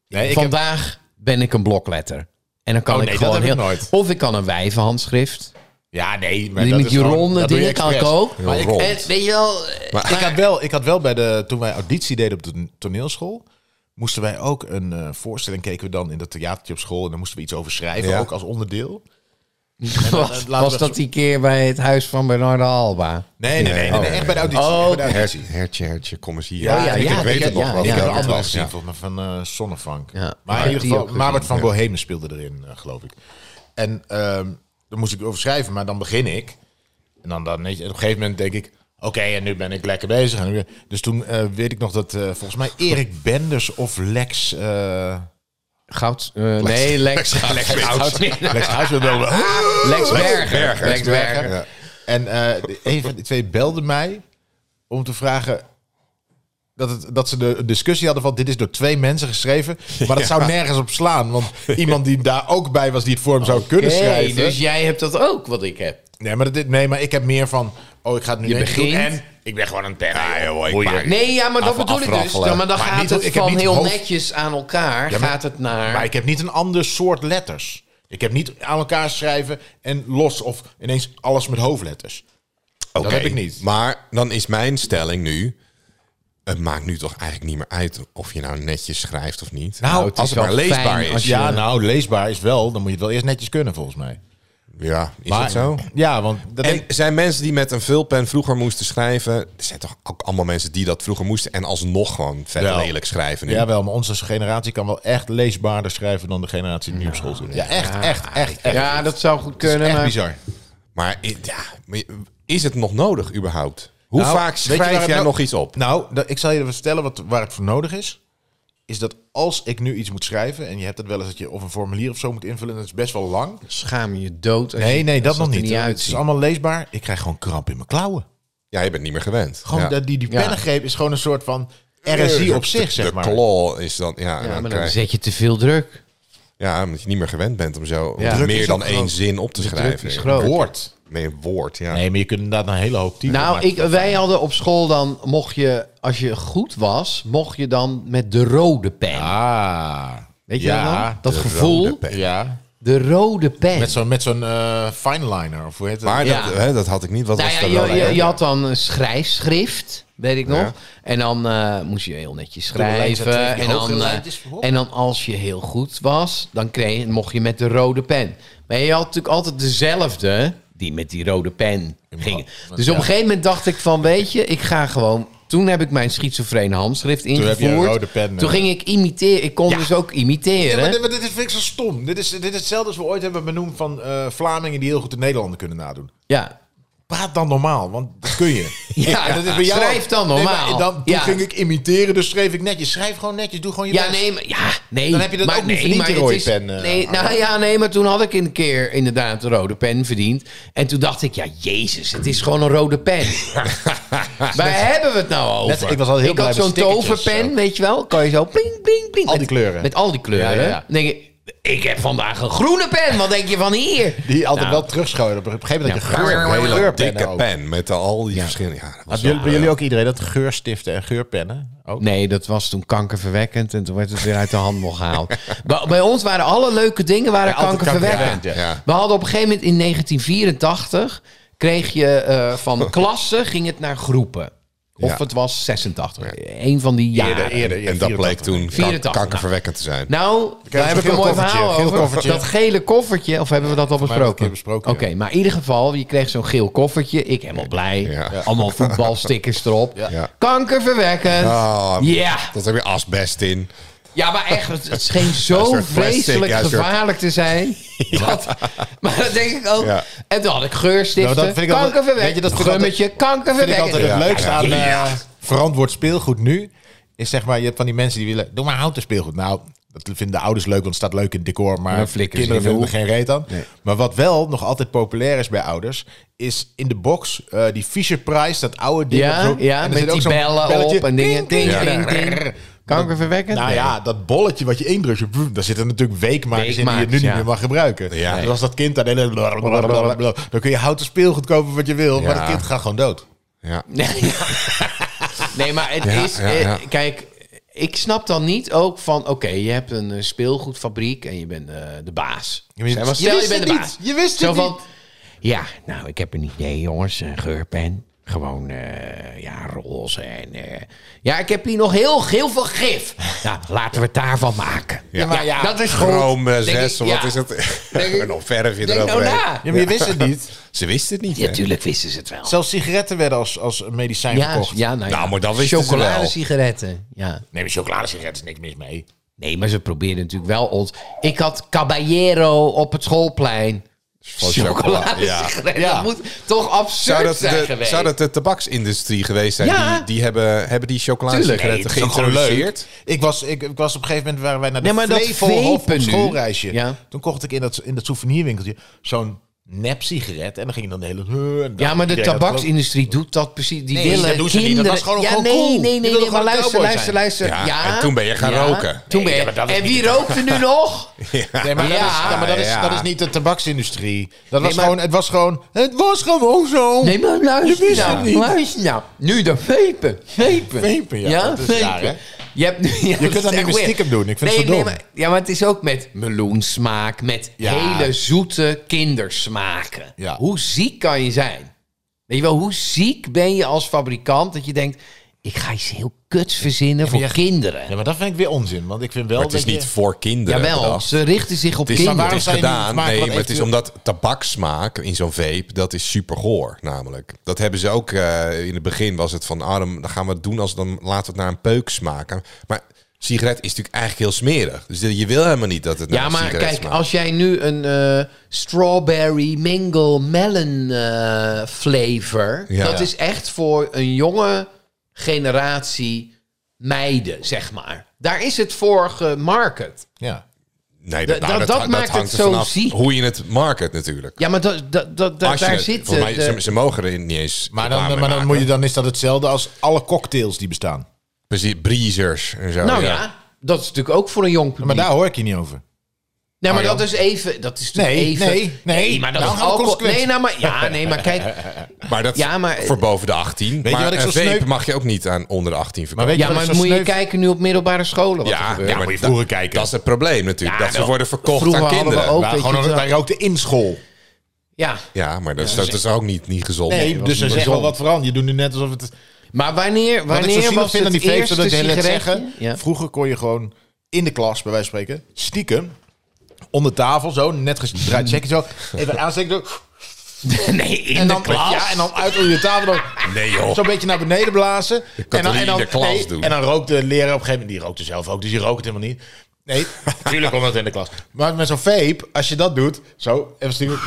Speaker 3: Nee, ik heb-
Speaker 4: Vandaag ben ik een blokletter. En dan kan
Speaker 3: Oh,
Speaker 4: ik
Speaker 3: nee, dat
Speaker 4: gewoon
Speaker 3: heb ik
Speaker 4: heel...
Speaker 3: nooit.
Speaker 4: Of ik kan een wijvenhandschrift.
Speaker 3: Ja, nee. Maar
Speaker 4: Die
Speaker 3: dat
Speaker 4: met
Speaker 3: is
Speaker 4: die
Speaker 3: gewoon-
Speaker 4: ronde
Speaker 3: dat doe je
Speaker 4: dingen kan ik
Speaker 3: expres.
Speaker 4: ook.
Speaker 3: Maar ik,
Speaker 2: Heel rond.
Speaker 4: En, weet je wel...
Speaker 2: Maar-
Speaker 3: ik, had wel, ik had wel bij de... Toen wij auditie deden op de to- toneelschool... moesten wij ook een eh, voorstelling... keken we dan in dat theatertje op school... en dan moesten we iets over schrijven,
Speaker 2: Ja.
Speaker 3: ook als onderdeel.
Speaker 4: was,
Speaker 3: [laughs] laten
Speaker 4: was
Speaker 3: we-
Speaker 4: dat die keer bij het huis van Bernardo Alba?
Speaker 3: Nee, nee, nee. nee, nee, echt bij de auditie.
Speaker 4: Oh,
Speaker 3: bij de auditie.
Speaker 2: Hertje, hertje, hertje, kom eens hier.
Speaker 3: Ja, ja,
Speaker 2: ik
Speaker 4: ja,
Speaker 2: ik weet
Speaker 4: ja,
Speaker 2: het nog
Speaker 4: ja,
Speaker 2: wel.
Speaker 4: ja,
Speaker 3: ik heb
Speaker 4: ja,
Speaker 3: een andere
Speaker 2: ja.
Speaker 3: gezien, volgens mij van eh Sonnevank.
Speaker 4: Ja,
Speaker 3: maar
Speaker 4: ik
Speaker 3: in ieder
Speaker 4: heb die
Speaker 3: geval,
Speaker 4: ook
Speaker 3: Mabert van Bohemen speelde erin, eh, geloof ik. En ehm daar moest ik over schrijven, maar dan begin ik. En dan, dan weet je, op een gegeven moment denk ik... Oké, en nu ben ik lekker bezig. En nu- dus toen eh, weet ik nog dat eh, volgens mij Erik Benders of Lex... eh
Speaker 4: Goud... eh, nee, Lex... Lex, Lex, [laughs]
Speaker 3: Lex Huisman belde me.
Speaker 4: Berger.
Speaker 2: Berger.
Speaker 4: Lex Berger.
Speaker 2: Ja.
Speaker 3: En eh, de- een van die twee belde mij om te vragen dat, het, dat ze de discussie hadden van dit is door twee mensen geschreven,
Speaker 4: [laughs]
Speaker 3: maar dat zou nergens op slaan, want iemand die daar ook bij was die het voor hem zou kunnen
Speaker 4: Hey,
Speaker 3: schrijven.
Speaker 4: dus jij hebt dat ook, wat ik heb.
Speaker 3: nee, maar dit, nee, maar ik heb meer van oh ik ga het nu
Speaker 4: Je
Speaker 3: netjes doen
Speaker 4: begint.
Speaker 3: en ik ben gewoon een terra.
Speaker 2: Ja, joh, ik
Speaker 3: Boeien.
Speaker 2: maak-
Speaker 4: Nee, ja, maar dat
Speaker 3: Af-
Speaker 4: bedoel ik dus.
Speaker 3: afraffelen.
Speaker 4: Ja, maar dan
Speaker 3: Maar
Speaker 4: gaat
Speaker 3: niet-
Speaker 4: het
Speaker 3: ik heb
Speaker 4: van
Speaker 3: niet
Speaker 4: heel
Speaker 3: hoofd-
Speaker 4: netjes aan elkaar.
Speaker 3: Ja, maar-
Speaker 4: gaat het naar...
Speaker 3: Maar ik heb niet een ander soort letters. Ik heb niet aan elkaar schrijven en los of ineens alles met hoofdletters.
Speaker 2: Oké,
Speaker 3: Dat heb ik niet.
Speaker 2: Maar dan is mijn stelling nu... Het maakt nu toch eigenlijk niet meer uit of je nou netjes schrijft of niet.
Speaker 3: Nou,
Speaker 4: het
Speaker 2: als
Speaker 4: is
Speaker 2: het maar
Speaker 4: wel fijn
Speaker 2: leesbaar
Speaker 4: als
Speaker 2: is.
Speaker 4: je-
Speaker 3: Ja, nou, leesbaar is wel. Dan moet je het wel eerst netjes kunnen, volgens mij.
Speaker 2: Ja, is
Speaker 3: Maar-
Speaker 2: dat zo?
Speaker 3: Ja, want... Dat
Speaker 2: En
Speaker 3: denk-
Speaker 2: zijn mensen die met een vulpen vroeger moesten schrijven... Er zijn toch ook allemaal mensen die dat vroeger moesten... en alsnog gewoon vet
Speaker 3: Wel.
Speaker 2: lelijk schrijven nu.
Speaker 3: ja, wel, maar onze generatie kan wel echt leesbaarder schrijven dan de generatie die nu op school zit. Ja, echt, echt, echt, echt.
Speaker 4: ja, dat zou goed
Speaker 3: is
Speaker 4: kunnen.
Speaker 3: echt
Speaker 4: maar-
Speaker 3: bizar.
Speaker 2: Maar i- ja, maar je- is het nog nodig überhaupt? Hoe
Speaker 3: Nou,
Speaker 2: vaak
Speaker 3: weet je waar
Speaker 2: schrijf
Speaker 3: het
Speaker 2: jij
Speaker 3: nou-
Speaker 2: nog iets op?
Speaker 3: Nou, dat- ik zal je vertellen wat, waar het voor nodig is. Is dat als ik nu iets moet schrijven... en je hebt het wel eens dat je of een formulier of zo moet invullen... en dat is best wel lang.
Speaker 4: Schaam je dood. Als
Speaker 3: Nee,
Speaker 4: je, als
Speaker 3: nee, dat nog
Speaker 4: er
Speaker 3: niet. het
Speaker 4: uitziet.
Speaker 3: is allemaal leesbaar. Ik krijg gewoon kramp in mijn klauwen.
Speaker 2: Ja, je bent niet meer gewend.
Speaker 3: Gewoon
Speaker 2: ja.
Speaker 3: dat die, die
Speaker 4: Ja.
Speaker 3: pennengreep is gewoon een soort van... RSI op
Speaker 2: De-
Speaker 3: zich,
Speaker 2: de
Speaker 3: zeg maar.
Speaker 2: claw is dan... Ja, en
Speaker 4: Ja,
Speaker 2: dan
Speaker 4: maar dan
Speaker 2: krijg-
Speaker 4: zet je te veel druk.
Speaker 2: ja, omdat je niet meer gewend bent om zo
Speaker 4: Ja. Druk
Speaker 2: meer
Speaker 3: is
Speaker 2: dan
Speaker 3: ook
Speaker 2: één
Speaker 3: groot.
Speaker 2: zin op te schrijven.
Speaker 4: is groot.
Speaker 2: Woord. Nee, woord, ja.
Speaker 3: Nee, maar je kunt inderdaad een hele hoop typen.
Speaker 4: Nou,
Speaker 3: maar-
Speaker 4: ik, wij hadden op school dan, mocht je, als je goed was, mocht je dan met de rode pen.
Speaker 3: Ah.
Speaker 4: Weet je
Speaker 3: ja,
Speaker 4: wel? Dat
Speaker 2: de
Speaker 4: gevoel,
Speaker 2: rode pen.
Speaker 3: Ja.
Speaker 4: de rode pen.
Speaker 3: Met zo'n met zo'n eh, fineliner of hoe heet het?
Speaker 2: Maar
Speaker 4: Ja.
Speaker 2: dat, hè, dat had ik niet. Wat
Speaker 4: nou
Speaker 2: was
Speaker 4: ja,
Speaker 2: dat
Speaker 4: je,
Speaker 2: wel
Speaker 4: je,
Speaker 3: eh,
Speaker 2: eigenlijk?
Speaker 4: je had dan een schrijfschrift, weet ik nog.
Speaker 2: Ja.
Speaker 4: En dan eh, moest je heel netjes
Speaker 3: Dubbele lijntjes, dat
Speaker 4: schrijven.
Speaker 3: twee
Speaker 4: En
Speaker 3: die
Speaker 4: dan,
Speaker 3: hogere
Speaker 4: eh,
Speaker 3: lijntjes, hoor.
Speaker 4: en dan als je heel goed was, dan kreeg, mocht je met de rode pen. Maar je had natuurlijk altijd dezelfde die met die rode pen ging.
Speaker 3: want
Speaker 4: Dus op een gegeven moment dacht ik van, weet je, ik ga gewoon... Toen heb ik mijn schizofrene handschrift
Speaker 3: je
Speaker 4: ingevoerd.
Speaker 3: een rode pen,
Speaker 4: Toen
Speaker 3: eh.
Speaker 4: ging ik imiteren. Ik kon dus ook
Speaker 3: Ja, maar
Speaker 4: imiteren.
Speaker 3: dit, maar dit is, vind ik zo stom. Dit is, dit is hetzelfde als we ooit hebben benoemd van eh, Vlamingen die heel goed de Nederlander kunnen nadoen.
Speaker 4: Ja.
Speaker 3: Praat dan normaal, want dat kun je.
Speaker 4: [laughs] Ja, schrijf dan
Speaker 3: Nee, maar
Speaker 4: normaal.
Speaker 3: dan, toen
Speaker 4: Ja.
Speaker 3: ging ik imiteren, dus schreef ik netjes. Schrijf gewoon netjes, doe gewoon je
Speaker 4: Ja,
Speaker 3: best.
Speaker 4: nee, maar, ja, nee.
Speaker 3: Dan heb je dat
Speaker 4: maar,
Speaker 3: ook niet
Speaker 4: nee,
Speaker 3: verdiend,
Speaker 4: maar
Speaker 3: die
Speaker 4: het
Speaker 3: rode
Speaker 4: is-
Speaker 3: pen, eh,
Speaker 4: nee, nou ja, nee, maar toen had ik een keer inderdaad de rode pen verdiend. En toen dacht ik, ja, jezus, het is gewoon een rode
Speaker 3: [laughs]
Speaker 4: pen. Waar hebben we het nou over?
Speaker 3: net- ik was al heel
Speaker 4: ik
Speaker 3: blij
Speaker 4: had
Speaker 3: met
Speaker 4: zo'n
Speaker 3: stickertjes,
Speaker 4: toverpen,
Speaker 3: zo.
Speaker 4: weet je wel. Kan je zo ping, ping, ping.
Speaker 3: Al die
Speaker 4: Met-
Speaker 3: kleuren.
Speaker 4: Met al die kleuren.
Speaker 3: Ja, ja, ja.
Speaker 4: Dan denk ik, ik heb vandaag een groene pen. Wat denk je van hier?
Speaker 3: Die altijd
Speaker 4: Nou,
Speaker 3: wel terugschoten. Op een gegeven moment
Speaker 4: Ja,
Speaker 3: dat je
Speaker 2: Een
Speaker 3: geur,
Speaker 2: hele
Speaker 3: geurpennen
Speaker 2: dikke
Speaker 3: ook.
Speaker 2: pen met al die verschillende... Ja, dat was
Speaker 3: Hebben jullie,
Speaker 2: wel-
Speaker 3: bij jullie ook iedereen dat geurstiften en geurpennen? Ook?
Speaker 4: Nee, dat was toen kankerverwekkend en toen werd het weer uit de handel gehaald. [laughs] bij, bij ons waren alle leuke dingen waren
Speaker 3: altijd
Speaker 4: kankerverwekkend.
Speaker 3: kankerverwekkend,
Speaker 2: ja.
Speaker 4: We hadden op een gegeven moment in 1984 kreeg je eh,
Speaker 3: [laughs]
Speaker 4: van klassen ging het naar groepen. Of
Speaker 2: Ja.
Speaker 4: het was 86. Een van die jaren.
Speaker 3: Eerder, eerder. ja,
Speaker 2: en dat
Speaker 3: 84.
Speaker 2: bleek toen kan-
Speaker 4: 84.
Speaker 2: kankerverwekkend te zijn.
Speaker 4: Nou, daar
Speaker 3: zo'n
Speaker 4: heb ik
Speaker 3: geel
Speaker 4: een mooi
Speaker 3: koffertje,
Speaker 4: verhaal
Speaker 3: geel
Speaker 4: over.
Speaker 3: koffertje.
Speaker 4: Dat gele koffertje, of hebben we dat al
Speaker 3: mij hebben we
Speaker 4: besproken?
Speaker 3: het een keer besproken,
Speaker 4: Oké,
Speaker 3: ja.
Speaker 4: maar in ieder geval, je kreeg zo'n geel koffertje. Ik helemaal blij.
Speaker 2: Ja.
Speaker 4: Allemaal voetbalstickers erop.
Speaker 2: Ja.
Speaker 4: Kankerverwekkend.
Speaker 2: Ah,
Speaker 4: Ja.
Speaker 2: Dat heb je asbest in.
Speaker 4: Ja, maar echt, het, het
Speaker 3: [laughs]
Speaker 4: scheen
Speaker 2: Een
Speaker 4: zo
Speaker 2: soort plastic,
Speaker 4: vreselijk
Speaker 2: ja, een soort-
Speaker 4: gevaarlijk te zijn. Dat, maar dat denk ik ook.
Speaker 2: Ja.
Speaker 4: En toen had ik geurstiften,
Speaker 3: Nou, dat vind ik altijd-
Speaker 4: kankerverwekkend,
Speaker 3: weet je, dat vind ik
Speaker 4: gummetje,
Speaker 3: Vind ik altijd
Speaker 4: kankerverwekkend.
Speaker 3: het leukste aan eh, verantwoord eh, speelgoed nu. is zeg maar, je hebt van die mensen die willen, doe maar houten speelgoed. Nou, dat vinden de ouders leuk, want het staat leuk in het decor, maar
Speaker 4: dan
Speaker 3: de
Speaker 4: flikkeren ze
Speaker 3: kinderen
Speaker 4: in de
Speaker 3: vinden er geen reet aan. Maar wat wel nog altijd populair is bij ouders, is in de box eh, die Fisher Price, dat oude ding.
Speaker 4: Ja,
Speaker 3: op zo'n-
Speaker 4: ja,
Speaker 3: en er
Speaker 4: met
Speaker 3: zit ook
Speaker 4: die
Speaker 3: zo'n
Speaker 4: bellen
Speaker 3: belletje.
Speaker 4: op en dingen. Ding,
Speaker 3: ding,
Speaker 4: ding,
Speaker 3: ding.
Speaker 4: ding. Kankerverwekkend?
Speaker 3: Nou ja, dat bolletje wat je indrukt, zo, vroom, daar zitten natuurlijk weekmakers in die je nu
Speaker 4: Weekmakers,
Speaker 3: niet
Speaker 4: ja.
Speaker 3: meer mag gebruiken.
Speaker 2: Ja.
Speaker 3: Dus als dat kind daar de hele blablabla, dan kun je houten speelgoed kopen wat je wil, maar
Speaker 2: Ja.
Speaker 3: dat kind gaat gewoon dood.
Speaker 2: Ja.
Speaker 3: [laughs]
Speaker 4: Nee, nee maar het
Speaker 2: Ja,
Speaker 4: is...
Speaker 2: ja, ja.
Speaker 4: eh, Kijk, ik snap dan niet ook van... Oké, je hebt een eh, speelgoedfabriek en je bent eh, de baas.
Speaker 3: Ja, maar je-
Speaker 4: Zeg maar,
Speaker 3: je
Speaker 4: stel, je,
Speaker 3: wist
Speaker 4: bent
Speaker 3: het
Speaker 4: de
Speaker 3: niet.
Speaker 4: baas.
Speaker 3: Je wist het
Speaker 4: Zo van,
Speaker 3: niet.
Speaker 4: Ja, nou, ik heb een idee, jongens. Een geurpen. Gewoon, eh, ja, roze en... eh, ja, ik heb hier nog heel, heel veel
Speaker 3: [laughs]
Speaker 4: gif. Nou, laten we het daarvan maken. Ja,
Speaker 3: maar ja, eh,
Speaker 4: dat is goed.
Speaker 2: Chrome
Speaker 4: Denk
Speaker 2: 6,
Speaker 4: ik,
Speaker 2: of wat
Speaker 4: ja.
Speaker 2: is
Speaker 3: [laughs]
Speaker 2: het? [laughs] En dan verf je
Speaker 4: Denk nou
Speaker 2: eroverheen.
Speaker 4: na.
Speaker 3: Ja, maar je wist het niet.
Speaker 2: Ze wist het niet,
Speaker 4: Ja,
Speaker 2: hè?
Speaker 4: tuurlijk wisten ze het wel.
Speaker 3: Zelfs sigaretten werden als, als medicijn
Speaker 4: ja,
Speaker 3: verkocht.
Speaker 4: ja, nou, ja.
Speaker 2: Nou, maar dat wisten ze wel.
Speaker 4: sigaretten, ja.
Speaker 3: Nee, maar chocoladesigaretten is niks mis mee.
Speaker 4: Nee, maar ze probeerden natuurlijk wel ons. Ik had Caballero op het schoolplein.
Speaker 2: Van chocola. Ja.
Speaker 4: Chocoladesigaretten.
Speaker 3: Ja.
Speaker 4: Dat moet toch absurd
Speaker 2: Zou dat,
Speaker 4: zijn
Speaker 2: de,
Speaker 4: geweest.
Speaker 2: zou dat de tabaksindustrie geweest zijn?
Speaker 4: Ja.
Speaker 2: Die, die hebben, hebben die
Speaker 3: Nee,
Speaker 2: chocoladesigaretten
Speaker 3: het is ook gewoon
Speaker 2: geïntroduceerd?
Speaker 3: leuk. Ik was, ik, ik was op een gegeven moment waren wij naar
Speaker 4: Nee,
Speaker 3: de
Speaker 4: maar dat
Speaker 3: Flevolhof
Speaker 4: vapen
Speaker 3: op
Speaker 4: nu.
Speaker 3: schoolreisje.
Speaker 4: Ja.
Speaker 3: Toen kocht ik in dat, in dat souvenirwinkeltje zo'n nep sigaret. En dan ging dan de hele...
Speaker 4: ja, maar de
Speaker 3: Iedereen had het ook.
Speaker 4: tabaksindustrie doet dat precies. Die
Speaker 3: Nee,
Speaker 4: willen
Speaker 3: dat doen ze niet.
Speaker 4: kinderen.
Speaker 3: Dat was gewoon-
Speaker 4: ja,
Speaker 3: gewoon
Speaker 4: nee,
Speaker 3: cool.
Speaker 4: Nee,
Speaker 3: Die
Speaker 4: nee, nee,
Speaker 3: wilden
Speaker 4: maar
Speaker 3: gewoon
Speaker 4: luister,
Speaker 3: cowboy
Speaker 4: luister,
Speaker 3: zijn.
Speaker 4: luister. Ja,
Speaker 2: Ja, en toen ben je gaan roken.
Speaker 4: Toen ben
Speaker 3: Nee,
Speaker 4: je,
Speaker 3: ja, maar dat is
Speaker 4: en
Speaker 3: niet
Speaker 4: wie
Speaker 3: de-
Speaker 4: rookt er nu nog?
Speaker 3: Nee, maar, dat,
Speaker 4: Ja.
Speaker 3: is, ja, maar dat, is,
Speaker 2: Ja.
Speaker 3: dat is niet de tabaksindustrie. Dat was
Speaker 4: maar-
Speaker 3: gewoon, het was gewoon... Het was gewoon zo.
Speaker 4: Nee, maar luister
Speaker 3: wist
Speaker 4: nou.
Speaker 3: het niet.
Speaker 4: Luister nou. Nu de vepen. Vepen.
Speaker 3: Vapen, ja, dat is
Speaker 4: vapen.
Speaker 3: raar, hè?
Speaker 4: Je, hebt, nu- ja, dat
Speaker 3: kunt
Speaker 4: is
Speaker 3: dat niet
Speaker 4: echt
Speaker 3: meer
Speaker 4: weird.
Speaker 3: stiekem doen. Ik vind
Speaker 4: nee,
Speaker 3: het zo
Speaker 4: nee,
Speaker 3: dom.
Speaker 4: maar, Ja, maar het is ook met meloensmaak. Met
Speaker 3: Ja.
Speaker 4: hele zoete kindersmaken.
Speaker 3: Ja.
Speaker 4: Hoe ziek kan je zijn? Weet je wel, hoe ziek ben je als fabrikant dat je denkt... Ik ga iets heel kuts verzinnen voor
Speaker 3: je-
Speaker 4: kinderen.
Speaker 3: Ja, maar dat vind ik weer onzin. Want ik vind wel
Speaker 2: Maar het is
Speaker 3: dat je-
Speaker 2: niet voor kinderen
Speaker 4: Jawel,
Speaker 2: bedacht.
Speaker 4: ze richten zich op
Speaker 2: Het is,
Speaker 4: kinderen.
Speaker 2: het is
Speaker 3: zou je niet
Speaker 2: gedaan.
Speaker 3: maken
Speaker 2: Nee,
Speaker 3: wat
Speaker 2: maar het is
Speaker 3: eventueel-
Speaker 2: omdat tabaksmaak in zo'n vape, dat is super goor namelijk. Dat hebben ze ook eh, in het begin was het van, ah, dan gaan we het doen als dan laten we het naar een peuk smaken. Maar sigaret is natuurlijk eigenlijk heel smerig. Dus je wil helemaal niet dat het naar
Speaker 4: Ja,
Speaker 2: een
Speaker 4: maar
Speaker 2: sigaret
Speaker 4: kijk,
Speaker 2: smaakt.
Speaker 4: als jij nu een eh, strawberry mango melon eh, flavor...
Speaker 2: Ja.
Speaker 4: dat
Speaker 2: Ja.
Speaker 4: is echt voor een jonge generatie meiden, zeg maar. Daar is het voor gemarket.
Speaker 3: Ja.
Speaker 2: Nee,
Speaker 4: dat- dat- dat maakt het
Speaker 2: er
Speaker 4: zo
Speaker 2: vanaf
Speaker 4: ziek.
Speaker 2: Hoe je het market natuurlijk.
Speaker 4: Ja, maar dat, dat, dat, dat-
Speaker 2: Als je
Speaker 4: daar
Speaker 2: het-
Speaker 4: zit...
Speaker 2: volgens mij,
Speaker 4: eh, de-
Speaker 2: ze, ze mogen er niet eens.
Speaker 3: Maar,
Speaker 2: reclame
Speaker 3: dan,
Speaker 2: mee
Speaker 3: maar dan,
Speaker 2: maken.
Speaker 3: moet je, dan is dat hetzelfde als alle cocktails die bestaan.
Speaker 2: Precies, breezers en zo.
Speaker 4: nou ja. dat is natuurlijk ook voor een jong publiek.
Speaker 3: Oh, Maar daar hoor ik je niet over.
Speaker 4: Nee, maar
Speaker 3: Arjan.
Speaker 4: dat is even... Dat is natuurlijk
Speaker 3: Nee,
Speaker 4: even,
Speaker 3: nee, nee.
Speaker 4: maar dat
Speaker 3: Nou,
Speaker 4: is
Speaker 3: gaan we
Speaker 4: alcohol.
Speaker 3: consequent.
Speaker 4: Nee, nou, maar, ja, nee, maar
Speaker 3: [laughs]
Speaker 4: kijk...
Speaker 2: Maar dat
Speaker 4: Ja,
Speaker 2: ja,
Speaker 4: maar-
Speaker 2: voor boven de 18.
Speaker 3: je
Speaker 2: maar
Speaker 3: wat ik
Speaker 2: een
Speaker 3: zo
Speaker 2: vape
Speaker 3: sneu-
Speaker 2: mag je ook niet aan onder de 18 verkopen.
Speaker 3: Maar weet je
Speaker 4: Ja,
Speaker 3: wat ik
Speaker 4: maar
Speaker 3: zo
Speaker 4: moet je
Speaker 3: sneu-
Speaker 4: kijken nu op middelbare scholen. Wat er
Speaker 2: ja,
Speaker 4: gebeurt.
Speaker 2: ja,
Speaker 3: moet je
Speaker 2: dat-
Speaker 3: vroeger kijken.
Speaker 2: Dat is het probleem natuurlijk.
Speaker 4: Ja,
Speaker 2: dat ze
Speaker 4: wel.
Speaker 2: worden verkocht
Speaker 4: Vroeger
Speaker 2: aan
Speaker 4: hadden we
Speaker 2: kinderen.
Speaker 4: ook-
Speaker 3: Wij,
Speaker 4: weet
Speaker 3: gewoon,
Speaker 4: je wel.
Speaker 3: wij rookten in school.
Speaker 4: ja.
Speaker 2: Ja, maar dat is, dat is ook niet, niet gezond.
Speaker 3: Nee,
Speaker 4: was
Speaker 3: dus er
Speaker 4: niet
Speaker 3: is echt wel
Speaker 4: gezond.
Speaker 3: wat veranderd. Je doet nu net alsof het...
Speaker 4: Maar wanneer,
Speaker 3: Wat ik
Speaker 4: wanneer
Speaker 3: zo zielig
Speaker 4: was
Speaker 3: vind aan
Speaker 4: het
Speaker 3: die vapes,
Speaker 4: eerste
Speaker 3: dat ik de hele tijd zeggen... [laughs]
Speaker 4: sigaretje? Ja.
Speaker 3: Vroeger kon je gewoon in de klas, bij wijze van spreken, stiekem... Onder tafel, zo, net gedraaid checken, zo. Even aansteken, zo.
Speaker 4: Nee, in
Speaker 3: En dan, ja, en dan uit onder je tafel, dan
Speaker 2: Nee, joh.
Speaker 3: zo'n beetje naar beneden blazen. En dan,
Speaker 2: niet
Speaker 3: en,
Speaker 2: in
Speaker 3: dan,
Speaker 2: de klas
Speaker 3: nee,
Speaker 2: doen.
Speaker 3: en dan rookt de leraar op een gegeven moment... Die rookte zelf ook, dus die rookt het helemaal niet.
Speaker 2: [laughs]
Speaker 3: Nee, natuurlijk omdat het in de klas. Maar met zo'n vape, als je dat doet, zo, even stiekem...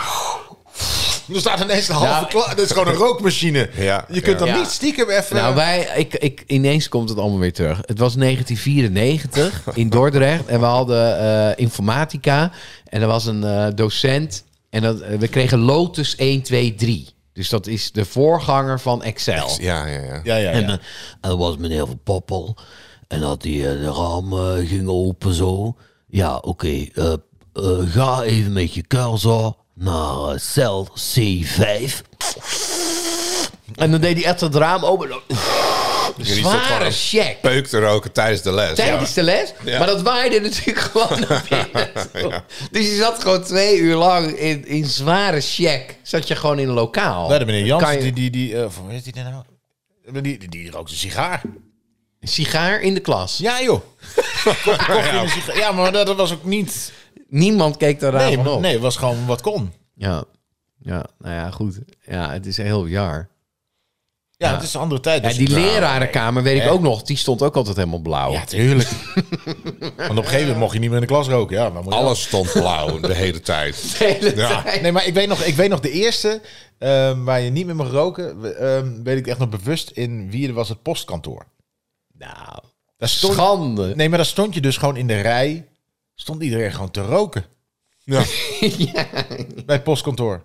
Speaker 3: Dan staat ineens een halve
Speaker 4: Ja.
Speaker 3: klas. Dat is gewoon een rookmachine.
Speaker 2: Ja,
Speaker 3: je kunt
Speaker 2: ja.
Speaker 3: dan
Speaker 4: Ja.
Speaker 3: niet stiekem even...
Speaker 4: Nou, wij, ik, ik, ineens komt het allemaal weer terug. Het was 1994 in Dordrecht en we hadden eh, informatica. En er was een eh, docent en dat, eh, we kregen Lotus 1, 2, 3. Dus dat is de voorganger van Excel.
Speaker 2: Ja, ja, ja.
Speaker 3: ja, ja, ja.
Speaker 6: En, eh, en er was meneer Van Poppel. En dat die eh, de raam eh, ging open zo. Ja, oké. eh, eh, ga even met je cursor naar eh, cel C5.
Speaker 4: En dan deed hij echt het raam open. [laughs]
Speaker 2: Jullie zitten
Speaker 4: Zware
Speaker 2: gewoon
Speaker 4: check.
Speaker 2: peuk te roken tijdens de les.
Speaker 4: tijdens de les. Maar dat waaide natuurlijk [laughs] gewoon naar
Speaker 3: [laughs]
Speaker 4: binnen. toe. Dus je zat gewoon twee uur lang in, in zware check. Zat je gewoon in een lokaal.
Speaker 3: Bij de meneer Jansen,
Speaker 4: Oh, Kan je-
Speaker 3: die... die, die eh, of hoe heet die daar nou? Die, die, die rookt een sigaar.
Speaker 4: Een sigaar in de klas.
Speaker 3: Ja, [laughs] joh. Kocht- kocht je een sigaar. Ja, maar dat, dat was ook niet...
Speaker 4: Niemand keek daar raar
Speaker 3: Nee,
Speaker 4: van op.
Speaker 3: nee, het was gewoon wat kon.
Speaker 4: Ja. ja, nou ja, goed. Ja, het is heel jaar.
Speaker 3: Ja, het is een andere tijd.
Speaker 4: Ja,
Speaker 3: dus-
Speaker 4: die
Speaker 3: Nou,
Speaker 4: lerarenkamer weet ik ook nog. Die stond ook altijd helemaal blauw.
Speaker 3: Ja, tuurlijk. Want op een gegeven moment mocht je niet meer in de klas roken. Ja, waar moet je
Speaker 2: Alles stond blauw de hele tijd.
Speaker 4: [laughs] De hele
Speaker 2: Ja.
Speaker 4: tijd.
Speaker 3: dan? Nee, maar ik weet nog, ik weet nog de eerste ehm, waar je niet meer mag roken. we- ehm, weet ik echt nog bewust in wie er was het postkantoor.
Speaker 4: Nou,
Speaker 3: Dat Daar stond,
Speaker 4: Schande.
Speaker 3: nee, maar daar stond je dus gewoon in de rij. Stond iedereen gewoon te roken. [laughs]
Speaker 2: Ja.
Speaker 3: Bij het postkantoor.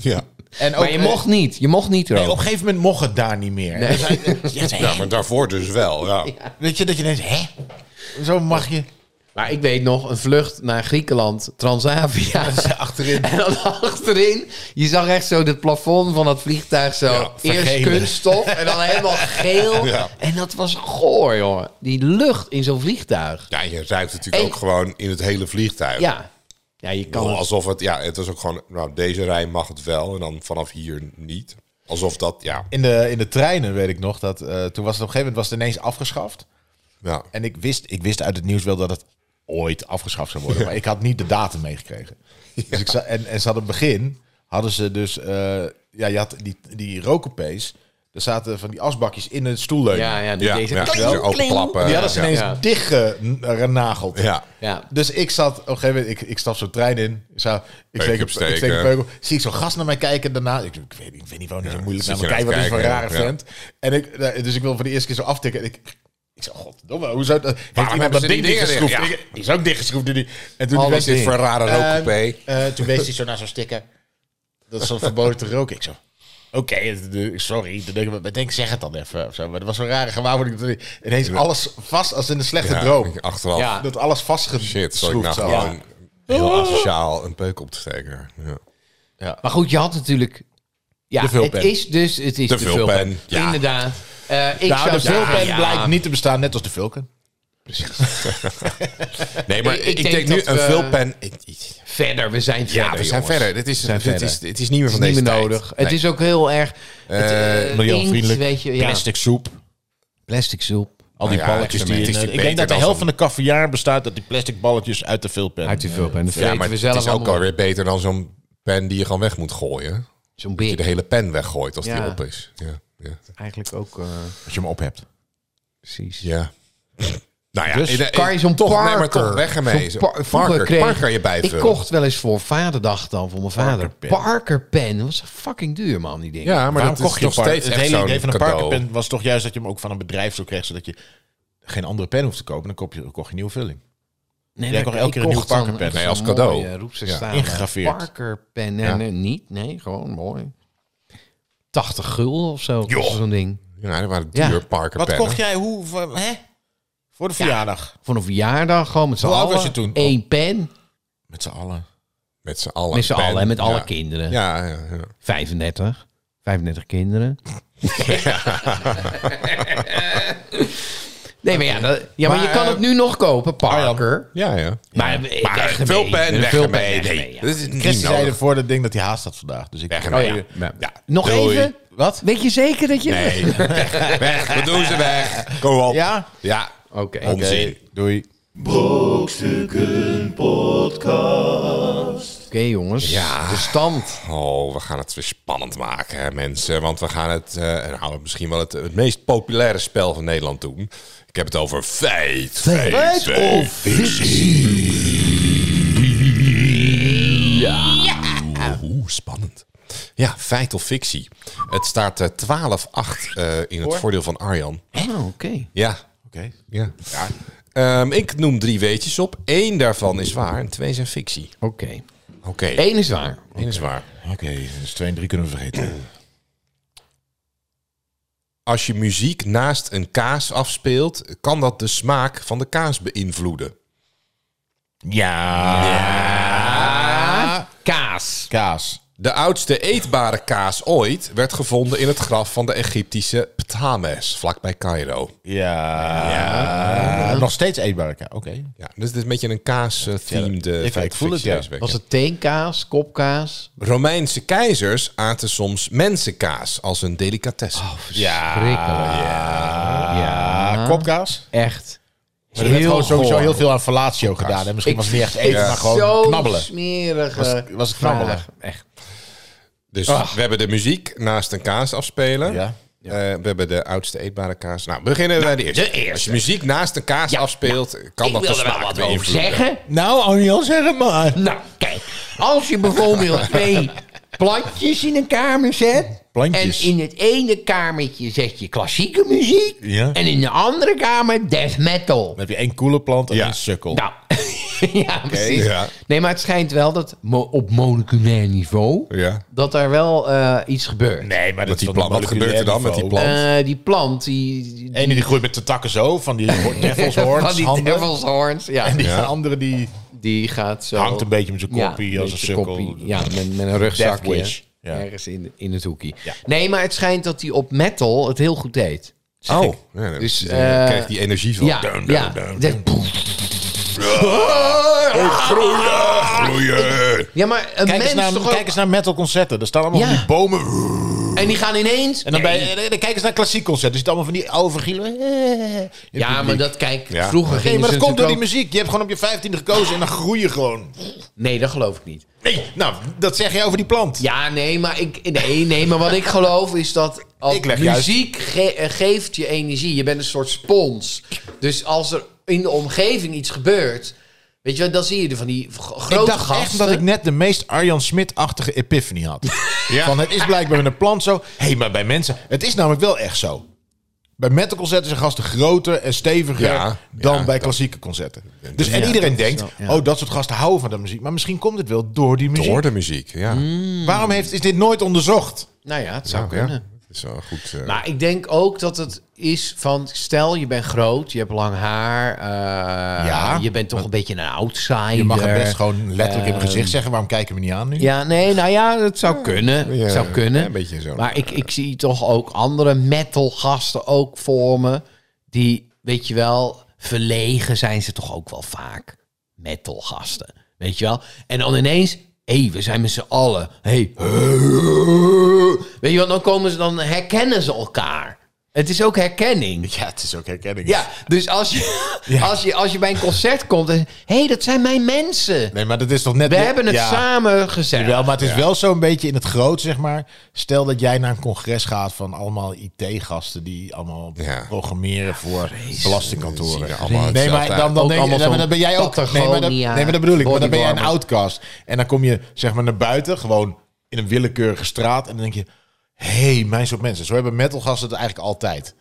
Speaker 2: ja.
Speaker 3: En ook, eh,
Speaker 4: Maar je mocht niet. Je mocht niet
Speaker 3: Nee, op
Speaker 4: roken.
Speaker 3: een gegeven moment mocht het daar niet meer. Dus hij- ja, zei,
Speaker 2: ja, maar daarvoor dus wel. Ja.
Speaker 3: Weet je dat je denkt, hè? Zo mag je.
Speaker 4: Maar ik weet nog, een vlucht naar Griekenland, Transavia.
Speaker 3: Achterin.
Speaker 4: [laughs] En dan achterin, je zag echt zo het plafond van dat vliegtuig zo.
Speaker 2: Ja,
Speaker 4: eerst
Speaker 3: vergelen.
Speaker 4: kunststof en dan helemaal geel.
Speaker 2: Ja.
Speaker 4: En dat was goor, jongen. Die lucht in zo'n vliegtuig.
Speaker 2: ja, je ruikt natuurlijk
Speaker 4: En-
Speaker 2: ook gewoon in het hele vliegtuig.
Speaker 4: Ja. Ja, je kan
Speaker 2: Wel
Speaker 4: het.
Speaker 2: Alsof het, ja, het was ook gewoon, nou, deze rij mag het wel en dan vanaf hier niet. Alsof dat, ja.
Speaker 3: In de, in de treinen weet ik nog dat. eh, toen was het op een gegeven moment was het ineens afgeschaft.
Speaker 2: ja.
Speaker 3: En ik wist, ik wist uit het nieuws wel dat het ooit afgeschaft zou [laughs] worden. Maar ik had niet de datum meegekregen. Dus ik za- en, en ze hadden begin, hadden ze dus... eh, ja, je had die, die rokenpees. Er zaten van die asbakjes in het stoelleuning.
Speaker 4: Ja, ja, die-
Speaker 2: Ja,
Speaker 4: deze
Speaker 2: ja,
Speaker 4: kling,
Speaker 2: weer openklappen.
Speaker 3: Die hadden ze
Speaker 2: Ja.
Speaker 3: ineens
Speaker 4: Ja.
Speaker 3: dichtgenageld.
Speaker 2: Ja.
Speaker 4: Ja.
Speaker 3: Dus ik zat op een gegeven moment, ik, ik stap zo'n trein in. Ik, zou, ik, steek, een-
Speaker 2: opsteken.
Speaker 3: ik steek een peuk op. Zie ik zo'n gast naar mij kijken. Daarna, ik, ik, weet, niet- ik weet niet waarom hij zo moeilijk
Speaker 2: zit
Speaker 3: naar
Speaker 2: je
Speaker 3: me kijkt.
Speaker 2: naar
Speaker 3: Wat is
Speaker 2: te
Speaker 3: voor een rare
Speaker 2: kijken, ja.
Speaker 3: vent. En ik, eh, dus ik wil voor de eerste keer zo aftikken. En ik, ik zeg, goddomme, hoe zou dat... Heeft iemand
Speaker 2: hebben
Speaker 3: dat
Speaker 2: ze
Speaker 3: ding
Speaker 2: die dingen
Speaker 3: dichtgeschroefd?
Speaker 2: erin? Ja.
Speaker 3: Ik- Die is ook dichtgeschroefd. Die, die- en
Speaker 4: Alles
Speaker 3: toen die
Speaker 2: Wat is
Speaker 3: mensen
Speaker 2: dit voor een rare rookcoupé?
Speaker 3: eh, toen wees hij zo naar zo'n sticker. Dat is zo'n verboden te roken. Ik zo. Oké, het- de- sorry. Dan denk ik, wat denk, ik, zeg het dan even. Of zo. Maar dat was zo'n rare gewaarwording. dat hij Ineens alles vast als in een slechte
Speaker 2: Ja,
Speaker 3: droom.
Speaker 2: Achteraf.
Speaker 4: Ja. Oh.
Speaker 3: Dat alles
Speaker 2: Shit, zal ik nou
Speaker 3: vastgeschroefd zou
Speaker 2: gewoon
Speaker 3: worden.
Speaker 2: heel asociaal een peuk op te steken? Ja.
Speaker 4: Maar goed, je had natuurlijk... Ja,
Speaker 3: De vulpen.
Speaker 4: het is dus... Het is
Speaker 2: De
Speaker 4: de,
Speaker 2: vulpen,
Speaker 4: vulpen.
Speaker 2: ja.
Speaker 4: Inderdaad. Eh, ik
Speaker 3: Nou,
Speaker 4: zou
Speaker 3: de
Speaker 4: zeggen,
Speaker 3: vulpen
Speaker 4: ja,
Speaker 3: blijkt niet te bestaan, net als de vulken. [laughs]
Speaker 2: Nee, maar ik,
Speaker 4: Ik- ik
Speaker 2: denk,
Speaker 4: denk
Speaker 2: nu
Speaker 4: dat
Speaker 2: een
Speaker 4: we-
Speaker 2: vulpen... Ik, ik-
Speaker 4: Verder, we zijn verder,
Speaker 2: ja, we zijn
Speaker 4: jongens.
Speaker 2: verder. Dit is, dit
Speaker 4: verder.
Speaker 2: Is, dit is niet meer van
Speaker 4: Het is
Speaker 2: deze
Speaker 4: niet meer
Speaker 2: tijd.
Speaker 4: nodig.
Speaker 2: Nee.
Speaker 4: Het is ook heel erg... het, eh,
Speaker 3: milieuvriendelijk.
Speaker 4: inkt, weet je, ja.
Speaker 3: soep.
Speaker 4: Plastic soep.
Speaker 3: Al die
Speaker 2: Nou ja,
Speaker 3: balletjes die,
Speaker 2: het is
Speaker 3: in, eh,
Speaker 2: die
Speaker 3: Ik
Speaker 2: beter
Speaker 3: denk dat de
Speaker 2: dan
Speaker 3: helft
Speaker 2: zo'n-
Speaker 3: van de kaviaar bestaat uit die plastic balletjes uit de vulpen.
Speaker 4: Uit die vulpen. En dat
Speaker 2: Ja,
Speaker 4: weten
Speaker 2: maar
Speaker 4: we
Speaker 2: het
Speaker 4: zelf
Speaker 2: is ook
Speaker 4: allemaal.
Speaker 2: alweer beter dan zo'n pen die je gewoon weg moet gooien.
Speaker 4: Zo'n
Speaker 2: Je de
Speaker 4: big
Speaker 2: hele pen weggooit als die
Speaker 4: Ja.
Speaker 2: op is. Ja, ja.
Speaker 4: eigenlijk ook... eh,
Speaker 3: Als je hem op hebt.
Speaker 4: precies.
Speaker 2: ja. nou ja,
Speaker 4: Dus
Speaker 2: in- in-
Speaker 4: kan je zo'n
Speaker 2: toch,
Speaker 4: parker...
Speaker 2: Nee, maar toch, weg ermee. Zo'n
Speaker 4: zo'n par- vroeger
Speaker 2: parker,
Speaker 4: kreeg-
Speaker 2: parker je
Speaker 4: Ik
Speaker 2: bijvullen.
Speaker 4: kocht wel eens voor vaderdag dan, voor mijn vader.
Speaker 3: Parkerpen.
Speaker 4: Parkerpen. Dat was fucking duur, man, die dingen.
Speaker 2: Ja, maar
Speaker 3: Waarom
Speaker 2: dat is
Speaker 3: kocht je
Speaker 2: nog
Speaker 3: een park-
Speaker 2: steeds
Speaker 3: Het
Speaker 2: echt
Speaker 3: hele
Speaker 2: zo'n
Speaker 3: idee van een
Speaker 2: cadeau.
Speaker 3: parkenpen was toch juist dat je hem ook van een bedrijf zo kreeg, zodat je geen andere pen hoeft te kopen. Dan koop je, kocht je een nieuwe vulling.
Speaker 4: Nee,
Speaker 3: Jij
Speaker 4: dat-
Speaker 3: kocht elke
Speaker 4: ik
Speaker 3: keer een nieuw
Speaker 4: kocht dan
Speaker 3: parkerpen.
Speaker 4: echt
Speaker 2: Nee,
Speaker 4: zo'n
Speaker 2: als cadeau.
Speaker 4: mooie roepse
Speaker 2: Ja,
Speaker 4: staande
Speaker 3: ingegraveerd.
Speaker 4: Parkerpen. Nee, nee, niet. Nee, gewoon mooi. 80 gulden of zo.
Speaker 2: Joh.
Speaker 4: was Zo'n ding.
Speaker 2: Ja, dat waren
Speaker 4: Ja.
Speaker 2: duur parker
Speaker 3: Wat kocht jij? Hoe? v- Hè? Voor de verjaardag.
Speaker 4: Voor een verjaardag gewoon met z'n
Speaker 3: Hoe
Speaker 4: allen.
Speaker 3: oud was je toen?
Speaker 4: Eén pen.
Speaker 3: Met z'n allen.
Speaker 2: Met z'n allen.
Speaker 4: Met z'n
Speaker 2: pen.
Speaker 4: allen, hè, met alle
Speaker 2: Ja.
Speaker 4: kinderen.
Speaker 2: Ja, ja, ja.
Speaker 4: 35. 35 kinderen. nee, maar ja, dat- ja maar, je
Speaker 2: Maar,
Speaker 4: kan
Speaker 2: eh,
Speaker 4: het nu nog kopen, Parker.
Speaker 2: ja, ja. Maar
Speaker 4: Maar, weg ermee.
Speaker 2: veel pen,
Speaker 4: Een
Speaker 2: weg
Speaker 4: vulpen,
Speaker 2: ermee.
Speaker 4: weg
Speaker 2: Nee,
Speaker 4: ermee, ja.
Speaker 2: dat is niet
Speaker 3: Christen zei
Speaker 2: nodig.
Speaker 3: ervoor dat ding dat hij haast had vandaag. Dus ik
Speaker 2: Weg ermee.
Speaker 4: Oh, ja.
Speaker 2: Ja. Ja.
Speaker 4: Nog
Speaker 2: Doei.
Speaker 4: even?
Speaker 3: Wat?
Speaker 4: Weet je zeker dat je... [laughs]
Speaker 2: Nee, weg, weg. We doen ze weg. Kom op.
Speaker 3: Ja?
Speaker 2: Ja.
Speaker 4: Oké.
Speaker 2: Oké. Onzin.
Speaker 3: Doei.
Speaker 5: Brokstukken Podcast.
Speaker 4: Oké, jongens.
Speaker 2: Ja.
Speaker 4: De stand.
Speaker 2: Oh, we gaan het weer spannend maken, hè, mensen. Want we gaan het, eh nou, misschien wel het, het meest populaire spel van Nederland doen. Ik heb het over feit. Feit, of fictie. Ja. Oeh, spannend. Ja, feit of fictie. Het staat eh, 12-8 eh, in het voordeel van Arjan.
Speaker 4: Oh, oké.
Speaker 2: Ja,
Speaker 3: Oké.
Speaker 2: ja. Ehm, ik noem drie weetjes op. Eén daarvan is waar en twee zijn fictie.
Speaker 4: Oké.
Speaker 2: Oké,
Speaker 4: Eén is waar.
Speaker 2: één is waar.
Speaker 3: Oké, dus 2 en 3 kunnen we vergeten.
Speaker 2: Als je muziek naast een kaas afspeelt, kan dat de smaak van de kaas beïnvloeden.
Speaker 3: Ja.
Speaker 4: Kaas.
Speaker 3: Kaas.
Speaker 2: De oudste eetbare kaas ooit werd gevonden in het graf van de Egyptische Ptahmes, vlakbij Cairo.
Speaker 3: Ja. Nog steeds eetbare kaas. Oké.
Speaker 2: Ja, dus dit is een beetje een kaas-themed
Speaker 3: Ja,
Speaker 2: eh,
Speaker 3: ik-
Speaker 2: feit
Speaker 3: ik voel het,
Speaker 2: fictie
Speaker 3: ja.
Speaker 2: deze week,
Speaker 4: Was
Speaker 2: ja.
Speaker 4: het teenkaas, kopkaas?
Speaker 2: Romeinse keizers aten soms mensenkaas als een delicatesse.
Speaker 3: Ja.
Speaker 4: Prikkelen.
Speaker 3: Ah, kopkaas.
Speaker 4: Echt.
Speaker 3: Maar er werd gewoon sowieso
Speaker 4: goor.
Speaker 3: heel veel aan fellatio gedaan. Hè? Misschien was het niet echt eten, maar gewoon
Speaker 4: zo
Speaker 3: knabbelen.
Speaker 4: smerige
Speaker 3: Was- was het knabbelen?
Speaker 4: vraag. Echt.
Speaker 2: Dus we hebben de muziek naast een kaas afspelen.
Speaker 3: Ja.
Speaker 2: Eh, we hebben de oudste eetbare kaas. Nou, beginnen we bij de eerste. Als je muziek naast een kaas afspeelt, kan dat
Speaker 4: Ik wil
Speaker 2: de
Speaker 4: er wel
Speaker 2: smaak
Speaker 4: wat over
Speaker 2: beïnvloeden.
Speaker 4: zeggen.
Speaker 3: Nou, Arjan, zeg het maar. [laughs]
Speaker 4: Nou, kijk. Als je bijvoorbeeld twee plantjes in een kamer zet...
Speaker 3: plantjes.
Speaker 4: En in het ene kamertje zet je klassieke muziek.
Speaker 3: Ja.
Speaker 4: En in de andere kamer death metal.
Speaker 3: Dan heb je één koele plant en
Speaker 2: Ja.
Speaker 3: één sukkel.
Speaker 4: Nou, [laughs] ja, precies.
Speaker 2: ja.
Speaker 4: Nee, maar het schijnt wel dat mo- op moleculair niveau...
Speaker 2: Ja.
Speaker 4: dat er wel eh, iets gebeurt.
Speaker 3: Nee, maar dat
Speaker 2: die
Speaker 3: is van
Speaker 2: plant- wat
Speaker 3: een
Speaker 2: gebeurt er dan met die
Speaker 3: moleculair niveau.
Speaker 4: Eh, die plant, die... die
Speaker 3: Ene die groeit met de takken zo, van die
Speaker 4: [laughs]
Speaker 3: devil's horns,
Speaker 4: van die
Speaker 3: handen.
Speaker 4: devil's horns, ja.
Speaker 3: En die
Speaker 2: Ja.
Speaker 3: andere die
Speaker 4: Die gaat zo...
Speaker 3: hangt een beetje met zijn
Speaker 4: Ja,
Speaker 3: koppie
Speaker 4: een
Speaker 3: als een
Speaker 4: beetje
Speaker 3: sukkel.
Speaker 4: koppie. Ja, met, met een
Speaker 3: Death wish.
Speaker 4: rugzakje.
Speaker 3: Ja.
Speaker 4: Ergens in, in het hoekje.
Speaker 3: Ja.
Speaker 4: Nee, maar het schijnt dat hij op metal het heel goed deed.
Speaker 2: Oh, ja, dan
Speaker 4: Dus,
Speaker 2: eh,
Speaker 4: eh,
Speaker 2: krijg je die energie
Speaker 3: Oh,
Speaker 2: van.
Speaker 4: ja,
Speaker 2: Dun, dun,
Speaker 4: ja. ah.
Speaker 2: dun.
Speaker 4: Zegt,
Speaker 2: Oh, groeien, groeien.
Speaker 4: ja, maar een
Speaker 3: Kijk
Speaker 4: mens
Speaker 3: eens, naar,
Speaker 4: toch ook...
Speaker 3: kijk eens naar metal concerten. Er staan allemaal
Speaker 4: Ja.
Speaker 3: van die bomen.
Speaker 4: En die gaan ineens...
Speaker 3: En dan,
Speaker 4: Nee.
Speaker 3: bij, eh, dan kijk eens naar klassiek concerten. Er zitten allemaal van die Eh, oude gielen.
Speaker 4: Ja, maar dat, kijk,
Speaker 2: Ja.
Speaker 4: vroeger ging
Speaker 3: Nee, maar dat komt door die
Speaker 4: muziek.
Speaker 3: muziek. Je hebt gewoon op je vijftiende gekozen en dan groei je gewoon.
Speaker 4: Nee, dat geloof ik niet.
Speaker 3: Nee, nou, dat zeg jij over die plant.
Speaker 4: Ja, nee, maar, ik, nee, nee, maar wat ik geloof is dat als
Speaker 3: Ik leg juist-
Speaker 4: muziek ge- eh, geeft je energie. Je bent een soort spons. Dus als er in de omgeving iets gebeurt, weet je wel, dan zie je er van die g- grote
Speaker 3: ik dacht
Speaker 4: gasten.
Speaker 3: echt dat ik net de meest Arjan Smit-achtige epiphany [laughs] had. Van het is blijkbaar met een plant zo. Hé, hey, maar bij mensen, het is namelijk wel echt zo. Bij metal concerten zijn gasten groter en steviger
Speaker 2: Ja,
Speaker 3: dan
Speaker 2: ja,
Speaker 3: bij
Speaker 2: dat-
Speaker 3: klassieke concerten. Dus en iedereen denkt, oh, dat soort gasten houden van de muziek. Maar misschien komt het wel door die muziek. Hmm.
Speaker 2: Door de muziek, ja.
Speaker 4: Hmm.
Speaker 3: Waarom heeft, is dit nooit onderzocht?
Speaker 4: Nou ja, het zou
Speaker 2: Nou,
Speaker 4: kunnen.
Speaker 2: ja. Dat is wel goed. eh,
Speaker 4: Maar Ah, ik denk ook dat het is van, stel je bent groot, je hebt lang haar, eh,
Speaker 3: Ja.
Speaker 4: je bent toch een beetje een outsider.
Speaker 3: Je mag het best gewoon letterlijk in mijn gezicht zeggen. Waarom kijken we niet aan nu?
Speaker 4: Ja, nee, nou ja, het zou kunnen.
Speaker 2: ja,
Speaker 4: het zou kunnen.
Speaker 2: een beetje zo.
Speaker 4: Maar ik, ik zie toch ook andere metalgasten ook voor me. Die, weet je wel, verlegen zijn ze toch ook wel vaak. Metalgasten, weet je wel. En dan ineens, hé, we zijn met z'n allen. Hé, weet je wel, dan komen ze, dan herkennen ze elkaar. Het is ook herkenning.
Speaker 3: Ja, het is ook herkenning.
Speaker 4: Ja, dus als je, Als je, als je bij een concert komt en... Hé, hey, dat zijn mijn mensen.
Speaker 3: Nee, maar dat is toch net...
Speaker 4: We hebben het
Speaker 3: Ja.
Speaker 4: samen gezet.
Speaker 3: Wel, maar het is wel zo'n beetje in het groot, zeg maar. Stel dat jij naar een congres gaat van allemaal IT-gasten die allemaal
Speaker 2: Ja.
Speaker 3: programmeren voor
Speaker 2: Zien
Speaker 3: belastingkantoren.
Speaker 2: er allemaal
Speaker 3: Nee, maar
Speaker 2: hetzelfde
Speaker 3: dan, dan,
Speaker 4: Ook
Speaker 3: denk,
Speaker 4: allemaal
Speaker 3: dan,
Speaker 4: zo'n
Speaker 3: dan ben jij ook... Nee maar, dat, nee,
Speaker 4: Patagonia,
Speaker 3: maar dat bedoel ik. Maar dan ben jij een
Speaker 4: bodywarmer.
Speaker 3: outcast. En dan kom je, zeg maar, naar buiten, gewoon in een willekeurige straat. En dan denk je, hé, hey, mijn soort mensen. Zo hebben metalgasten het eigenlijk altijd.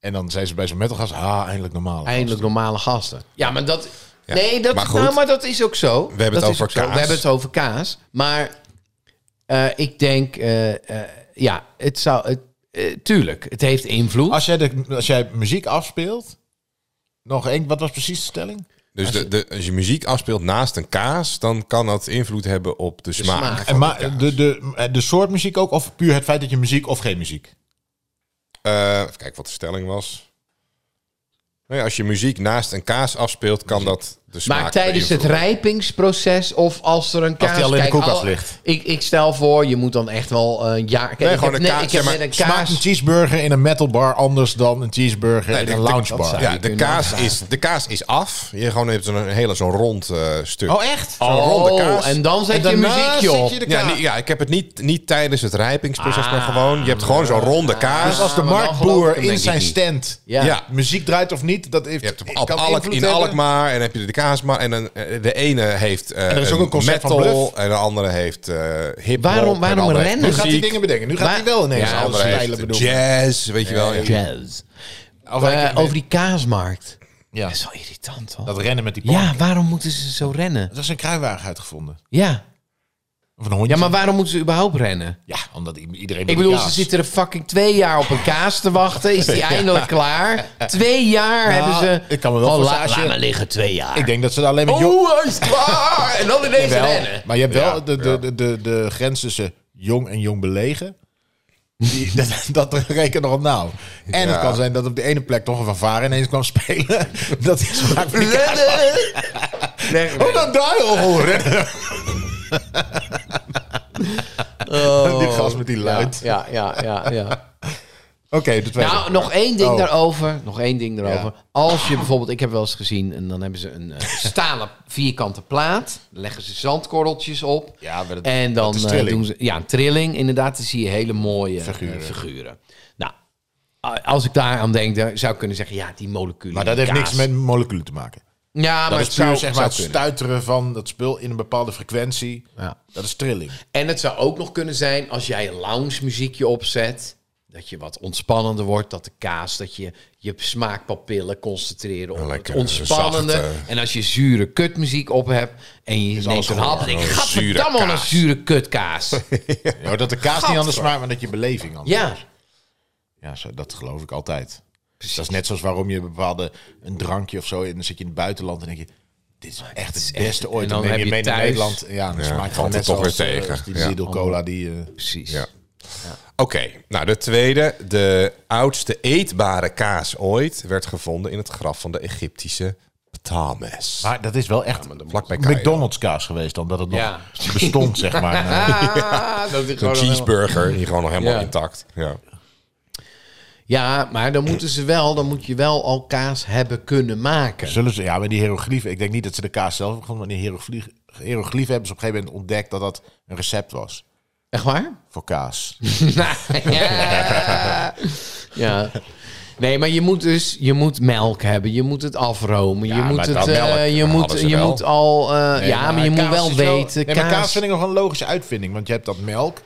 Speaker 3: En dan zijn ze bij zo'n metalgast, ah, eindelijk normaal.
Speaker 4: Eindelijk normale gasten. Ja, maar dat. nee, dat,
Speaker 2: maar
Speaker 4: maar
Speaker 2: goed.
Speaker 4: nou, maar dat is ook zo. We
Speaker 2: hebben het over kaas.
Speaker 4: We hebben het over kaas. Maar eh, ik denk, eh, eh, ja, het zou. Het, eh, tuurlijk, het heeft invloed.
Speaker 3: Als jij, de, als jij muziek afspeelt, nog één, wat was precies de stelling?
Speaker 2: Dus de, de, als je muziek afspeelt naast een kaas, dan kan dat invloed hebben op de, smaak.
Speaker 4: smaak.
Speaker 2: van
Speaker 3: En
Speaker 2: de
Speaker 3: maar
Speaker 2: kaas.
Speaker 3: de, de, de soort muziek ook, of puur het feit dat je muziek of geen muziek?
Speaker 2: Eh, even kijken wat de stelling was. Nou ja, als je muziek naast een kaas afspeelt, kan dat de smaak
Speaker 4: maar tijdens het
Speaker 2: beïnvloeden.
Speaker 4: rijpingsproces of als er een
Speaker 3: die
Speaker 4: kaas...
Speaker 3: al in de
Speaker 4: kijk,
Speaker 3: koelkast ligt.
Speaker 4: Ik, ik stel voor, je moet dan echt wel eh, een jaar... Kijk,
Speaker 2: Nee,
Speaker 4: ik
Speaker 2: gewoon
Speaker 4: heb
Speaker 2: een
Speaker 4: net-
Speaker 2: kaas,
Speaker 4: Ik heb
Speaker 2: ja,
Speaker 4: net
Speaker 2: maar
Speaker 4: een
Speaker 3: Smaakt
Speaker 4: kaas...
Speaker 3: een cheeseburger in een metalbar anders dan een cheeseburger
Speaker 2: Nee,
Speaker 3: in
Speaker 2: de-
Speaker 3: een
Speaker 2: de-
Speaker 3: loungebar?
Speaker 2: Ja, de kaas, is, de kaas is af. Je gewoon hebt zo'n hele zo'n rond eh, stuk.
Speaker 3: Oh, echt?
Speaker 2: Zo'n ronde kaas.
Speaker 4: en dan zet
Speaker 3: En
Speaker 4: je
Speaker 3: daarna
Speaker 4: muziekje
Speaker 3: zet
Speaker 4: op.
Speaker 3: je de
Speaker 2: ja,
Speaker 3: kaas.
Speaker 2: nee, ja, ik heb het niet, niet tijdens het rijpingsproces, maar gewoon... Je hebt gewoon zo'n ronde kaas.
Speaker 3: dus als de
Speaker 4: maar dan geloof ik
Speaker 3: marktboer
Speaker 4: hem,
Speaker 3: in
Speaker 4: denk ik
Speaker 3: zijn
Speaker 4: niet.
Speaker 3: stand
Speaker 4: Ja.
Speaker 2: Ja.
Speaker 3: muziek draait of niet, dat heeft,
Speaker 2: Je hebt op
Speaker 3: kan
Speaker 2: Alk- Alk-
Speaker 3: invloed
Speaker 2: in
Speaker 3: hebben.
Speaker 2: Alkmaar en dan heb je de Kaasmaar. En dan, eh, de ene heeft eh,
Speaker 3: er is ook een concert van
Speaker 2: metal
Speaker 3: Bluff.
Speaker 2: en de andere heeft eh hip
Speaker 4: Waarom- waarom rennen?
Speaker 3: Nu gaat hij dingen bedenken. Nu gaat
Speaker 4: Maar-
Speaker 3: hij wel ineens
Speaker 2: Ja,
Speaker 3: alle
Speaker 2: andere
Speaker 3: stijlen
Speaker 2: heeft
Speaker 3: bedoelen.
Speaker 2: jazz, weet je wel. ja.
Speaker 4: Jazz.
Speaker 3: Of
Speaker 4: Eh,
Speaker 3: eigenlijk-
Speaker 4: over die kaasmarkt.
Speaker 3: ja,
Speaker 4: Dat is wel irritant, hoor.
Speaker 3: dat rennen met die plank.
Speaker 4: Ja, waarom moeten ze zo rennen?
Speaker 3: Dat is een kruiwagen uitgevonden.
Speaker 4: Ja.
Speaker 3: Of een hondje.
Speaker 4: Ja, maar waarom moeten ze überhaupt rennen?
Speaker 3: Ja, omdat i- iedereen...
Speaker 4: Ik
Speaker 3: wil
Speaker 4: bedoel,
Speaker 3: kaas.
Speaker 4: ze zitten er fucking twee jaar op een kaas te wachten. [laughs] Is die eindelijk klaar? Twee jaar
Speaker 3: Nou,
Speaker 4: hebben ze...
Speaker 3: ik kan me wel
Speaker 4: van,
Speaker 3: voorstellen,
Speaker 4: la-
Speaker 3: als je-
Speaker 4: laat maar liggen, twee jaar.
Speaker 3: Ik denk dat ze er alleen met jong-
Speaker 4: Oeh, [laughs] hij is klaar!
Speaker 2: Ah,
Speaker 4: En dan ineens
Speaker 3: Wel,
Speaker 4: rennen.
Speaker 3: Maar je hebt
Speaker 2: Ja,
Speaker 3: wel de, de, de, de, de grens tussen jong en jong belegen. Die, [laughs] dat, dat reken nog op nou. En
Speaker 2: Ja.
Speaker 3: het kan zijn dat op de ene plek toch een fanfare ineens kwam spelen. [laughs] Dat is vaak weer-
Speaker 4: Rennen! Weg,
Speaker 3: [laughs]
Speaker 4: weg.
Speaker 3: Oh, dat draai oh, rennen.
Speaker 4: [laughs]
Speaker 3: [laughs] Die gast met die luid.
Speaker 4: Oh, Ja, ja, ja,
Speaker 3: [laughs]
Speaker 4: ja.
Speaker 3: Oké, de tweede.
Speaker 4: Nou, nog één ding
Speaker 3: Oh.
Speaker 4: daarover. Nog één ding daarover. Als je bijvoorbeeld... Ik heb wel eens gezien... en dan hebben ze een
Speaker 3: [laughs]
Speaker 4: eh, stalen vierkante plaat. Dan leggen ze zandkorreltjes op.
Speaker 3: Ja, maar dat-
Speaker 4: en dan
Speaker 3: dat is
Speaker 4: eh,
Speaker 3: trilling.
Speaker 4: doen ze... Ja, een trilling. Inderdaad, dan zie je hele mooie eh, figuren. Nou, a- als ik daar aan denk... dan zou ik kunnen zeggen... Ja, die moleculen.
Speaker 3: maar dat heeft
Speaker 4: kaas.
Speaker 3: niks met moleculen te maken.
Speaker 4: Ja,
Speaker 3: Dat
Speaker 4: maar
Speaker 3: is
Speaker 4: het
Speaker 3: puur
Speaker 4: zou,
Speaker 3: zeg maar, het
Speaker 4: zou kunnen.
Speaker 3: stuiteren van dat spul in een bepaalde frequentie.
Speaker 4: Ja.
Speaker 3: Dat is trilling.
Speaker 4: En het zou ook nog kunnen zijn als jij lounge muziekje opzet. Dat je wat ontspannender wordt. Dat de kaas, dat je je smaakpapillen concentreren op het
Speaker 2: lekker
Speaker 4: ontspannende.
Speaker 2: zachte.
Speaker 4: En als je zure kutmuziek op hebt en je neemt
Speaker 3: alles
Speaker 4: een hap,
Speaker 3: gewoon
Speaker 4: dan denk je,
Speaker 2: een zure
Speaker 4: gadverdamme, wat een
Speaker 2: kaas." [laughs]
Speaker 4: zure kutkaas.
Speaker 3: Ja, maar dat de kaas niet anders smaakt, maar dat je beleving anders
Speaker 4: ja,
Speaker 3: Ja, zo, dat geloof ik altijd. Dat is net zoals waarom je een bepaalde een drankje of zo en dan zit je in het buitenland en denk je dit is echt het beste ooit.
Speaker 4: en dan
Speaker 3: neem
Speaker 4: heb je
Speaker 3: mee naar
Speaker 4: thuis-
Speaker 3: Nederland. Ja, dat
Speaker 2: Ja, valt
Speaker 3: smaakt gewoon
Speaker 2: het
Speaker 3: net
Speaker 2: toch
Speaker 3: zoals,
Speaker 2: weer
Speaker 3: eh,
Speaker 2: tegen.
Speaker 3: als die
Speaker 2: Ja.
Speaker 3: Lidl cola die eh,
Speaker 4: precies.
Speaker 2: Ja. Oké, nou de tweede. De oudste eetbare kaas ooit werd gevonden in het graf van de Egyptische Ptolemes.
Speaker 3: Maar dat is wel echt
Speaker 2: Vlakbij Cairo.
Speaker 3: Ah. McDonald's kaas geweest dan, dat het nog
Speaker 4: Ja.
Speaker 3: bestond, zeg maar.
Speaker 4: [laughs]
Speaker 3: Eh,
Speaker 4: Ah, dat is
Speaker 2: Een
Speaker 4: gewoon helemaal-
Speaker 2: cheeseburger, die gewoon nog helemaal
Speaker 4: Ja.
Speaker 2: intact. Ja.
Speaker 4: Ja, maar dan moeten ze wel, dan moet je wel al kaas hebben kunnen maken.
Speaker 3: Zullen ze, ja, maar die hieroglyphen, ik denk niet dat ze de kaas zelf hebben gevonden, maar die hieroglyph- hieroglyphen hebben ze op een gegeven moment ontdekt dat dat een recept was
Speaker 4: Echt waar?
Speaker 3: voor kaas.
Speaker 4: Nou, [laughs] ja. ja. Nee, maar je moet dus je moet melk hebben. Je moet het afromen. je moet
Speaker 2: maar
Speaker 4: het.
Speaker 2: dat
Speaker 4: eh,
Speaker 2: melk
Speaker 4: je moet,
Speaker 2: hadden ze
Speaker 4: je
Speaker 2: wel.
Speaker 4: moet al. eh, ja, maar, je moet
Speaker 3: kaas
Speaker 4: wel
Speaker 3: is
Speaker 4: weten.
Speaker 3: nee, maar
Speaker 4: kaas.
Speaker 3: kaas vind ik nog een logische uitvinding, want je hebt dat melk.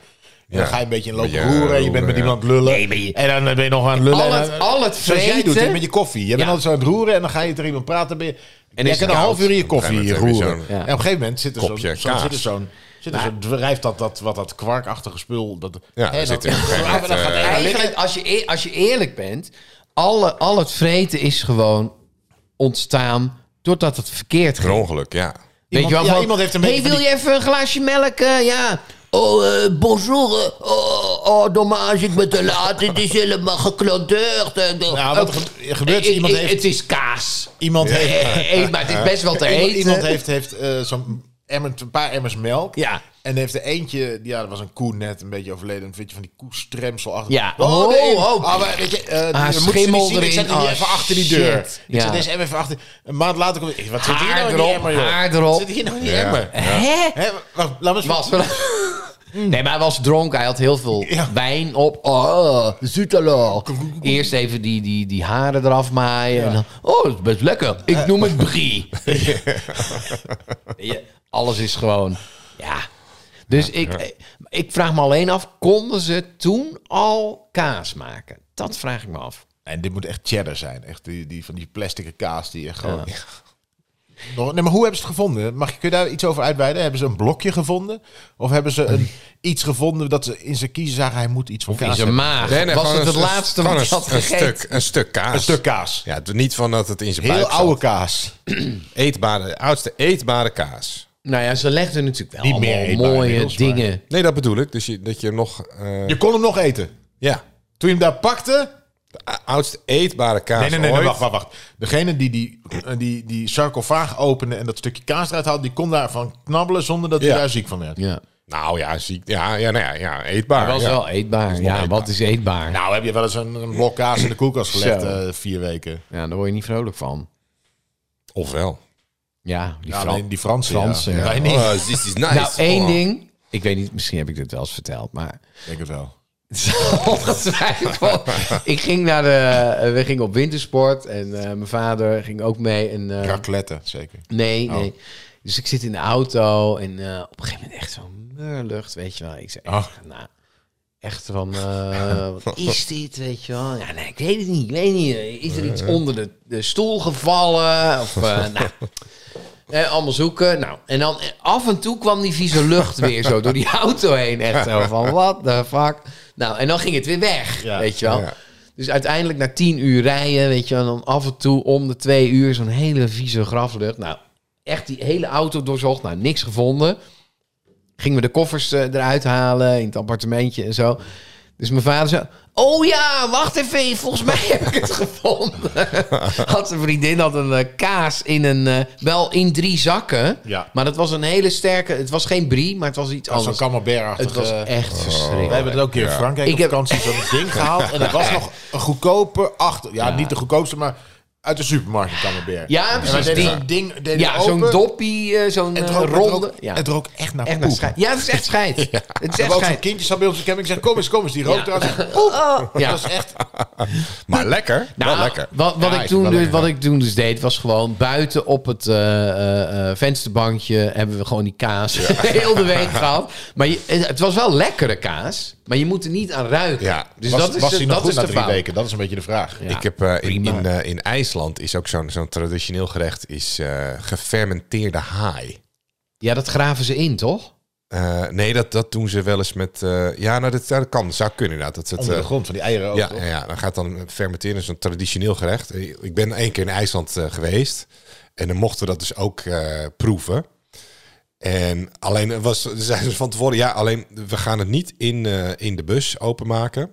Speaker 3: En
Speaker 2: Ja.
Speaker 3: dan ga je een beetje in lopen
Speaker 2: Ja,
Speaker 3: roeren. Je bent
Speaker 2: roeren,
Speaker 3: met
Speaker 2: ja.
Speaker 3: iemand aan het lullen. En dan eh, ben je nog aan het lullen.
Speaker 4: Al
Speaker 3: en
Speaker 4: het-
Speaker 3: dan-
Speaker 4: al het
Speaker 3: Zoals jij doet
Speaker 4: vreten.
Speaker 3: hè, met je koffie. Je bent altijd zo aan het roeren en dan ga je tegen iemand praten. Ben je, en
Speaker 4: is
Speaker 3: je
Speaker 4: het
Speaker 3: kan een
Speaker 4: koud.
Speaker 3: half uur in je
Speaker 2: Op een
Speaker 3: koffie
Speaker 2: gegeven moment
Speaker 3: roeren.
Speaker 2: heb je
Speaker 3: En op
Speaker 2: zo'n-
Speaker 3: een gegeven moment zit er zo'n...
Speaker 2: Kopje
Speaker 3: zo'n-
Speaker 2: kaas.
Speaker 3: Zit er zo'n... Zit er
Speaker 4: Nou.
Speaker 3: zo'n drijft dat, dat, wat, dat kwarkachtige spul. Dat,
Speaker 2: Ja,
Speaker 3: hè,
Speaker 2: er zit
Speaker 4: [laughs]
Speaker 2: er
Speaker 3: dat-
Speaker 2: op een gegeven
Speaker 3: Ja, maar dan
Speaker 2: moment,
Speaker 3: gaat
Speaker 2: eh,
Speaker 3: eigenlijk-
Speaker 4: Eigenlijk, als je, eer- als je eerlijk bent, alle, al het vreten is gewoon ontstaan doordat het verkeerd
Speaker 2: Een
Speaker 4: ging.
Speaker 2: ongeluk, ja.
Speaker 4: Weet je wel?
Speaker 3: ja,
Speaker 4: gewoon,
Speaker 3: iemand heeft een
Speaker 4: hey,
Speaker 3: beetje
Speaker 4: wil
Speaker 3: van
Speaker 4: je even een glaasje melk? Eh, ja.
Speaker 6: Oh, eh, bonjour. eh. Oh, oh, dommage, ik ben te laat. Het is helemaal geklandeerd. Eh, de-
Speaker 3: Nou, wat er gebe- gebeurt is,
Speaker 4: Eh,
Speaker 3: iemand
Speaker 4: eh,
Speaker 3: heeft...
Speaker 4: Het is kaas.
Speaker 3: Iemand heeft...
Speaker 4: Eh, eh, maar het is best wel te
Speaker 3: Iemand-
Speaker 4: eten.
Speaker 3: Iemand heeft, heeft eh, zo'n emmer, een paar emmers melk.
Speaker 4: Ja.
Speaker 3: En heeft er eentje, ja, dat was een koe net, een beetje overleden. Een beetje van die koestremsel achter.
Speaker 4: Ja.
Speaker 3: Oh,
Speaker 4: Oh,
Speaker 3: nee.
Speaker 4: oh.
Speaker 3: Ah, maar weet je, eh,
Speaker 4: Ah,
Speaker 3: je moet ze
Speaker 4: schimmel
Speaker 3: niet zien. Ik
Speaker 4: erin.
Speaker 3: zet hem hier
Speaker 4: Ah,
Speaker 3: even achter die
Speaker 4: shit.
Speaker 3: deur. Ik
Speaker 4: Ja.
Speaker 3: zet deze emmer even achter. Een maand later kom ik, wat zit hier
Speaker 4: Haar
Speaker 3: nou in die
Speaker 4: erop,
Speaker 3: emmer, joh?
Speaker 4: haar erop.
Speaker 3: Wat zit hier nou in die emmer?
Speaker 4: Hè?
Speaker 3: Hè, wacht, laat me eens...
Speaker 4: Was wel... [laughs] Nee, maar hij was dronken. Hij had heel veel
Speaker 3: Ja.
Speaker 4: wijn op. Oh, zoetalo. Eerst even die, die, die haren eraf maaien. En dan, oh, dat is best lekker. Ik noem het brie. Ja, alles is gewoon... Ja. Dus ik, ik vraag me alleen af... konden ze toen al kaas maken? Dat vraag ik me af.
Speaker 3: En dit moet echt cheddar zijn. Echt die, die van die plastic kaas die je gewoon... [laughs] Nog- Nee, maar hoe hebben ze het gevonden? Mag, je- kun je daar iets over uitweiden? Hebben ze een blokje gevonden? Of hebben
Speaker 4: [laughs]
Speaker 3: ze een, iets gevonden dat ze in zijn kiezen zagen... hij moet iets van
Speaker 4: In
Speaker 3: kaas
Speaker 4: zijn
Speaker 3: hebben?
Speaker 4: maag.
Speaker 2: Nee, nee,
Speaker 4: was
Speaker 2: gewoon
Speaker 4: het het
Speaker 2: een-
Speaker 4: laatste
Speaker 2: gewoon
Speaker 4: wat hij
Speaker 2: een-
Speaker 4: had gegeten?
Speaker 2: Een stuk, een stuk kaas.
Speaker 3: Een stuk kaas.
Speaker 2: Ja, het- niet van dat het in zijn
Speaker 3: Heel
Speaker 2: buik zat.
Speaker 3: oude kaas.
Speaker 2: Eetbare, de oudste eetbare kaas.
Speaker 4: Nou ja, ze legden natuurlijk wel
Speaker 3: Niet meer
Speaker 4: allemaal
Speaker 3: eetbaar
Speaker 4: mooie
Speaker 3: inmiddels, maar-
Speaker 4: dingen...
Speaker 2: Nee, dat bedoel ik. Dus je, dat je hem nog... eh,
Speaker 3: Je kon hem nog eten.
Speaker 2: ja,
Speaker 3: Toen je hem daar pakte...
Speaker 2: de a- oudste eetbare kaas
Speaker 3: Nee, nee, nee, nee,
Speaker 2: ooit.
Speaker 3: wacht, wacht, wacht. Degene die die, eh, die die sarcofaag opende en dat stukje kaas eruit haalde... die kon daarvan knabbelen zonder dat hij
Speaker 2: Ja.
Speaker 3: daar ziek van werd.
Speaker 4: Ja.
Speaker 2: Nou ja, ziek. Ja, ja, nou ja, ja eetbaar.
Speaker 4: Hij was
Speaker 2: ja.
Speaker 4: wel eetbaar.
Speaker 2: wel
Speaker 4: ja,
Speaker 2: eetbaar.
Speaker 4: wat is eetbaar?
Speaker 3: Nou, heb je wel eens een, een blok kaas in de koelkast gelegd
Speaker 4: Zo.
Speaker 3: eh, vier weken?
Speaker 4: ja, daar word je niet vrolijk van.
Speaker 2: Ofwel.
Speaker 4: Ja, die
Speaker 3: Ja,
Speaker 4: Fran-
Speaker 3: alleen die Fransen.
Speaker 4: Fransen, ja.
Speaker 3: Wij niet.
Speaker 2: Oh, this is nice.
Speaker 4: Nou, één
Speaker 2: Oh.
Speaker 4: ding. Ik weet niet, misschien heb ik dit wel eens verteld,
Speaker 2: [laughs]
Speaker 4: maar...
Speaker 3: Ik denk het wel.
Speaker 4: Ongetwijfeld. ik ging naar de... eh, We gingen op wintersport en eh, mijn vader ging ook mee. En, eh,
Speaker 3: Raclette, zeker.
Speaker 4: nee,
Speaker 2: Oh.
Speaker 4: nee. Dus ik zit in de auto en eh, op een gegeven moment echt zo'n meurlucht, weet je wel. Ik zei,
Speaker 3: Oh.
Speaker 4: nou, echt van, eh, wat is dit, weet je wel? Ja, nee, ik weet het niet, ik weet niet. eh, Is er iets onder de, de stoel gevallen? Of, eh, nou, eh, allemaal zoeken. Nou, en dan eh, af en toe kwam die vieze lucht weer zo door die auto heen. Echt zo van, what the fuck? Nou, en dan ging het weer weg,
Speaker 3: Ja,
Speaker 4: weet je wel.
Speaker 2: ja.
Speaker 4: Dus uiteindelijk na tien uur rijden, weet je wel, en dan af en toe om de twee uur zo'n hele vieze graflucht. Nou, echt die hele auto doorzocht, nou, niks gevonden. Gingen we de koffers eh, eruit halen in het appartementje en zo. Dus mijn vader zei, oh ja, wacht even, volgens mij [laughs] heb ik het
Speaker 3: [laughs]
Speaker 4: gevonden. had zijn vriendin had een eh, kaas in een, eh, wel in drie zakken.
Speaker 3: Ja.
Speaker 4: Maar dat was een hele sterke, het was geen brie, maar het was iets
Speaker 3: Als een eh. Oh.
Speaker 4: anders.
Speaker 3: camembert-achtige...
Speaker 4: Het was echt verschrikkelijk.
Speaker 3: We hebben het ook hier in Frankrijk
Speaker 4: Ik
Speaker 3: op
Speaker 4: heb- [laughs]
Speaker 3: vakantie zo'n ding gehaald. En dat was nog een goedkope achter... Ja, niet de goedkoopste, maar Uit de supermarkt in Camembert.
Speaker 4: Ja,
Speaker 3: En wij
Speaker 4: precies,
Speaker 3: deden
Speaker 4: die.
Speaker 3: zo'n ding, deden
Speaker 4: Ja,
Speaker 3: open.
Speaker 4: zo'n doppie, eh, zo'n
Speaker 3: Het
Speaker 4: eh,
Speaker 3: rook, het
Speaker 4: ronde.
Speaker 3: rook-
Speaker 4: Ja.
Speaker 3: het rook echt naar
Speaker 4: echt naar
Speaker 3: poep.
Speaker 4: schijt. Ja, het is echt
Speaker 3: [laughs]
Speaker 4: schijt. Het is
Speaker 3: We
Speaker 4: echt
Speaker 3: hebben ook zo'n
Speaker 4: schijt.
Speaker 3: kindje zat bij ons in de camping. Ik zei, kom eens, kom eens. Die rook eruit.
Speaker 4: [laughs] Oh. Ja.
Speaker 3: Dat was echt...
Speaker 2: Maar lekker.
Speaker 4: Nou,
Speaker 2: wel lekker.
Speaker 4: Wat, wat,
Speaker 3: Ja,
Speaker 4: ik
Speaker 3: is
Speaker 4: toen,
Speaker 3: wel
Speaker 4: dus,
Speaker 3: lekker,
Speaker 4: wat ik toen dus deed, was gewoon buiten op het eh, eh, eh, vensterbankje hebben we gewoon die kaas [laughs] heel de week gehad. Maar je- het het was wel lekkere kaas, maar je moet er niet aan ruiken.
Speaker 2: Ja.
Speaker 4: Dus
Speaker 3: was
Speaker 4: dat is,
Speaker 3: was
Speaker 4: de-
Speaker 3: hij nog
Speaker 4: dat
Speaker 3: goed
Speaker 4: is
Speaker 3: na
Speaker 4: de
Speaker 3: drie
Speaker 4: fout.
Speaker 3: weken? Dat is een beetje de vraag.
Speaker 4: Ja.
Speaker 2: Ik heb eh, in,
Speaker 4: prima.
Speaker 2: in, eh, in IJsland is ook zo'n zo'n traditioneel gerecht is eh, gefermenteerde haai.
Speaker 4: Ja, dat graven ze in, toch?
Speaker 2: Eh, nee, dat, dat doen ze wel eens met. eh, ja, nou, dat, dat kan. Dat zou kunnen inderdaad. Dat, het,
Speaker 3: Onder de
Speaker 2: eh,
Speaker 3: grond van die eieren ook,
Speaker 2: ja,
Speaker 3: toch?
Speaker 2: ja, ja, dan gaat dan eh, fermenteren. Dat is een traditioneel gerecht. Eh, Ik ben één keer in IJsland eh, geweest. En dan mochten we dat dus ook eh, proeven. En alleen er was, er zeiden ze van tevoren, ja, alleen we gaan het niet in, eh, in de bus openmaken.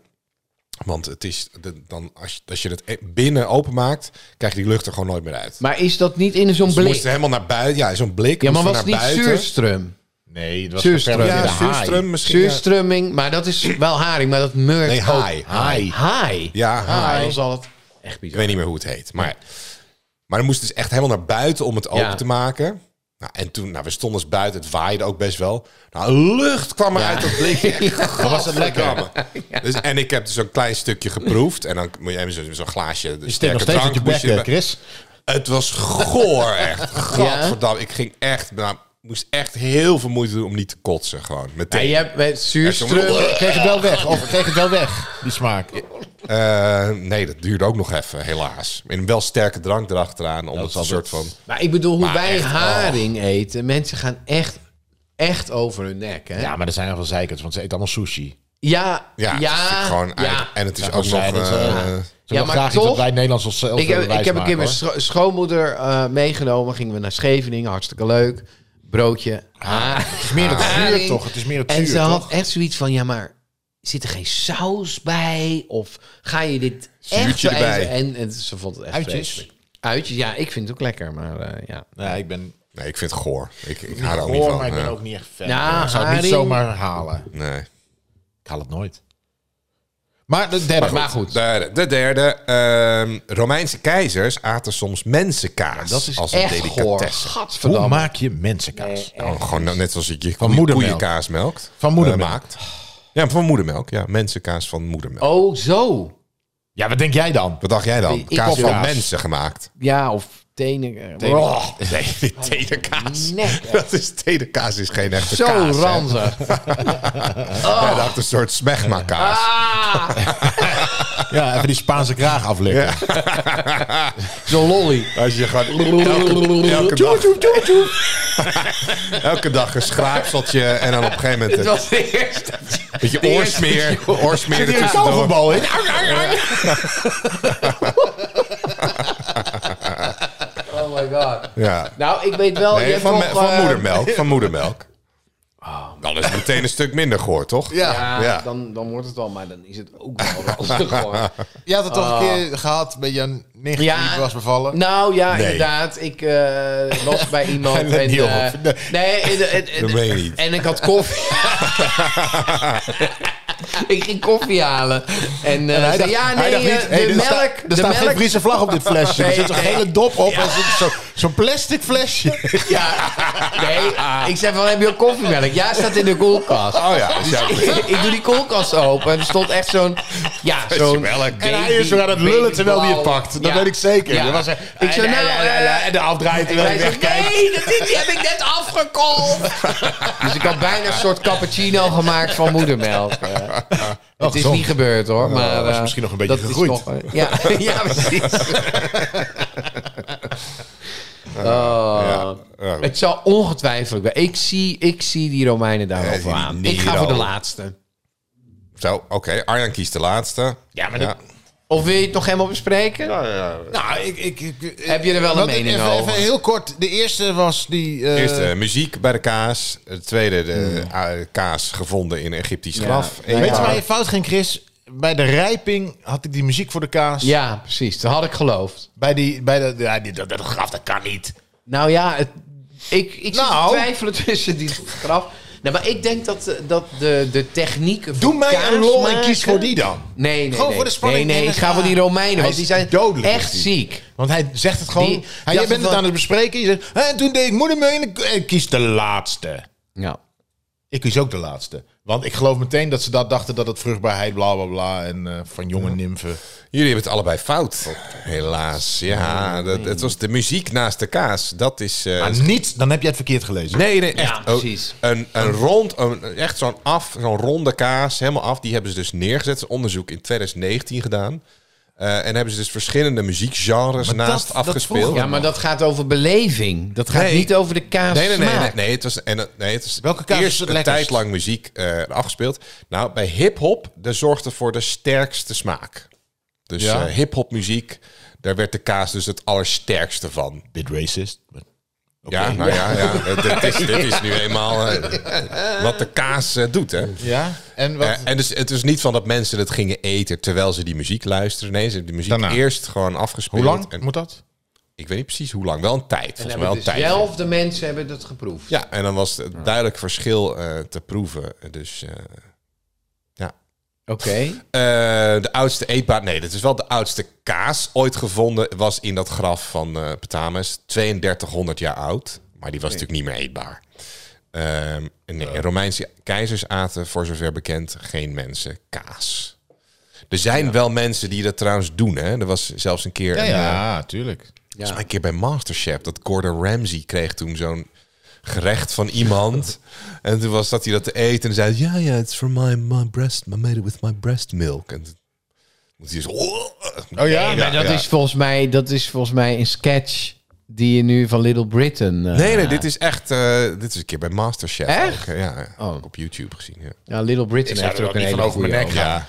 Speaker 2: Want het is de- dan, als, je- als je het e- binnen openmaakt, krijg je die lucht er gewoon nooit meer uit.
Speaker 4: Maar is dat niet in zo'n
Speaker 2: Ze
Speaker 4: blik?
Speaker 2: moesten helemaal naar buiten. Ja, zo'n blik.
Speaker 4: Ja, maar was
Speaker 2: moesten
Speaker 4: het niet
Speaker 2: naar buiten.
Speaker 4: zuurstrum?
Speaker 3: Nee, het was
Speaker 4: Zuurstrum.
Speaker 3: gefermenteerde
Speaker 2: Ja,
Speaker 3: haai.
Speaker 2: zuurstrum misschien. ja.
Speaker 4: Zuurstrumming, maar dat is wel haring, maar dat meurt
Speaker 2: Nee,
Speaker 4: ook.
Speaker 2: haai.
Speaker 3: Haai.
Speaker 4: Haai.
Speaker 2: Ja, haai.
Speaker 4: Dan zal het echt
Speaker 2: Ik
Speaker 4: bizar.
Speaker 2: weet niet meer hoe het heet. Maar, maar dan moest dus echt helemaal naar buiten om het open te maken. Nou, en toen, nou, we stonden dus buiten. Het waaide ook best wel. Nou, lucht kwam er uit dat blikje. [laughs] Dat was het lekker. Dus, en ik heb dus een klein stukje geproefd. En dan moet je even zo- zo'n glaasje dus
Speaker 3: Je steekt
Speaker 2: sterke
Speaker 3: nog steeds
Speaker 2: drank
Speaker 3: uit je
Speaker 2: moest
Speaker 3: bek,
Speaker 2: je
Speaker 3: eh,
Speaker 2: erbij-
Speaker 3: Chris.
Speaker 2: Het was goor, echt. Gadverdamme. Ik ging echt, nou, moest echt heel veel moeite doen om niet te kotsen. Gewoon,
Speaker 4: Ja,
Speaker 2: meteen.
Speaker 4: je hebt met zuurstrum.
Speaker 3: Ik kreeg het wel weg. Of ik kreeg het wel weg, die smaak.
Speaker 2: Eh, nee, dat duurde ook nog even, helaas. En wel sterke drank erachteraan. Om het een
Speaker 3: altijd-
Speaker 2: soort van...
Speaker 4: Maar ik bedoel, hoe
Speaker 2: Maar
Speaker 4: wij
Speaker 2: echt, oh.
Speaker 4: haring eten, mensen gaan echt, echt over hun nek. Hè?
Speaker 3: Ja, maar er zijn heel veel zeikers, want ze eten allemaal sushi.
Speaker 4: ja,
Speaker 2: Ja, het is natuurlijk gewoon
Speaker 4: ja.
Speaker 2: uit- En het is
Speaker 3: Ja,
Speaker 2: ook nog...
Speaker 3: zij dat,
Speaker 2: eh,
Speaker 3: eh, Ze
Speaker 4: Ja,
Speaker 3: ja,
Speaker 4: maar
Speaker 3: maar graag iets
Speaker 4: toch-
Speaker 3: wat wij Nederlands onszelf
Speaker 4: Ik heb,
Speaker 3: willen
Speaker 4: ik heb een keer mijn
Speaker 3: wijsmaken,
Speaker 4: scho- schoonmoeder eh, meegenomen. Gingen we naar Scheveningen, hartstikke leuk. Broodje. Ah,
Speaker 3: hoor. Het is meer het
Speaker 4: haring.
Speaker 3: zuur, toch? Het is meer het
Speaker 4: En
Speaker 3: zuur,
Speaker 4: ze
Speaker 3: toch?
Speaker 4: had echt zoiets van, ja, maar zit er geen saus bij? Of ga je dit echt
Speaker 2: Zuurtje
Speaker 4: zo eten?
Speaker 2: erbij.
Speaker 4: En, en ze vond het echt
Speaker 3: Uitjes?
Speaker 4: vreselijk. Uitjes, ja, ik vind het ook lekker, maar eh, ja.
Speaker 3: Nee, ik ben
Speaker 2: nee, ik vind het goor. Ik, ik hou er ook niet
Speaker 3: hoor,
Speaker 2: van.
Speaker 3: maar ik ben
Speaker 2: ja.
Speaker 3: ook niet echt fan.
Speaker 4: Ja,
Speaker 3: ik zou het niet
Speaker 4: haring.
Speaker 3: zomaar halen.
Speaker 2: Nee.
Speaker 3: Ik haal het nooit. Maar de derde.
Speaker 4: Maar goed.
Speaker 2: De, de derde. ehm, Romeinse keizers aten soms mensenkaas
Speaker 4: Dat is
Speaker 2: als een
Speaker 4: echt goor.
Speaker 2: delicatesse.
Speaker 3: Hoe
Speaker 4: Gadverdamme.
Speaker 3: maak je mensenkaas?
Speaker 2: Oh, gewoon nou, net zoals je je
Speaker 3: Van
Speaker 2: koeien-
Speaker 3: moedermelk.
Speaker 2: koeienkaas melkt.
Speaker 3: Van moedermelk.
Speaker 2: Eh, maakt. Ja, van moedermelk. Ja, mensenkaas van moedermelk.
Speaker 4: Oh, zo.
Speaker 3: Ja, wat denk jij dan?
Speaker 2: Wat dacht jij dan?
Speaker 4: Ik-
Speaker 2: Kaas
Speaker 3: ik-
Speaker 2: van
Speaker 3: kaas.
Speaker 2: mensen gemaakt.
Speaker 4: Ja, of tenen. eh,
Speaker 2: Oh, [laughs] nee, dit tederkaas.
Speaker 4: Nek, hè.
Speaker 2: [laughs] Dat is tederkaas is geen echte
Speaker 4: Zo
Speaker 2: kaas. hè.
Speaker 4: ranzig.
Speaker 2: Ja, dat is een soort smegma kaas.
Speaker 4: Ah,
Speaker 3: Ja, even die Spaanse kraag aflikken. [laughs]
Speaker 4: zo'n lolly.
Speaker 2: Als je gewoon elke, elke dag... [laughs] elke dag een schraapseltje en dan op een gegeven moment
Speaker 4: Dat
Speaker 2: een
Speaker 4: was de eerste.
Speaker 2: beetje oorsmeer. Oorsmeer
Speaker 3: Zit hier een
Speaker 2: ertussendoor.
Speaker 3: kogelbal in?
Speaker 4: [laughs] Oh my god.
Speaker 2: Ja.
Speaker 4: Nou, ik weet wel. je
Speaker 2: Nee,
Speaker 4: hebt
Speaker 2: van,
Speaker 4: nog,
Speaker 2: me- van
Speaker 4: eh, [laughs] Oh,
Speaker 2: moedermelk. Van moedermelk. Dan is het meteen een stuk minder goor, toch?
Speaker 4: Ja,
Speaker 2: Ja.
Speaker 4: Dan, dan wordt het wel, maar dan is het ook wel [laughs] ranzig hoor.
Speaker 3: Je had het toch een keer gehad bij je nicht
Speaker 4: Ja.
Speaker 3: die was bevallen?
Speaker 4: Nou ja,
Speaker 2: Nee.
Speaker 4: inderdaad. Ik eh,
Speaker 2: [laughs]
Speaker 4: was bij iemand.
Speaker 2: Hij let
Speaker 4: en,
Speaker 2: niet
Speaker 4: eh,
Speaker 2: op. Nee.
Speaker 4: nee, en, en- en-
Speaker 2: Dat meen je niet.
Speaker 4: en ik had
Speaker 2: [laughs]
Speaker 4: koffie. [laughs] ik ging koffie halen. En, eh, zei,
Speaker 3: dacht-
Speaker 4: ja, nee,
Speaker 3: dacht
Speaker 4: eh,
Speaker 3: niet,
Speaker 4: de
Speaker 3: hey, er
Speaker 4: melk.
Speaker 3: staat-
Speaker 4: de
Speaker 3: Er staat geen
Speaker 4: melk-
Speaker 3: Friese vlag op dit flesje. Er
Speaker 4: Nee,
Speaker 3: zit een
Speaker 4: nee.
Speaker 3: hele dop op. en er zit zo- Zo'n plastic [laughs] flesje. Ah.
Speaker 4: Ja, nee. Ik zei van, heb je ook koffiemelk? Ja, staat in de koelkast.
Speaker 2: Oh ja, dus ja.
Speaker 4: ik doe die koelkast open en er stond echt zo'n... Ja, zo'n...
Speaker 3: En hij is weer aan het lullen terwijl hij het pakt. Dat
Speaker 4: Ja.
Speaker 3: weet ik zeker.
Speaker 4: Ja.
Speaker 3: Dat was eh, hij-
Speaker 4: Ik zei,
Speaker 3: en-
Speaker 4: nou,
Speaker 3: en- en-
Speaker 4: eh,
Speaker 3: En de afdraait terwijl
Speaker 4: Hij
Speaker 3: hij
Speaker 4: zegt,
Speaker 3: wegkijkt.
Speaker 4: nee, dat is, die heb ik net afgekolft. [laughs] dus ik had bijna een soort cappuccino gemaakt van moedermelk. eh. het is
Speaker 3: Oh, gezond. Oh,
Speaker 4: niet gebeurd hoor, maar...
Speaker 3: dat is
Speaker 4: eh,
Speaker 3: misschien nog een beetje
Speaker 4: dat is
Speaker 3: gegroeid.
Speaker 4: nog, eh, ja, [laughs] ja,
Speaker 3: [laughs]
Speaker 4: precies. Oh.
Speaker 2: Ja. Ja.
Speaker 4: Het zou ongetwijfeld... wel- Ik zie, ik zie die Romeinen
Speaker 2: Eh,
Speaker 4: daarover
Speaker 2: die
Speaker 4: aan.
Speaker 2: Nero.
Speaker 4: Ik ga voor de laatste.
Speaker 2: Zo, oké. Arjan kiest de laatste.
Speaker 4: Ja, maar dat- Of wil je het nog helemaal bespreken?
Speaker 3: Nou, ik, ik, ik- ik-
Speaker 4: Heb je er wel een
Speaker 3: Wat-
Speaker 4: mening
Speaker 3: even,
Speaker 4: over?
Speaker 3: Even heel kort. De eerste was die... eh,
Speaker 2: Eerst eh, muziek bij de kaas. Het tweede, de eh, kaas gevonden in een Egyptisch graf.
Speaker 4: Hmm. Nee,
Speaker 2: Eén
Speaker 3: Weet je
Speaker 2: jaar.
Speaker 3: waar je fout ging, Chris? Bij de rijping had ik die muziek voor de kaas.
Speaker 4: Ja, precies. Dat had ik geloofd.
Speaker 3: Bij die... Bij de, ja, die- dat, dat graf, dat kan niet.
Speaker 4: Nou ja, het, ik, ik zit
Speaker 3: Nou.
Speaker 4: te twijfelen tussen die graf. Nou, maar ik denk dat, eh, dat de, de techniek.
Speaker 3: Doe
Speaker 4: van
Speaker 3: mij
Speaker 4: kaas
Speaker 3: een lol en
Speaker 4: maken-
Speaker 3: kies voor die dan.
Speaker 4: Nee, nee.
Speaker 3: Gewoon
Speaker 4: nee.
Speaker 3: voor de spanning.
Speaker 4: Nee, nee,
Speaker 3: En
Speaker 4: ik ga
Speaker 3: dan-
Speaker 4: voor die Romeinen.
Speaker 3: Hij
Speaker 4: Want
Speaker 3: is
Speaker 4: die zijn
Speaker 3: dodelijk,
Speaker 4: echt
Speaker 3: is die.
Speaker 4: ziek.
Speaker 3: Want hij zegt het gewoon.
Speaker 4: Die-
Speaker 3: hij,
Speaker 4: ja,
Speaker 3: jij bent het
Speaker 4: van-
Speaker 3: aan het bespreken. Je zegt, "Hè, en toen deed ik moeder mee en ik, ik kies de laatste.
Speaker 4: Ja.
Speaker 3: Ik kies ook de laatste. Want ik geloof meteen dat ze dat dachten dat het vruchtbaarheid, bla bla bla. En eh, van jonge nimfen.
Speaker 2: Jullie hebben het allebei
Speaker 4: Oh.
Speaker 2: fout. Helaas. Ja, dat, het was de muziek naast de kaas. Dat is. eh,
Speaker 4: Ah,
Speaker 3: Maar niet, dan heb jij het verkeerd gelezen.
Speaker 2: Nee, nee, echt.
Speaker 4: Ja, precies.
Speaker 2: Oh, Een, een rond, een, echt zo'n af, zo'n ronde kaas, helemaal af. Die hebben ze dus neergezet. Er is onderzoek in 2019 gedaan. Eh, en hebben ze dus verschillende muziekgenres naast
Speaker 3: dat
Speaker 2: afgespeeld.
Speaker 3: vroeg
Speaker 4: ja, maar dat gaat over beleving. Dat gaat
Speaker 2: Nee.
Speaker 4: niet over de kaas.
Speaker 2: Nee, nee, nee, nee,
Speaker 4: smaak.
Speaker 2: nee. Het was, en, het- nee, het was
Speaker 3: Welke kaas
Speaker 2: eerst
Speaker 3: is het
Speaker 2: een
Speaker 3: lekkerst?
Speaker 2: tijd lang muziek eh, afgespeeld. Nou, bij hip-hop, daar zorgde voor de sterkste smaak. Dus
Speaker 3: Ja.
Speaker 2: eh, hip-hop muziek, daar werd de kaas dus het allersterkste van.
Speaker 3: Bit racist. maar-
Speaker 2: Ja, nou ja, ja.
Speaker 3: [laughs]
Speaker 2: Het- het is, dit is nu eenmaal eh, wat de kaas eh, doet, hè?
Speaker 3: Ja, en wat?
Speaker 2: Eh, en dus, het is niet van dat mensen het gingen eten terwijl ze die muziek luisterden. Nee, ze hebben die muziek
Speaker 3: Daarna.
Speaker 2: eerst gewoon afgespeeld.
Speaker 3: hoe lang
Speaker 2: En,
Speaker 3: moet dat?
Speaker 2: ik weet niet precies hoe lang. Wel een tijd. Volgens mij wel een
Speaker 4: Dus de
Speaker 2: tijd.
Speaker 4: helft de mensen hebben dat geproefd.
Speaker 2: Ja, en dan was het duidelijk verschil eh, te proeven. Dus eh,
Speaker 4: Oké.
Speaker 2: eh, de oudste eetbaar... Nee, dat is wel de oudste kaas ooit gevonden. Was in dat graf van eh Petamus. 3200 jaar oud. Maar die was natuurlijk niet meer eetbaar. Ehm, nee,
Speaker 3: Oh.
Speaker 2: Romeinse keizers aten, voor zover bekend, geen mensen kaas. Er zijn wel mensen die dat trouwens doen. Hè? Er was zelfs een keer...
Speaker 3: Ja,
Speaker 2: een, eh,
Speaker 3: ja, tuurlijk.
Speaker 2: Volgens mij een keer bij Masterchef dat Gordon Ramsay kreeg toen zo'n gerecht van
Speaker 3: [laughs]
Speaker 2: iemand. en toen was dat hij dat te eten en zei: Ja, ja, it's from my, my breast. I made it with my breast milk. En toen moet hij dus, zo.
Speaker 3: Oh ja,
Speaker 4: Maar dat, Is volgens mij, dat is volgens mij een sketch die je nu van Little Britain... eh,
Speaker 2: Nee, nee, dit is echt. eh, dit is een keer bij Masterchef.
Speaker 4: Echt?
Speaker 2: ook, eh, ja,
Speaker 4: Oh.
Speaker 2: op YouTube gezien. Ja.
Speaker 4: Ja, Little Britain
Speaker 3: zou
Speaker 4: heeft er
Speaker 3: er
Speaker 4: ook een
Speaker 3: wel niet
Speaker 4: hele
Speaker 3: van over
Speaker 4: goede
Speaker 3: mijn nek
Speaker 4: over.
Speaker 3: gaan.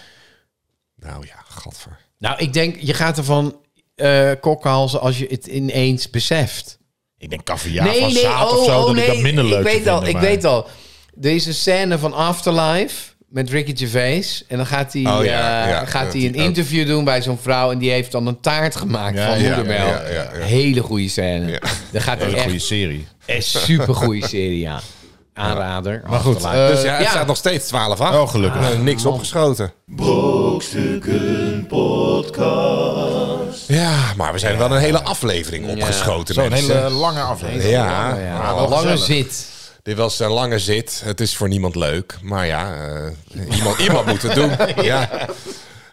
Speaker 2: ja. Nou ja, gadver.
Speaker 4: Nou, ik denk, je gaat ervan eh kokkenhalzen als je het ineens beseft.
Speaker 3: Ik denk caviar van zaad of zo, dat ik dat minder leuk
Speaker 4: Oh, ik weet
Speaker 3: vind,
Speaker 4: al, ik
Speaker 3: maar-
Speaker 4: weet al. Er is een scène van Afterlife met Ricky Gervais. En dan gaat hij,
Speaker 2: Oh ja,
Speaker 4: eh,
Speaker 2: ja,
Speaker 4: gaat
Speaker 2: dat
Speaker 4: hij een
Speaker 2: die ook-
Speaker 4: interview doen bij zo'n vrouw. En die heeft dan een taart gemaakt
Speaker 3: Ja,
Speaker 4: van
Speaker 3: ja,
Speaker 4: moedermelk.
Speaker 2: ja, ja, ja.
Speaker 4: Hele goede scène.
Speaker 2: Ja.
Speaker 4: Dan gaat hij
Speaker 3: Hele goede
Speaker 4: echt
Speaker 3: serie.
Speaker 4: een supergoeie serie, ja. Aanrader.
Speaker 3: Maar goed,
Speaker 4: Afterlife.
Speaker 3: eh,
Speaker 2: dus ja, het
Speaker 4: ja.
Speaker 2: staat nog steeds 12 af.
Speaker 3: Oh, gelukkig.
Speaker 2: niks opgeschoten.
Speaker 5: Brokstukken Podcast.
Speaker 2: Ja, maar we zijn wel een hele aflevering opgeschoten.
Speaker 3: zo'n
Speaker 2: mensen.
Speaker 3: hele lange aflevering.
Speaker 2: Ja,
Speaker 4: Oh, ja,
Speaker 2: maar wel
Speaker 4: een lange
Speaker 3: Ah, gezellig.
Speaker 4: zit.
Speaker 2: Dit was een lange zit. Het is voor niemand leuk. Maar ja, eh, iemand, iemand moet het doen. Ja.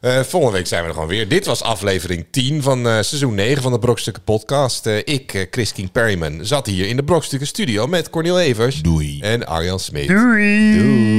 Speaker 2: Eh, volgende week zijn we er gewoon weer. Dit was aflevering 10 van eh, seizoen 9 van de Brokstukken podcast. Eh, ik, eh, Chris King Perryman, zat hier in de Brokstukken studio met Cornel Evers.
Speaker 3: Doei.
Speaker 2: En Arjan Smit. Doei. Doei.